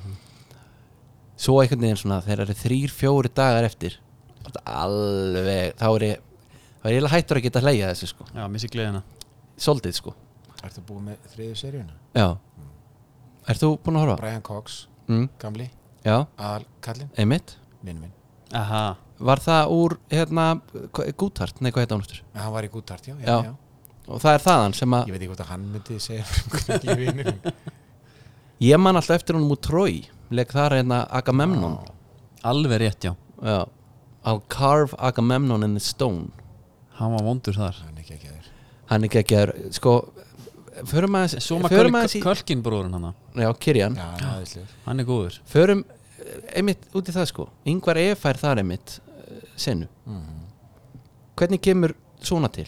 [SPEAKER 2] svo einhvern veginn svona þegar það eru þrýr, fjóri dagar eftir þetta er alveg, þá er ég þá er ég eiginlega hættur að geta að hleyja þessu sko
[SPEAKER 1] Já, missi gleðina
[SPEAKER 2] svolítið sko,
[SPEAKER 3] Ertu búið með þriðu seríuna?
[SPEAKER 2] já Ert þú búin að horfa?
[SPEAKER 3] Brian Cox,
[SPEAKER 2] Mm,
[SPEAKER 3] gamli,
[SPEAKER 2] já,
[SPEAKER 3] aðal kallinn,
[SPEAKER 2] einmitt
[SPEAKER 3] minn minn.
[SPEAKER 1] Aha
[SPEAKER 2] Var það úr, hérna, Gúthart nei, hvað heit ánustur?
[SPEAKER 3] En Hann var í Gúttart, já, já,
[SPEAKER 2] Já.
[SPEAKER 3] já.
[SPEAKER 2] Og það er þaðan sem að
[SPEAKER 3] Ég veit ekki hvort að hann myndi segja hvernig ég vinir.
[SPEAKER 2] ég man alltaf eftir honum úr Trói leik þar hérna
[SPEAKER 3] Ah.
[SPEAKER 2] Agamemnon
[SPEAKER 1] Alveg rétt, já
[SPEAKER 2] Já I'll carve Agamemnon in the stone
[SPEAKER 1] Hann var vondur þar
[SPEAKER 3] Hann er ekki ekki aður.
[SPEAKER 2] Hann er geggjaður Sko Förum aðeins
[SPEAKER 1] Soma
[SPEAKER 2] Förum aðeins í
[SPEAKER 1] Kölkin bróðurinn hann
[SPEAKER 2] Já, Kirjan
[SPEAKER 3] Já, hann er aðeinslegur.
[SPEAKER 1] Hann er góður
[SPEAKER 2] Förum eh, einmitt út í það sko Yngvar Efær þar einmitt eh, Senu
[SPEAKER 3] Mm.
[SPEAKER 2] Hvernig kemur svona til?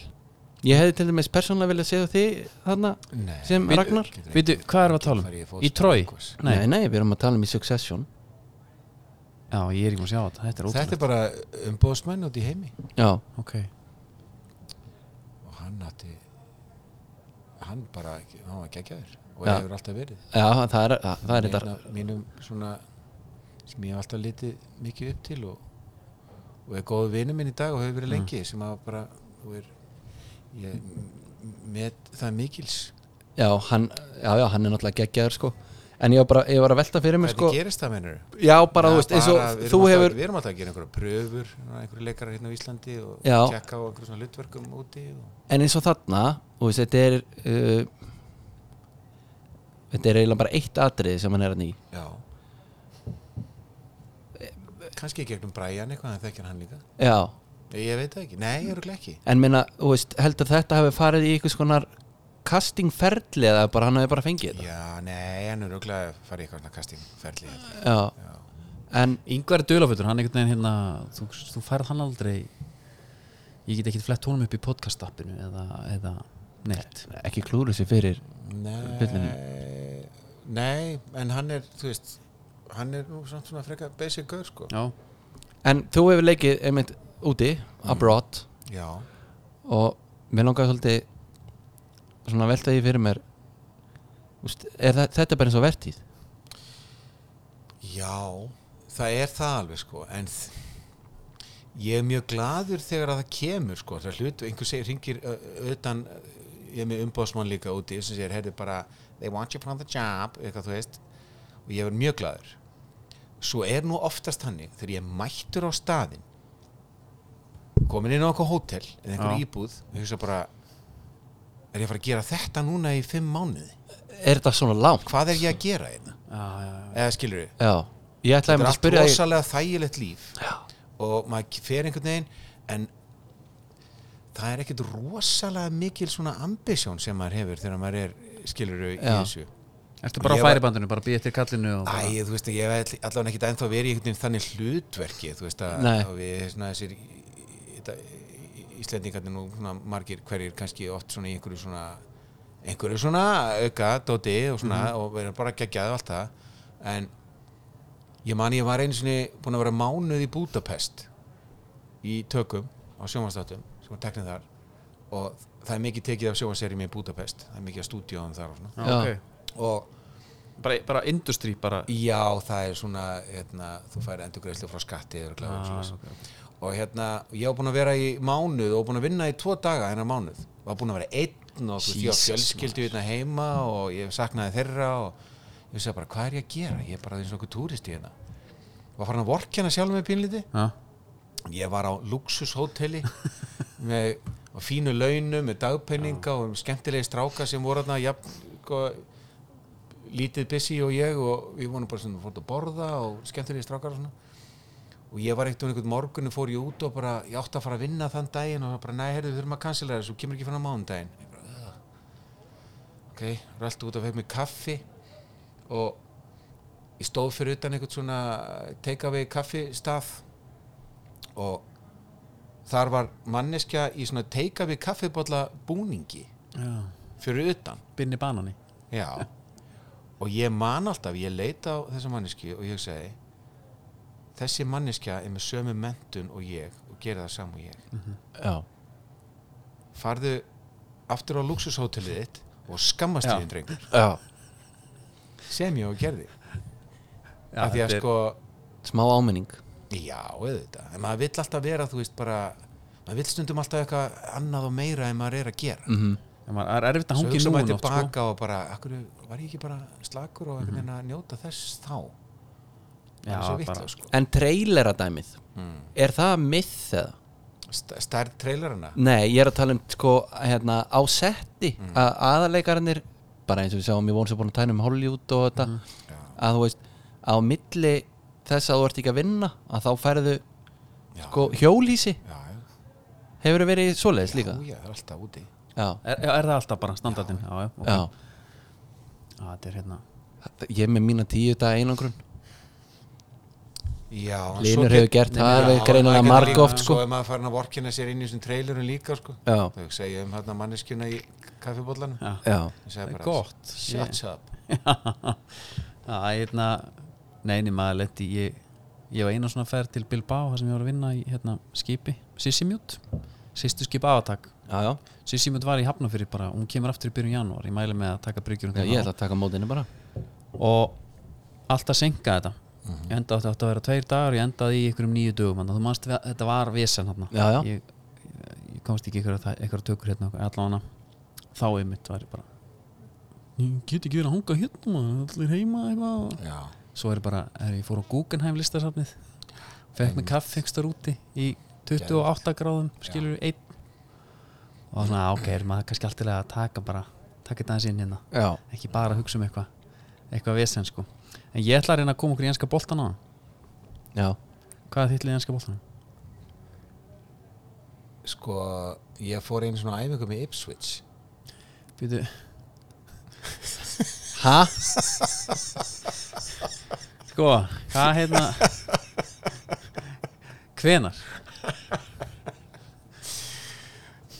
[SPEAKER 2] Ég hefði til dæmis persónlega viljað segja þig þarna
[SPEAKER 3] Nei.
[SPEAKER 2] sem
[SPEAKER 1] Við-
[SPEAKER 2] Ragnar
[SPEAKER 1] Veitu, hvað erum við að tala um?
[SPEAKER 3] Fari ég fótspor
[SPEAKER 1] Í Trói?
[SPEAKER 3] einhvers.
[SPEAKER 1] Nei.
[SPEAKER 2] nei, við erum að tala um í Succession
[SPEAKER 1] Já, ég er ekki múin að sjá þetta Þetta er
[SPEAKER 3] Þetta
[SPEAKER 1] ótrúlega
[SPEAKER 3] er bara umbóðsmenn út í heimi.
[SPEAKER 2] Já,
[SPEAKER 1] Ok
[SPEAKER 3] Og hann átti, hann bara, hann var ekki aður. Og
[SPEAKER 2] Já.
[SPEAKER 3] hefur alltaf verið.
[SPEAKER 2] já það er, það, það er þetta
[SPEAKER 3] Einn af Mínum svona, sem ég hef alltaf litið mikið upp til og, og er góð vinur minn í dag og hefur
[SPEAKER 2] Mm.
[SPEAKER 3] verið lengi sem að bara, og er, ég m- met það mikils.
[SPEAKER 2] Já, hann, já, já, hann er náttúrulega geggjaður sko En ég var bara, ég var að velta fyrir mér
[SPEAKER 3] Hvernig
[SPEAKER 2] sko
[SPEAKER 3] gerist það mennur?
[SPEAKER 2] Já, bara, þú veist, eins
[SPEAKER 3] bara,
[SPEAKER 2] og
[SPEAKER 3] við erum um
[SPEAKER 2] þú
[SPEAKER 3] alltaf-
[SPEAKER 2] hefur
[SPEAKER 3] Við erum alltaf að gera einhverja pröfur, svona einhverju leikarar hérna á Íslandi og
[SPEAKER 2] Já.
[SPEAKER 3] tjekka á einhverju svona hlutverkum úti og...
[SPEAKER 2] En eins og þarna, þú veist, þetta er uh, Þetta er eiginlega bara eitt atriði sem hann er að ný
[SPEAKER 3] Já
[SPEAKER 2] Eh,
[SPEAKER 3] Kanski í gegnum Brian eitthvað, hann þekkir hann líka
[SPEAKER 2] Já,
[SPEAKER 3] Ég, ég veit það ekki, nei, ég eru ekki
[SPEAKER 2] en minna, þú veist, heldur þetta hafi farið í einhvers konar castingferli eða bara hann hafi bara fengið þetta
[SPEAKER 3] Já, nei, hann er rúglega að fara í eitthvað svona hérna. kastingferli held ég.
[SPEAKER 2] Já, en
[SPEAKER 1] Yngvar er dulafötur Hann einhvern veginn hérna Þú, þú færð hann aldrei Ég get ekki flett honum upp í podcast-appinu Eða, eða Neitt
[SPEAKER 2] ekki klúru sér fyrir
[SPEAKER 3] Nei, nei, en hann er, þú veist hann er nú samt svona freka basic gaur, sko
[SPEAKER 1] Já
[SPEAKER 2] En þú hefur leikið einmitt úti, abroad
[SPEAKER 3] Já,
[SPEAKER 2] og mér langaði svolítið svona velta því fyrir mér Úst, er það, þetta er bara eins og vertíð
[SPEAKER 3] Já, það er það alveg sko en þ- ég er mjög gladur þegar að það kemur sko það hlut, einhver segir, ringir ö, utan ö, ég er með umbóðsmann líka úti sem segir, heyrðu bara, they want you from the job eitthvað þú veist og ég er mjög gladur svo er nú oftast hannig þegar ég er mættur á staðinn komin inn á eitthvað hótel eða einhver
[SPEAKER 1] Já.
[SPEAKER 3] íbúð og hugsa bara er ég að fara að gera þetta núna í fimm mánuði
[SPEAKER 2] er þetta svona langt?
[SPEAKER 3] hvað er ég að gera hérna
[SPEAKER 1] já, já,
[SPEAKER 3] eða skilur við
[SPEAKER 2] Já, ég ætlaði mér
[SPEAKER 3] þetta er
[SPEAKER 2] að
[SPEAKER 3] allt
[SPEAKER 2] spyrja þig-
[SPEAKER 3] rosalega þægilegt líf og maður fer einhvern veginn en það er ekkert rosalega mikil svona ambisjón sem maður hefur þegar maður er skilur í
[SPEAKER 2] Já.
[SPEAKER 3] þessu
[SPEAKER 1] Ertu bara
[SPEAKER 3] Ég
[SPEAKER 1] á
[SPEAKER 3] var-
[SPEAKER 1] færibandinu, bara býð eftir kallinu og bara,
[SPEAKER 3] Æ, þú veist, ég hef all- allavega ekkert ennþá verið í einhvern veginn þannig hlutverki þú veist að,
[SPEAKER 2] Nei.
[SPEAKER 3] að við svona þessir í- í- þetta- í- Íslendingarnir nú svona margir hverjir kannski oft svona í einhverju svona einhverju svona auka dóti og svona og verður bara geggjað og allt það en ég man ég var einu sinni búin að vera mánuð í Budapest í tökum á sjómanstáttum sem var teknið þar og það er mikið tekið af sjómanserjum í Budapest það er mikið af stúdíóðum þar og svona
[SPEAKER 1] já,
[SPEAKER 2] Já.
[SPEAKER 1] ok.
[SPEAKER 3] og
[SPEAKER 1] bara, bara industry bara,
[SPEAKER 3] Já, það er svona, hérna, þú færi endurgreislu frá skatti og, ah, okay, og hérna, ég var búin að vera í mánuð og búin að vinna í tvo daga hennar mánuð var búin að vera einn og þú veist, ég var
[SPEAKER 1] Jesus,
[SPEAKER 3] fjölskyldu hérna heima og ég saknaði þeirra og ég vissi bara, hvað er ég að gera? Ég er bara eins og okkur túristi hérna var farin að vork hérna sjálf með pínliti
[SPEAKER 1] já,
[SPEAKER 3] ég var á luxushóteli með á fínu launum með dagpenninga og skemmtilegi stráka sem voru þarna jafn, sko, lítið busy og ég og við vorum bara svona fórt að borða og skemmtilegi strákar og svona og ég var ekkert um einhvern morgun og fór ég út og bara ég átti að fara að vinna þann daginn og bara nei, heyrðu, við þurfum að cancela þessu, þú kemur ekki fyrir á mánudaginn Ég bara, "Ugh." ok, röltu út og fekk mig kaffi og ég stóð fyrir utan einhvern svona take-away kaffistað og þar var manneskja í svona teika við kaffibólla búningi
[SPEAKER 1] já.
[SPEAKER 3] fyrir utan
[SPEAKER 1] binni banani
[SPEAKER 3] já. og ég man alltaf ég leita á þessa manneski og ég segi þessi manneskja er með sömu mentun og ég og gera það saman og ég
[SPEAKER 1] Mhm.
[SPEAKER 2] Já,
[SPEAKER 3] farðu aftur á luxushótelið þitt og skammast
[SPEAKER 1] Já.
[SPEAKER 3] þín drengur
[SPEAKER 2] já
[SPEAKER 3] sem ég og gerði
[SPEAKER 1] Já,
[SPEAKER 3] af því að
[SPEAKER 1] þetta er-
[SPEAKER 3] sko
[SPEAKER 2] Smá áminning
[SPEAKER 3] já, auðvitað, en maður vill alltaf vera þú veist bara, maður vill stundum alltaf eitthvað annað og meira en maður er að gera
[SPEAKER 2] mm
[SPEAKER 1] En maður- það er erfitt að
[SPEAKER 3] Svo
[SPEAKER 1] hangi
[SPEAKER 3] hugsa
[SPEAKER 1] núna
[SPEAKER 3] maður
[SPEAKER 1] oft, sko.
[SPEAKER 3] tilbaka og bara, akkur var ég ekki bara slakur og einhvern veginn að njóta þess þá
[SPEAKER 1] Já,
[SPEAKER 3] það er svo vitt
[SPEAKER 1] bara-
[SPEAKER 3] sko. Mm.
[SPEAKER 2] En trailera dæmið Er það myth eða?
[SPEAKER 3] St- stærð trailerina
[SPEAKER 1] Mm.
[SPEAKER 2] Nei, ég er að tala um sko hérna, á setti að aðaleikarnir bara eins og við sjáum, ég vonu sem búin að tæna um Hollywood og þetta
[SPEAKER 3] Já.
[SPEAKER 2] að þú veist, á milli þess að þú ert ekki að vinna að þá færðu
[SPEAKER 3] já,
[SPEAKER 2] sko hjólísi
[SPEAKER 3] já, já,
[SPEAKER 2] hefur það verið svoleiðis líka
[SPEAKER 3] já, það er alltaf úti
[SPEAKER 2] Já,
[SPEAKER 1] er, já, er það alltaf bara standardin já, já, ok.
[SPEAKER 2] já,
[SPEAKER 1] já, þetta er hérna
[SPEAKER 2] ég með mína tíu daga einangrun
[SPEAKER 3] já, en svo
[SPEAKER 2] Linur
[SPEAKER 3] get-
[SPEAKER 2] hefur gert
[SPEAKER 3] Nei,
[SPEAKER 2] það
[SPEAKER 3] já,
[SPEAKER 2] alveg
[SPEAKER 3] og
[SPEAKER 2] greinilega
[SPEAKER 3] maður getur
[SPEAKER 2] marg
[SPEAKER 3] líka-
[SPEAKER 2] oft sko
[SPEAKER 3] svo er maður farin að vorkina sér inn í þessum trailerum líka sko.
[SPEAKER 2] Já,
[SPEAKER 3] þau segja um hérna manneskjuna í kaffibóllanum
[SPEAKER 1] já,
[SPEAKER 2] já,
[SPEAKER 3] ég segja
[SPEAKER 1] það er
[SPEAKER 3] bara,
[SPEAKER 1] gott
[SPEAKER 3] shut up
[SPEAKER 1] já, hérna neini maður leti ég, ég var einu svona ferð til Bilbao þar sem ég var að vinna í hérna, skipi Sissimjút, sýstu skip aðatak
[SPEAKER 2] já, já,
[SPEAKER 1] Sissimjút var í Hafnafyrir bara hún kemur aftur í byrjun janúar, ég mæli með að taka bryggjur
[SPEAKER 2] já ég ætla að taka mótinu bara
[SPEAKER 1] og alltaf senka þetta
[SPEAKER 2] Mhm.
[SPEAKER 1] ég endaði þetta átti að vera tveir dagar ég endaði í einhverjum nýju dögum þannig að þú manst við, þetta var vesen hérna
[SPEAKER 2] Já, já.
[SPEAKER 1] Ég, ég komst ekki í einhverja þa- einhverjar tökur hérna allan þá einmitt var ég bara ég get ekki verið að hanga hérna maður, allir heima eitthvað og-
[SPEAKER 3] já,
[SPEAKER 1] svo er ég bara, er ég fór á Guggenheim listasafnið fekk mig kaff hengstar úti í 28 gráðum skilur einn og svona ok, er maður kannski alltaf að taka bara taka þetta aðeins inn hérna
[SPEAKER 2] Já,
[SPEAKER 1] ekki bara að hugsa um eitthvað eitthvað vesen sko en ég ætla að reyna að koma okkur í enska boltan á
[SPEAKER 2] já,
[SPEAKER 1] hvað er þitt lið í enska boltan?
[SPEAKER 3] sko ég fór einu svona æfingu með Ipswich
[SPEAKER 1] Býtu,
[SPEAKER 2] ha?
[SPEAKER 1] sko, hvað hérna hvenar?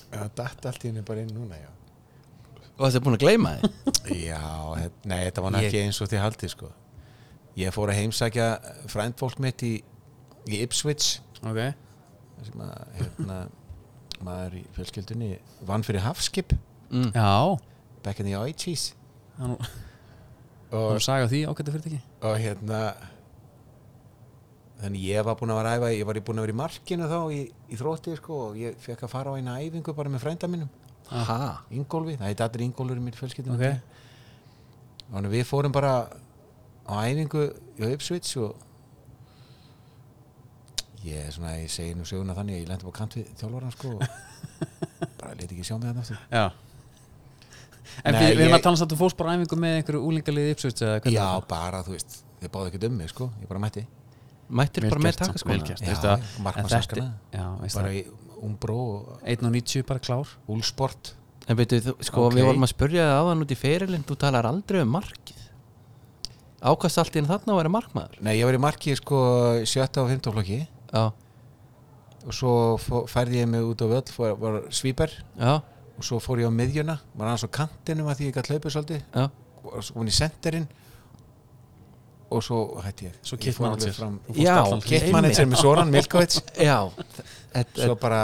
[SPEAKER 3] það datt allt í henni bara inn núna já
[SPEAKER 2] Og þetta er búin að gleyma þið?
[SPEAKER 3] Já, þe- nei, þetta var nú
[SPEAKER 1] Ég-
[SPEAKER 3] ekki eins og þið haldið sko. Ég fór að heimsækja frændfólk mitt í, í Ipswich
[SPEAKER 1] ok,
[SPEAKER 3] þar sem að hérna, maður í fjölskyldunni vann fyrir hafskip
[SPEAKER 2] Mm.
[SPEAKER 1] já
[SPEAKER 3] back in the 80s
[SPEAKER 1] hann, og
[SPEAKER 3] og,
[SPEAKER 1] saga því ágættu fyrirtæki
[SPEAKER 3] og hérna þannig ég var búin að vera að æfa ég var búin að vera í markinu þá í, í þrótti sko, og ég fekk að fara á eina æfingu bara með frænda mínum
[SPEAKER 2] ha,
[SPEAKER 3] Ingólfi, það heit allir Ingólfur í mér fjölskyldum
[SPEAKER 1] Ok.
[SPEAKER 3] Þannig við fórum bara á æfingu í Upsvits og ég er svona, ég segi nú söguna þannig að ég lendi bara á kant við þjálfvaran sko og bara leti ekki sjá mig þarna aftur
[SPEAKER 1] Já En
[SPEAKER 3] Nei,
[SPEAKER 1] við, við erum
[SPEAKER 3] ég-
[SPEAKER 1] að tala samt um fórspara æfingu með einhverju úlingalið uppsvits eða hvernig
[SPEAKER 3] Já,
[SPEAKER 1] var það?
[SPEAKER 3] bara, þú veist, þið báðu ekkert um mig sko ég bara mætti
[SPEAKER 2] mættir
[SPEAKER 1] Vel
[SPEAKER 2] bara með
[SPEAKER 1] gert samt,
[SPEAKER 2] takaskóna
[SPEAKER 1] vel sko gert.
[SPEAKER 3] sko. Já,
[SPEAKER 1] Veistu það, en þetta-
[SPEAKER 3] markmannsverkana
[SPEAKER 1] Já, veist
[SPEAKER 3] bara
[SPEAKER 1] það
[SPEAKER 3] í Umbró og
[SPEAKER 1] 1.90 bara klár
[SPEAKER 3] Úlsport
[SPEAKER 2] en veitu, þú- sko
[SPEAKER 1] Ok.
[SPEAKER 2] við vorum að spurja það áðan út í ferilinn þú talar aldrei um markið ákast allt inn þarna að vera markmaður
[SPEAKER 3] Nei, ég var í markið sko sjötta og fimmta flokki
[SPEAKER 2] já,
[SPEAKER 3] og svo fó- færði ég mig út á völl fór, var svíper
[SPEAKER 2] já,
[SPEAKER 3] og svo fór ég á miðjuna var aðeins á kantinum að því ég gætt hlaupið svolítið
[SPEAKER 2] já
[SPEAKER 3] og svo komin í senderinn og svo hætti ég
[SPEAKER 1] Svo
[SPEAKER 3] Ég
[SPEAKER 1] kit
[SPEAKER 3] fór
[SPEAKER 1] manager.
[SPEAKER 3] alveg fram-
[SPEAKER 1] Þú fórst
[SPEAKER 2] já,
[SPEAKER 1] allan-
[SPEAKER 3] kit manager með Soran Milkovits
[SPEAKER 2] já,
[SPEAKER 3] svo
[SPEAKER 2] þetta
[SPEAKER 3] bara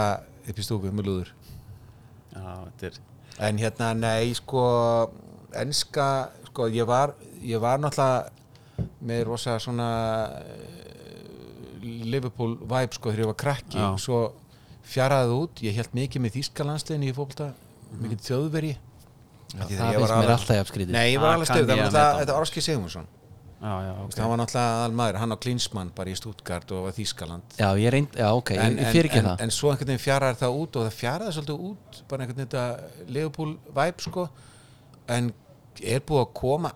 [SPEAKER 3] upp í stúku með lúður
[SPEAKER 1] Já, þetta er
[SPEAKER 3] en hérna nei sko enska sko ég var ég var náttúrulega með rosa svona eh, Liverpool vibe sko þegar ég var krakki
[SPEAKER 1] Já.
[SPEAKER 3] svo fjaraði út ég held mikið með Þýskalandsliðin í fólkta mikið þjóðveri
[SPEAKER 2] það finnst mér alltaf jafnskrítið
[SPEAKER 3] Nei, ég var
[SPEAKER 1] Ah,
[SPEAKER 3] alveg
[SPEAKER 1] kann
[SPEAKER 3] stöð, það
[SPEAKER 1] ég að
[SPEAKER 3] var náttúrulega
[SPEAKER 1] meta.
[SPEAKER 3] þetta var Orski Sigmundsson
[SPEAKER 1] Já, já, ok
[SPEAKER 3] Það var náttúrulega aðal maður, hann á Klinsmann bara í Stuttgart og var Þýskaland
[SPEAKER 2] já, ég reynd, já, ok, ég- ég fyrir ekki
[SPEAKER 3] en,
[SPEAKER 2] það
[SPEAKER 3] en svo einhvern veginn fjaraði það út og það fjaraði svolítið út, bara einhvern veginn þetta Leopold væp sko en er búið að koma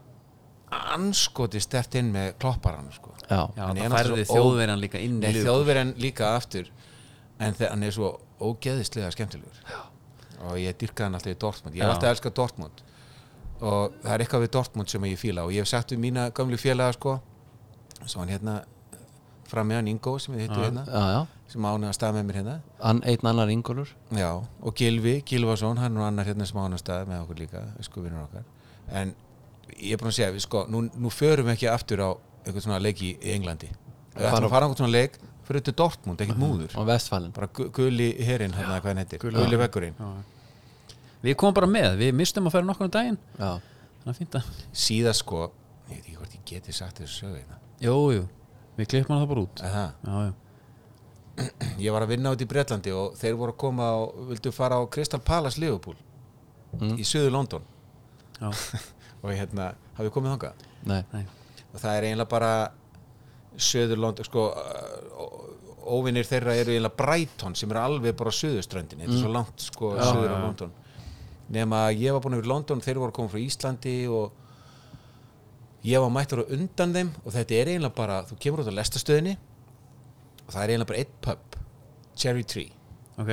[SPEAKER 3] anskoti stert inn með klopparann sko
[SPEAKER 2] já,
[SPEAKER 1] Já,
[SPEAKER 3] en ég er
[SPEAKER 1] það færði
[SPEAKER 3] náttúrulega ó-
[SPEAKER 1] þjóðverjan líka inn í
[SPEAKER 3] Nei,
[SPEAKER 1] liðið.
[SPEAKER 3] þjóðverjan líka aftur en þe- hann er svo ógeðislega skemmtilegur og ég dyrkaði hann alltaf í Dortmund ég hef
[SPEAKER 1] Já.
[SPEAKER 3] alltaf elskað Dortmund og það er eitthvað við Dortmund sem ég fíla og ég hef sagt við mína gömlu félaga sko svo hann hérna fram með hann Ingo sem við hittum hérna
[SPEAKER 2] já, já
[SPEAKER 3] sem ánaði að stað með mér hérna
[SPEAKER 2] An, einn annar Ingólfur
[SPEAKER 3] Já, og Gilvi, Gilvason, hann og annar hérna sem ánast að með okkur líka, sko vinnur okkar en ég er búin að segja, við sko nú, nú förum við ekki aftur á einhvern svona leik í í Englandi ef við ætlum að fara á einhvern svona leik, fyrir til Dortmund, ekkert múður
[SPEAKER 2] og Vestfalen
[SPEAKER 3] bara gu- guli herinn, hann að hvað hann heitir guli veggurinn,
[SPEAKER 1] Við komum bara með, við mistum að færa nokkur um daginn
[SPEAKER 2] já,
[SPEAKER 1] Þannig að fínt að
[SPEAKER 3] síðast sko ég veit ekki hvort ég geti sagt þessu sögu hérna.
[SPEAKER 1] Jú, jú, við klippum hann það bara út
[SPEAKER 3] Að það,
[SPEAKER 1] Já, já,
[SPEAKER 3] ég var að vinna út í Bretlandi og þeir voru að koma og vildu fara á Crystal Palace Liverpool
[SPEAKER 2] Mm.
[SPEAKER 3] í söðu London
[SPEAKER 1] já,
[SPEAKER 3] og hérna, hafið komið þangað
[SPEAKER 2] nei,
[SPEAKER 1] nei
[SPEAKER 3] og það er eiginlega bara söður London sko, uh, ó- óvinir þeirra eru eiginlega Brighton sem er alveg bara söðuströndin þetta er svo langt sko
[SPEAKER 1] Mm. Já,
[SPEAKER 3] söður
[SPEAKER 1] já,
[SPEAKER 3] á
[SPEAKER 1] já.
[SPEAKER 3] London nema að ég var búin yfir London þeir voru komið frá Íslandi og ég var mættur á undan þeim og þetta er eiginlega bara, þú kemur út á lestastöðinni og það er eiginlega bara eitt pub Cherry Tree
[SPEAKER 1] Ok,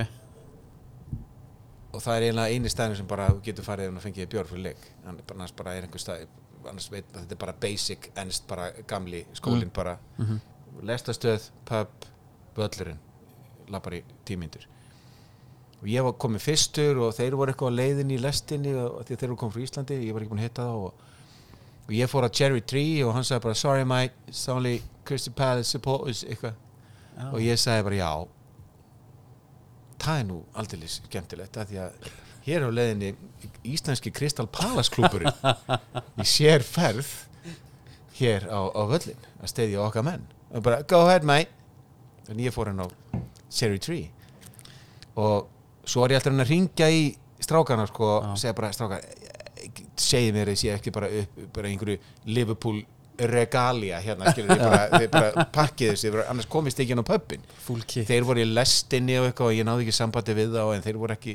[SPEAKER 3] og það er eiginlega eini staðin sem bara þú getur farið ef að fengið björn fyrir leik En annars bara er einhver stað annars veit maður þetta er bara basic ennst bara gamli skólinn bara lestastöð, pub, völlurinn lappar í tímyndur og ég var komið fyrstur og þeir voru eitthvað á leiðinni í lestinni og og því að þeir voru komið frá Íslandi ég var ekki búin að hitta þá og, og ég fór að Cherry Tree og hann sagði bara sorry mate, it's only Crystal Palace supporters eitthvað
[SPEAKER 1] Já.
[SPEAKER 3] og ég sagði bara já það er nú aldrei skemmtilegt að því að hér á leiðinni íslenski Kristal Palace klúburinn í sér ferð hér á, á völlin að steyðja okkar menn og bara go ahead mate en ég fór hann á Cherry Tree og svo er ég alltaf að ringja í strákana sko og segja bara strákar segi mér þessi ekki bara upp bara einhverju Liverpool regalia hérna skilur þið bara, þið bara pakkið þessu þið bara- annars komist þið ekki inn á pöppin
[SPEAKER 1] full kick
[SPEAKER 3] þeir voru í lestinni og eitthvað og ég náði ekki sambandi við þá en þeir voru ekki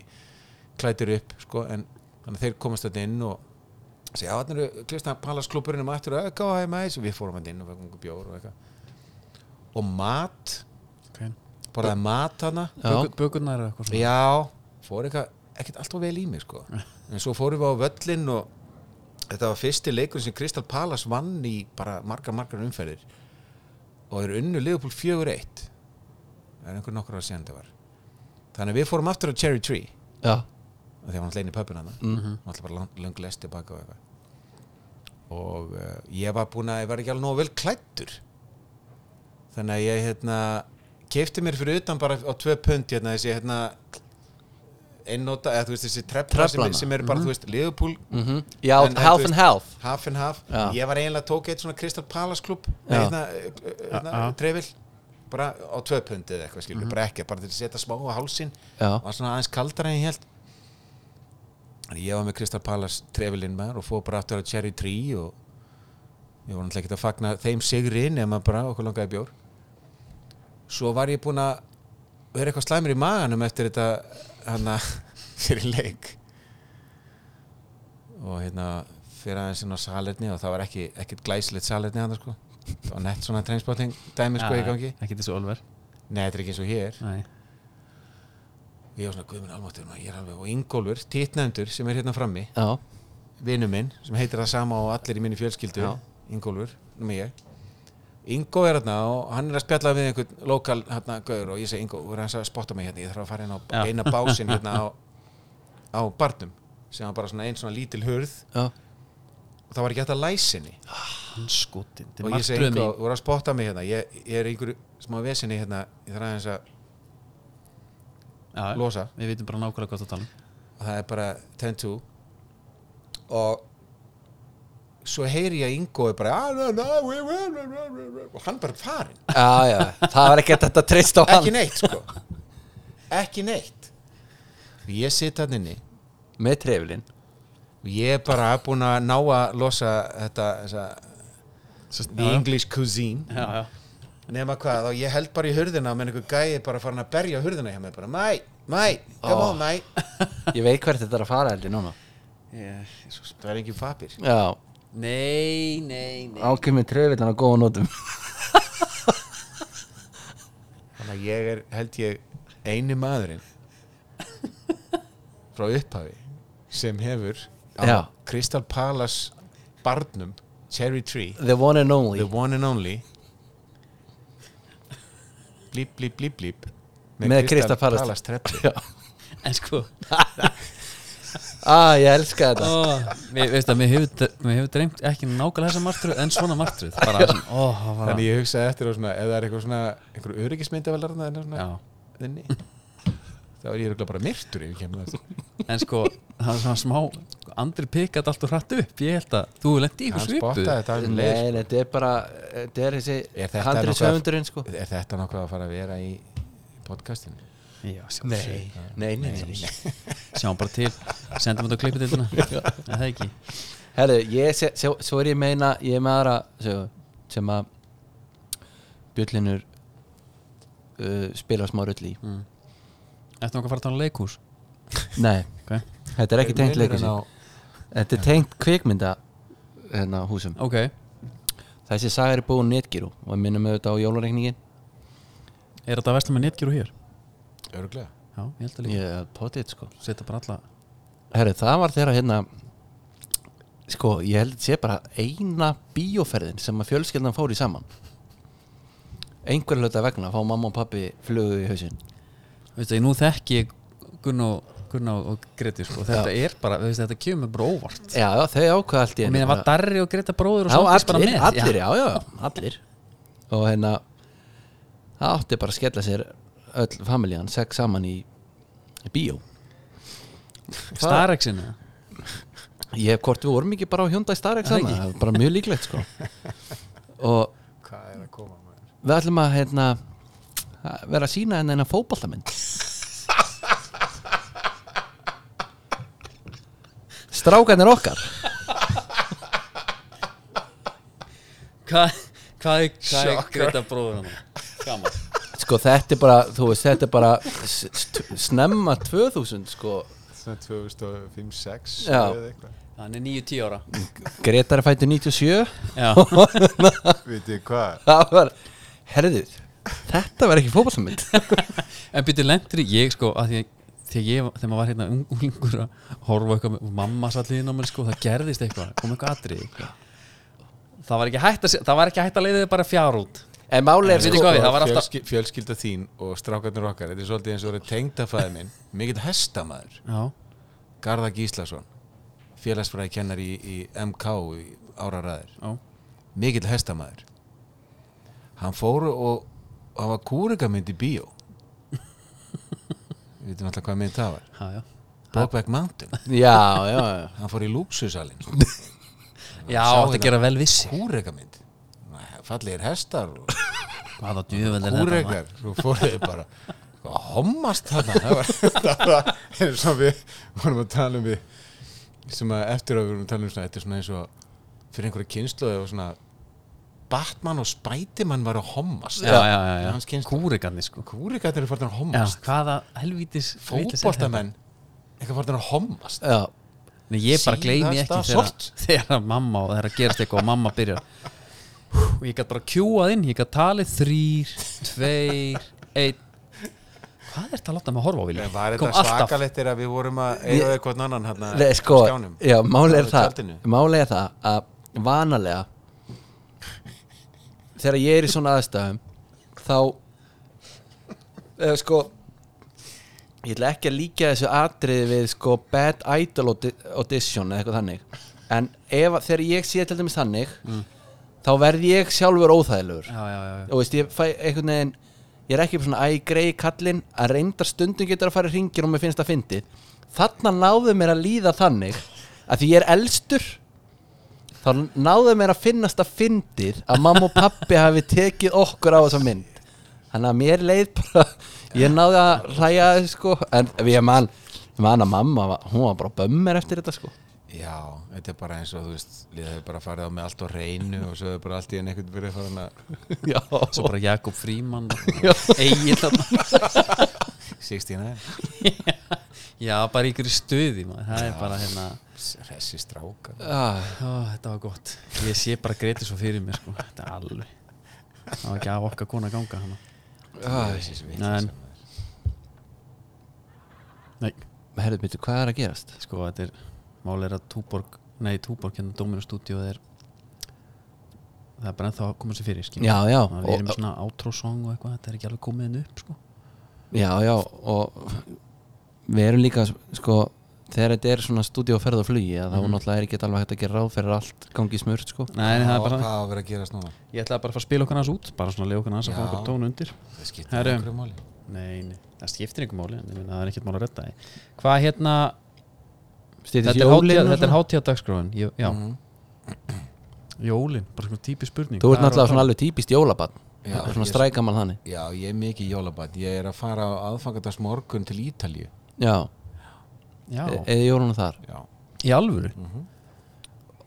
[SPEAKER 3] klætir upp sko, en þannig að þeir komast þetta inn og segja að þannig eru Kristján Pallas klubburinn um aftur að gáða heima þessu við fórum þetta inn og fengum okkur bjór og eitthvað og mat,
[SPEAKER 1] okay.
[SPEAKER 3] borðaði mat hana
[SPEAKER 2] já,
[SPEAKER 1] Bökurnar eða eitthvað svona
[SPEAKER 3] já, fór eitthvað ekkert alltaf vel í mig sko en svo fórum við á völlinn og þetta var fyrsti leikur sem Kristján Pallas vann í bara margar margar umferðir og þeir unnu Liverpool 4-1 það er einhver nokkur ára síðan þetta var þannig að við fórum aftur á Cherry Tree
[SPEAKER 2] já,
[SPEAKER 3] og þegar hann lein í pöpun hann mm -hmm. alltaf bara lang, lang lesti baka og eitthvað og uh, ég var búinn að ég var ekki alveg nógu vel klættur þannig að ég hérna kefti mér fyrir utan bara á tvö pund hérna þessi hérna einnóta, eða þú veist þessi trefla sem,
[SPEAKER 2] Treflana. Mhm.
[SPEAKER 3] sem eru bara, þú veist, Liverpool
[SPEAKER 2] -hmm. Já,
[SPEAKER 3] En- en þú
[SPEAKER 2] half
[SPEAKER 3] veist-
[SPEAKER 2] and half
[SPEAKER 3] half and half,
[SPEAKER 2] Já.
[SPEAKER 3] ég var eiginlega tók eitt svona Crystal Palace hérna, eh, klubb
[SPEAKER 2] Já.
[SPEAKER 1] Já,
[SPEAKER 2] Mhm.
[SPEAKER 1] já.
[SPEAKER 3] trefil bara á tvö pundi eða eitthvað skilur, bara ekki bara til að setja smá á hálsin
[SPEAKER 2] Já,
[SPEAKER 3] var svona aðeins kaldara en ég held en ég var með Crystal Palace trefilinn maður og fóð bara aftur á Cherry Tree og ég var náttúrulega ekki að fagna þeim sigri nema bara okkur langaði í bjór svo var ég búinn að vera eitthvað slæmur í maganum eftir þetta hann að fyrir leik og hérna fyrir aðeins inn á salerni og það var ekki, ekkert glæsilegt salerni hann sko það var nett svona treinspotting dæmi sko í gangi
[SPEAKER 1] ekki þessu Olver
[SPEAKER 3] nei, þetta er ekki eins og hér
[SPEAKER 1] Nei.
[SPEAKER 3] ég var svona guðminn almáttur maður, ég er alveg og Ingólfur, títnefndur sem er hérna frammi
[SPEAKER 2] já,
[SPEAKER 3] vinnu minn sem heitir það sama og allir í minni fjölskyldu
[SPEAKER 2] Já.
[SPEAKER 3] Ingólfur, nema ég Ingó er hérna og hann er að spjalla við einhvern lokal hérna gauður og ég segi Ingó, verður hans að spotta mig hérna, ég þarf að fara inn á
[SPEAKER 1] Já.
[SPEAKER 3] eina básinn hérna á, á barnum sem var bara svona einn svona lítil hurð
[SPEAKER 2] já,
[SPEAKER 3] og það var ekki hægt að læsa henni
[SPEAKER 1] hann skotin
[SPEAKER 3] og ég segi Ingó, þú verður að spotta mig hérna ég, ég er í einhverju smá vesinni hérna ég þarf aðeins að
[SPEAKER 1] já,
[SPEAKER 3] losa
[SPEAKER 1] við veitum bara nákvæmlega hvað það tala um.
[SPEAKER 3] og það er bara 10-2 og svo heyri ég að Ingo er bara "Ah, na, na, we, we, we, we, we, we." og hann bara farinn
[SPEAKER 2] já, já Það var ekki þetta trist á
[SPEAKER 3] ekki
[SPEAKER 2] hann
[SPEAKER 3] neitt sko ekki neitt ég sit hann inni
[SPEAKER 2] Með trefilinn
[SPEAKER 3] og ég er bara búin að ná að losa þetta þessa, the English cuisine
[SPEAKER 1] já, já,
[SPEAKER 3] nema hvað, og ég held bara í hurðina menn einhver gæi bara farin að berja hurðina hjá mig bara mæ, mæ, come
[SPEAKER 2] Oh.
[SPEAKER 3] on mæ
[SPEAKER 2] Ég veit hvert þetta er að fara heldur núna
[SPEAKER 3] það er engin papir
[SPEAKER 2] Já,
[SPEAKER 1] nei, nei, nei
[SPEAKER 2] ákveð með trefilinn á góða nótum
[SPEAKER 3] Þannig að ég er, held ég, eini maðurinn frá upphafi sem hefur á
[SPEAKER 2] Já.
[SPEAKER 3] Crystal Palace barnum, Cherry Tree
[SPEAKER 2] The one and
[SPEAKER 3] The
[SPEAKER 2] only
[SPEAKER 3] One and Only blíp, blíp, blíp, blíp
[SPEAKER 2] Með Crystal Palace.
[SPEAKER 3] Palace trefli
[SPEAKER 2] Já.
[SPEAKER 1] en sko
[SPEAKER 2] Ah, ég elska þetta
[SPEAKER 1] ó, mér, veist að, mér hefur, mér hefur dreymt ekki nákvæmlega þessa martröð en svona martröð bara, sem, ó, það var
[SPEAKER 3] Þannig ég hugsaði eftir á svona, ef það er eitthvað svona einhverju öryggismyndavelar þarna
[SPEAKER 1] já
[SPEAKER 3] þinni þá er ég örugglega bara myrtur ef ég kemur það
[SPEAKER 1] en sko, það er svona smá andri pikkat allt og hrætt upp, ég held að þú lendi í ykkur
[SPEAKER 3] Hann
[SPEAKER 1] svipu
[SPEAKER 3] spottaði þetta alveg leið
[SPEAKER 2] Nei, nei, þetta er bara Þetta er þessi
[SPEAKER 3] Er þetta
[SPEAKER 2] handrið
[SPEAKER 3] nokkuð að-
[SPEAKER 2] sögundurinn sko
[SPEAKER 3] Er þetta nokkuð að fara að vera í podcastinu?
[SPEAKER 1] já, sjálfsög
[SPEAKER 2] nei, nei, nei, nei.
[SPEAKER 1] sjáum bara til, sendum þetta á klipputildina en það ekki
[SPEAKER 2] Herðu, ég, se- sjá- svo er ég meina ég er með aðra sögu, sem að bjöllinur uh, spila smá rull í
[SPEAKER 1] Eftir okkar Mm. að fara að tala leikús
[SPEAKER 2] Nei,
[SPEAKER 1] Ok,
[SPEAKER 2] þetta er ekki tengt leikur
[SPEAKER 3] Munurinn á-
[SPEAKER 2] Þetta er tengt kvikmynda hérna, húsum
[SPEAKER 1] okay.
[SPEAKER 2] Þessi saga er búin netgiru og við minnum auðvitað á jólareikningin
[SPEAKER 1] er þetta að versla með netgjöru hér?
[SPEAKER 3] Örglega
[SPEAKER 1] Já, ég held að líka
[SPEAKER 2] Ég er potið sko
[SPEAKER 1] Setja bara alla
[SPEAKER 2] Herru, það var þegar hérna sko, ég held að sé bara eina bíóferðin sem að fjölskeldan fór í saman einhver hluta vegna fá mamma og pappi flugu í hausinn
[SPEAKER 1] Veistu, ég nú þekki ég Gunn og, Gunn og, og Greti sko. Þetta er bara, veistu, þetta kemur bara óvart
[SPEAKER 2] Já, já, þau ákvað allt í
[SPEAKER 1] Og mér var
[SPEAKER 2] bara-
[SPEAKER 1] Darri og Greta bróður og
[SPEAKER 2] Já,
[SPEAKER 1] Svandís bara
[SPEAKER 2] allir,
[SPEAKER 1] með
[SPEAKER 2] allir,
[SPEAKER 1] já.
[SPEAKER 2] já, já, allir og hérna það átti bara að skella sér öll familjan, sex saman í, í bíó
[SPEAKER 1] Starexin eða?
[SPEAKER 2] Ég hef hvort við vorum ekki bara á Hyundai Starex
[SPEAKER 1] Það
[SPEAKER 2] hana, það er bara mjög líklegt sko og
[SPEAKER 3] Hvað er að koma maður?
[SPEAKER 2] við ætlum að hérna, að vera að sína henni hennar fótballtamind strákanir okkar
[SPEAKER 1] Hva- Hvað er- hvað er
[SPEAKER 3] Shocker.
[SPEAKER 1] Greta bróður hann? Gaman
[SPEAKER 2] sko þetta er bara, þú veist, þetta er bara s- st- snemma 2000 sko,
[SPEAKER 3] Svona 2005, 6
[SPEAKER 2] Já.
[SPEAKER 3] eitthvað
[SPEAKER 1] Hann er 9-10 ára
[SPEAKER 2] Gretar er fættu 97
[SPEAKER 1] Já,
[SPEAKER 3] Vitið þið hvað?
[SPEAKER 2] það var, herðið þetta var ekki fótballtamind
[SPEAKER 1] en byrju lendur ég sko að því að þegar, ég, þegar maður var hérna ung- unglingur að horfa á eitthvað með og mamma satt liðin á mér sko það gerðist eitthvað, kom eitthvað sko. atrið það var ekki hægt að, se- það var ekki hægt að leiða þið bara fjár út
[SPEAKER 2] en máli er
[SPEAKER 1] Veitu
[SPEAKER 2] sko,
[SPEAKER 1] hvað? Það var alltaf-
[SPEAKER 3] Fjölsky, Fjölskylda þín og strákarnir okkar Þetta er svolítið eins og voru tengdafæði minn Mikill hestamaður
[SPEAKER 1] já,
[SPEAKER 3] Garða Gíslason Félagsfræði kennar í, í MK í áraræðir
[SPEAKER 1] já,
[SPEAKER 3] Mikill hestamaður Hann fóru og og hann var kúrikamind í bíó Við veitum alltaf hvað mynd það var
[SPEAKER 1] já, já
[SPEAKER 3] Brokeback Mountain
[SPEAKER 2] Já, já, já
[SPEAKER 3] hann fór í lúksusalinn
[SPEAKER 1] Já,
[SPEAKER 3] Sá
[SPEAKER 1] þetta
[SPEAKER 3] þetta.
[SPEAKER 1] gera vel vissi
[SPEAKER 3] húreka mynd fallegir hestar og
[SPEAKER 1] Hvað á djöfell er þetta maður?
[SPEAKER 3] húrekar svo fóruðu þau bara að hommast þarna það var, það var eins og við vorum að tala um við sem að eftir að við vorum að tala um svona, þetta er svona eins og fyrir einhverja kynslu og svona Batman og Spiderman var að hommast
[SPEAKER 1] Já, já, já,
[SPEAKER 3] Hans
[SPEAKER 1] já.
[SPEAKER 3] kynslu
[SPEAKER 1] Kúrikarnir sko
[SPEAKER 3] Kúrikarnir er farin að
[SPEAKER 1] Já,
[SPEAKER 3] hommast
[SPEAKER 1] hvaða helvítis vitleysa er þetta?
[SPEAKER 3] fótboltamenn eitthvað farin að hommast
[SPEAKER 2] Já,
[SPEAKER 1] Nei, ég bara
[SPEAKER 3] Síðasta
[SPEAKER 1] gleymi ekki þegar,
[SPEAKER 3] sort.
[SPEAKER 1] þegar mamma og þegar að gerast eitthvað og mamma byrjar og ég gæti bara kjúað inn ég gæti talið þrýr, tveir einn hvað er þetta að láta mig að horfa á vilja?
[SPEAKER 3] Var þetta svakalegt þegar við vorum að eiga eitthvað annan hann að
[SPEAKER 2] Nei, sko,
[SPEAKER 3] skjánum
[SPEAKER 2] já, máli er
[SPEAKER 3] Á
[SPEAKER 2] það
[SPEAKER 3] tjaldinu.
[SPEAKER 2] Máli er það að vanalega Þegar ég er í svona aðstæðum Þá eða, Sko Ég ætla ekki að líka þessu atriði við sko Bad Idol audi- Audition eða eitthvað þannig En ef, að- þegar ég sé til dæmis þannig
[SPEAKER 3] Mm.
[SPEAKER 2] Þá verð ég sjálfur óþægilegur
[SPEAKER 1] já, já, já, já.
[SPEAKER 2] og veist, ég fæ einhvern veginn ég er ekki svona æ grei kallinn að reyndar stundum getur að fara í ringin og mér finnst það fyndi þarna náðu mér að líða þannig að því ég er elstur þá náðu mér að finnast að fyndið að mamma og pappi hafi tekið okkur á þessa mynd þannig að mér leið bara ég náði að hlæja að þessu sko en ég man, ég man að mamma var- hún var bara bömmir eftir þetta sko
[SPEAKER 3] Já, þetta er bara eins og þú veist liðið hefur bara farið á með allt á reynu og svo hefur bara allt í enn ekkert verið farin að
[SPEAKER 2] já,
[SPEAKER 1] svo bara Jakob Fríman eigin þarna
[SPEAKER 3] 69
[SPEAKER 1] já, bara í ykkur stuði maður. það er bara hérna
[SPEAKER 3] Ressi stráka
[SPEAKER 2] ah,
[SPEAKER 1] ó, þetta var gott ég sé bara greiti svo fyrir mér sko. þetta er alveg það var ekki af okkar kona að ganga hana
[SPEAKER 3] Nei
[SPEAKER 1] Nei. nei,
[SPEAKER 2] herðu byrju, hvað er að gerast?
[SPEAKER 1] sko þetta er mál er að Túborg, nei Túborg hérna Dominus Studio er það er bara ennþá að koma sér fyrir skilur.
[SPEAKER 2] já, já,
[SPEAKER 1] Þannig að við
[SPEAKER 2] og,
[SPEAKER 1] erum með svona outro song og eitthvað þetta er ekki alveg komið henni upp sko.
[SPEAKER 2] Já, já, og við erum líka, sko þegar þetta er svona stúdíu og ferð og flugi að
[SPEAKER 3] Mhm.
[SPEAKER 2] þá náttúrulega er ekki alveg hægt að gera ráð fyrir að allt gangi smurt, sko
[SPEAKER 1] nei, nei, það er
[SPEAKER 3] Hvað
[SPEAKER 1] bara,
[SPEAKER 3] hvað á að vera að gerast núna?
[SPEAKER 1] ég ætlaði bara að fara að spila okkur aðeins út bara svona að lega okkur aðeins að fá
[SPEAKER 3] Já.
[SPEAKER 1] okkur tón undir
[SPEAKER 3] Það
[SPEAKER 1] Herru.
[SPEAKER 3] skiptir einhverju máli
[SPEAKER 1] nei, nei, það skiptir einhver máli en ég meina það er ekkert mál að redda því. hvað hérna,
[SPEAKER 2] Stýtist
[SPEAKER 1] þetta er,
[SPEAKER 2] jólin
[SPEAKER 1] hátíða,
[SPEAKER 2] og
[SPEAKER 1] þetta er
[SPEAKER 2] svona.
[SPEAKER 1] hátíða dagskráin já,
[SPEAKER 3] Mhm.
[SPEAKER 1] jólin, bara svona típisk spurning
[SPEAKER 2] Þú
[SPEAKER 1] Hvað
[SPEAKER 2] ert
[SPEAKER 1] er
[SPEAKER 2] náttúrulega
[SPEAKER 1] að-
[SPEAKER 2] svona alveg típist jólabann
[SPEAKER 3] Já,
[SPEAKER 2] Svona
[SPEAKER 3] ég-
[SPEAKER 2] strækamann þannig
[SPEAKER 3] Já, ég er mikið jólabat Ég er að fara á aðfangardags morgun til Ítalju
[SPEAKER 2] Já,
[SPEAKER 1] já,
[SPEAKER 2] e- eða jólunum þar
[SPEAKER 3] Já, Mhm.
[SPEAKER 1] í alvöru mm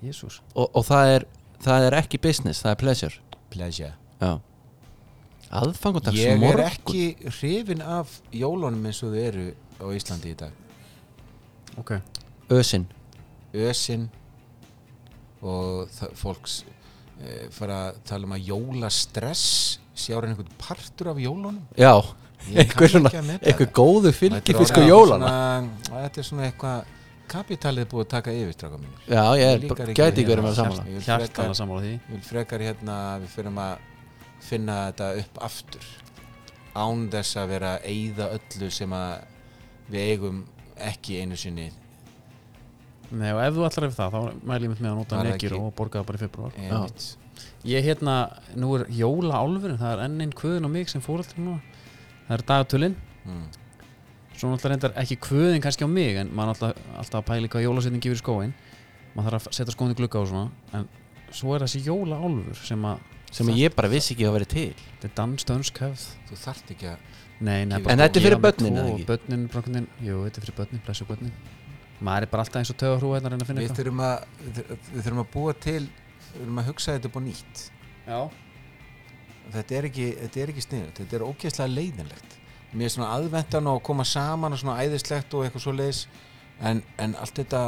[SPEAKER 1] jésús
[SPEAKER 2] og, og það, er, það er ekki business, það er pleasure
[SPEAKER 3] pleasure
[SPEAKER 2] Já Aðfangundags
[SPEAKER 3] Ég
[SPEAKER 2] morgun
[SPEAKER 3] er ekki hrifin af jólunum eins og þau eru á Íslandi í dag
[SPEAKER 1] ok,
[SPEAKER 2] Ösin
[SPEAKER 3] ösin og það- fólks e, fara að tala um að jólastress sjáur einhvern partur af jólunum
[SPEAKER 2] Já,
[SPEAKER 3] Ég kann
[SPEAKER 2] einhver svona,
[SPEAKER 3] ekki að meta
[SPEAKER 2] einhver
[SPEAKER 3] það.
[SPEAKER 2] góðu sko
[SPEAKER 3] Þetta
[SPEAKER 2] fylgifisk
[SPEAKER 3] er
[SPEAKER 2] og
[SPEAKER 3] orðið
[SPEAKER 2] jólana
[SPEAKER 3] svona, þetta er svona eitthvað kapitalið er búið að taka yfir stráka mínir
[SPEAKER 2] Já, ég
[SPEAKER 3] Ég
[SPEAKER 2] er,
[SPEAKER 3] líkar ekki
[SPEAKER 2] gæti
[SPEAKER 3] við
[SPEAKER 2] ykkur með
[SPEAKER 3] hérna.
[SPEAKER 2] samanlega
[SPEAKER 3] Ég vil frekar-
[SPEAKER 1] hjartan að samála því
[SPEAKER 3] við frekar hérna við fyrir að finna þetta upp aftur án þess að vera að eyða öllu sem að við eigum ekki einu sinni
[SPEAKER 1] Nei, og ef þú ætlar ef það, þá mæli ég mitt með að nota
[SPEAKER 3] Var það
[SPEAKER 1] nekir
[SPEAKER 3] ekki-
[SPEAKER 1] og borga það bara í februar
[SPEAKER 3] einmitt.
[SPEAKER 1] Ég hérna, nú er jóla álfurinn, það er enn einn kvöðin á mig sem fóröldri núna Það er dagatölin,
[SPEAKER 3] mm.
[SPEAKER 1] svo náttúrulega reyndar ekki kvöðin kannski á mig En maður er alltaf, alltaf að pæli hvað jólasetning gefur í skóin Maður þarf að setja skóin í glugga og svona En svo er þessi jóla álfur sem að,
[SPEAKER 2] sem ég bara vissi ekki að vera til
[SPEAKER 1] þetta er danstönsk hefð
[SPEAKER 3] þú þarft ekki að
[SPEAKER 1] Nei, nei,
[SPEAKER 3] En
[SPEAKER 1] bara-
[SPEAKER 2] þetta er
[SPEAKER 1] ég
[SPEAKER 2] fyrir
[SPEAKER 1] var með
[SPEAKER 2] börnin,
[SPEAKER 1] tvo
[SPEAKER 2] eða
[SPEAKER 1] og
[SPEAKER 2] ekki?
[SPEAKER 1] Börnin, brókunin, jú, þetta er fyrir börnin, blessu börnin Maður er bara alltaf eins og töða hrúa hérna að reyna að finna
[SPEAKER 3] við
[SPEAKER 1] eitthvað
[SPEAKER 3] þurfum að, við þurfum að búa til við þurfum að hugsa þetta upp á nýtt
[SPEAKER 1] Já,
[SPEAKER 3] þetta er ekki, þetta er ekki sniðut þetta er ógeðslega leiðinlegt mér er svona aðvendan og koma saman og svona æðislegt og eitthvað svo leiðis en, en allt þetta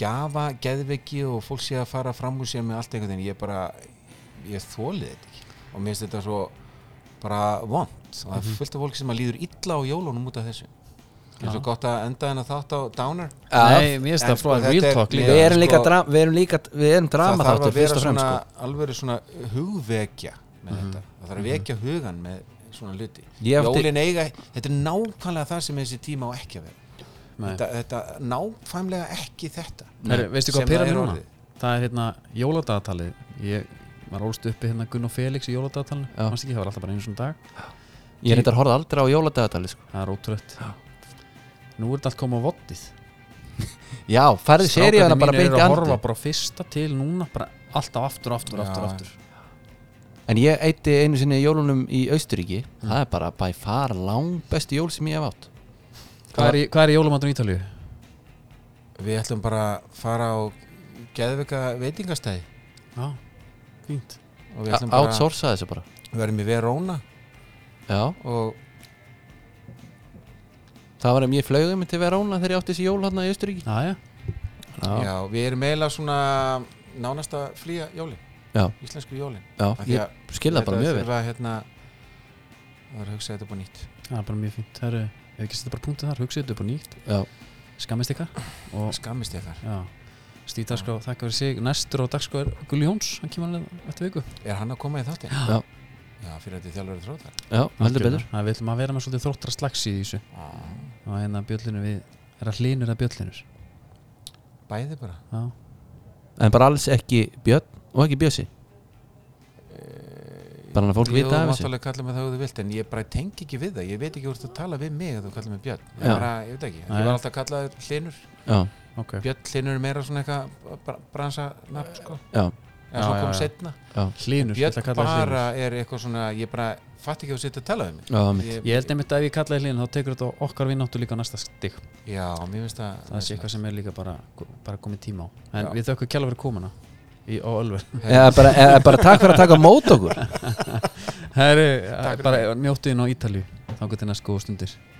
[SPEAKER 3] gjafa, geðveiki og fólk sé að fara fram úr sér með allt einhvern veginn ég bara, ég þólið þetta ekki og mér finnst þetta svo bara vond og það
[SPEAKER 2] Mhm.
[SPEAKER 3] er fullt af fólki sem að líður illa á jólunum út af þessu það er svo gott að enda hennar þátt á Downer
[SPEAKER 1] Nei, mér finnst
[SPEAKER 3] En
[SPEAKER 1] það
[SPEAKER 3] sko,
[SPEAKER 1] frá en
[SPEAKER 3] þetta
[SPEAKER 1] real
[SPEAKER 3] er-
[SPEAKER 1] talk
[SPEAKER 2] við
[SPEAKER 1] líka
[SPEAKER 3] Já,
[SPEAKER 2] erum líka
[SPEAKER 3] sko-
[SPEAKER 2] dra, við erum líka við erum drama
[SPEAKER 3] það þarf
[SPEAKER 2] þáttur
[SPEAKER 3] að vera
[SPEAKER 2] fyrst og fremst
[SPEAKER 3] svona
[SPEAKER 2] sko. Mhm.
[SPEAKER 3] alveg svona hugvekja með þetta, það þarf að vekja hugan með svona hluti
[SPEAKER 2] Ég átti-
[SPEAKER 3] jólin eiga, þetta er nákvæmlega það sem þessi tíma á ekki að vera
[SPEAKER 1] Nei.
[SPEAKER 3] þetta, þetta nákvæmlega ekki þetta
[SPEAKER 1] Herri, veistu
[SPEAKER 3] Sem
[SPEAKER 1] hvað pyrra
[SPEAKER 3] það
[SPEAKER 1] mér
[SPEAKER 3] er
[SPEAKER 1] núna?
[SPEAKER 3] orðið.
[SPEAKER 1] Það er hérna jóladagatalið Ég var ólst uppi hérna Gunn og Felix í jóladagatalinu
[SPEAKER 2] Já.
[SPEAKER 1] Manstu ekki, það var alltaf bara einu svona dag
[SPEAKER 2] ég reyndar að horfa aldrei á jóladagatali sko.
[SPEAKER 1] Það er ótrött nú er þetta allt komið á vottið
[SPEAKER 2] já, færði seríana bara beint í
[SPEAKER 1] að horfa
[SPEAKER 2] andi
[SPEAKER 1] bara á fyrsta til núna bara alltaf aftur, aftur,
[SPEAKER 3] Já.
[SPEAKER 1] aftur, aftur
[SPEAKER 2] en ég eitti einu sinni jólunum í Austuríki
[SPEAKER 3] Mm.
[SPEAKER 2] það er bara by far lang besti jól sem ég hef átt
[SPEAKER 1] Hvað er, í- hvað er í jólumatunum í Ítalíu?
[SPEAKER 3] Við ætlum bara að fara á geðveika veitingastæði
[SPEAKER 1] Já, fínt
[SPEAKER 3] og við ætlum bara
[SPEAKER 2] outsourca þessu bara
[SPEAKER 3] við verðum í Verona
[SPEAKER 2] já,
[SPEAKER 3] og
[SPEAKER 2] það var að ég flaugum til Verona þegar ég átti þessi jól hann í Austuríki
[SPEAKER 1] Já, já,
[SPEAKER 3] já.
[SPEAKER 2] já,
[SPEAKER 3] við erum eiginlega svona nánast að flýja jólin,
[SPEAKER 2] já,
[SPEAKER 3] íslensku jólin
[SPEAKER 2] já
[SPEAKER 3] Af því að
[SPEAKER 2] ég skilða bara mjög vel
[SPEAKER 3] Það hérna, það er að hugsa þetta búið nýtt
[SPEAKER 1] það er bara mjög fínt Það eru, ef ekki setja bara punktið þar, hugsið þetta upp á nýtt
[SPEAKER 2] já,
[SPEAKER 1] Skammist ykkar
[SPEAKER 3] Það
[SPEAKER 1] og
[SPEAKER 3] Skammist ég þar
[SPEAKER 1] já Stíð dagskrá, þakka fyrir sig Næstur á dagskrá er Gulli Jóns, hann kemur alveg eftir viku
[SPEAKER 3] Er hann að koma í þáttinn?
[SPEAKER 2] Já.
[SPEAKER 3] Já, fyrir þetta þjálfur þrótar
[SPEAKER 2] já, heldur betur
[SPEAKER 1] Það við ætlum að vera með svolítið þróttra slags í þessu
[SPEAKER 3] Ah,
[SPEAKER 1] og hérna bjöllinu við er að hlinur að bjöllinur
[SPEAKER 3] Bæði bara
[SPEAKER 1] Já,
[SPEAKER 2] en bara alls ekki Björn og ekki Bjössi bara hann að fólk
[SPEAKER 3] Jú,
[SPEAKER 2] vita af þessu
[SPEAKER 3] náttúrulega kalla mig það ef þú vilt en ég bara tengi ekki við það, ég veit ekki hvort þú tala við mig ef þú kalla mig Björn, ég,
[SPEAKER 2] Já.
[SPEAKER 3] bara, ég veit ekki
[SPEAKER 1] Nei.
[SPEAKER 3] ég var alltaf að kalla þér Hlinur
[SPEAKER 2] já,
[SPEAKER 1] ok
[SPEAKER 3] Björn Hlinur er meira svona eitthvað bra- bransa nafn sko,
[SPEAKER 2] já,
[SPEAKER 3] eða
[SPEAKER 1] Já,
[SPEAKER 3] svo
[SPEAKER 1] já,
[SPEAKER 3] kom
[SPEAKER 1] já.
[SPEAKER 3] setna
[SPEAKER 1] Hlinur, ég ætla að
[SPEAKER 3] Björn
[SPEAKER 1] kalla það
[SPEAKER 3] bara
[SPEAKER 1] hlinur
[SPEAKER 3] er eitthvað svona, ég bara fatt ekki að þú sitt að tala við mig
[SPEAKER 2] já, mitt
[SPEAKER 3] ég,
[SPEAKER 1] Ég held einmitt að ef ég kalla það hlinur þá tekur þetta okkar vinnáttu líka á næsta stig
[SPEAKER 3] Já, mér finnst það
[SPEAKER 1] Það sé eitthvað sem er líka bara, bara komið tíma á En
[SPEAKER 3] Já.
[SPEAKER 1] við þökkum kjalla fyrir komuna í, á Ölver
[SPEAKER 2] eða bara, eða bara takk fyrir að taka á mót okkur
[SPEAKER 1] Herru,
[SPEAKER 3] Takk fyrir
[SPEAKER 1] bara njóttu inn á Ítalju Þá getur næst góða stundir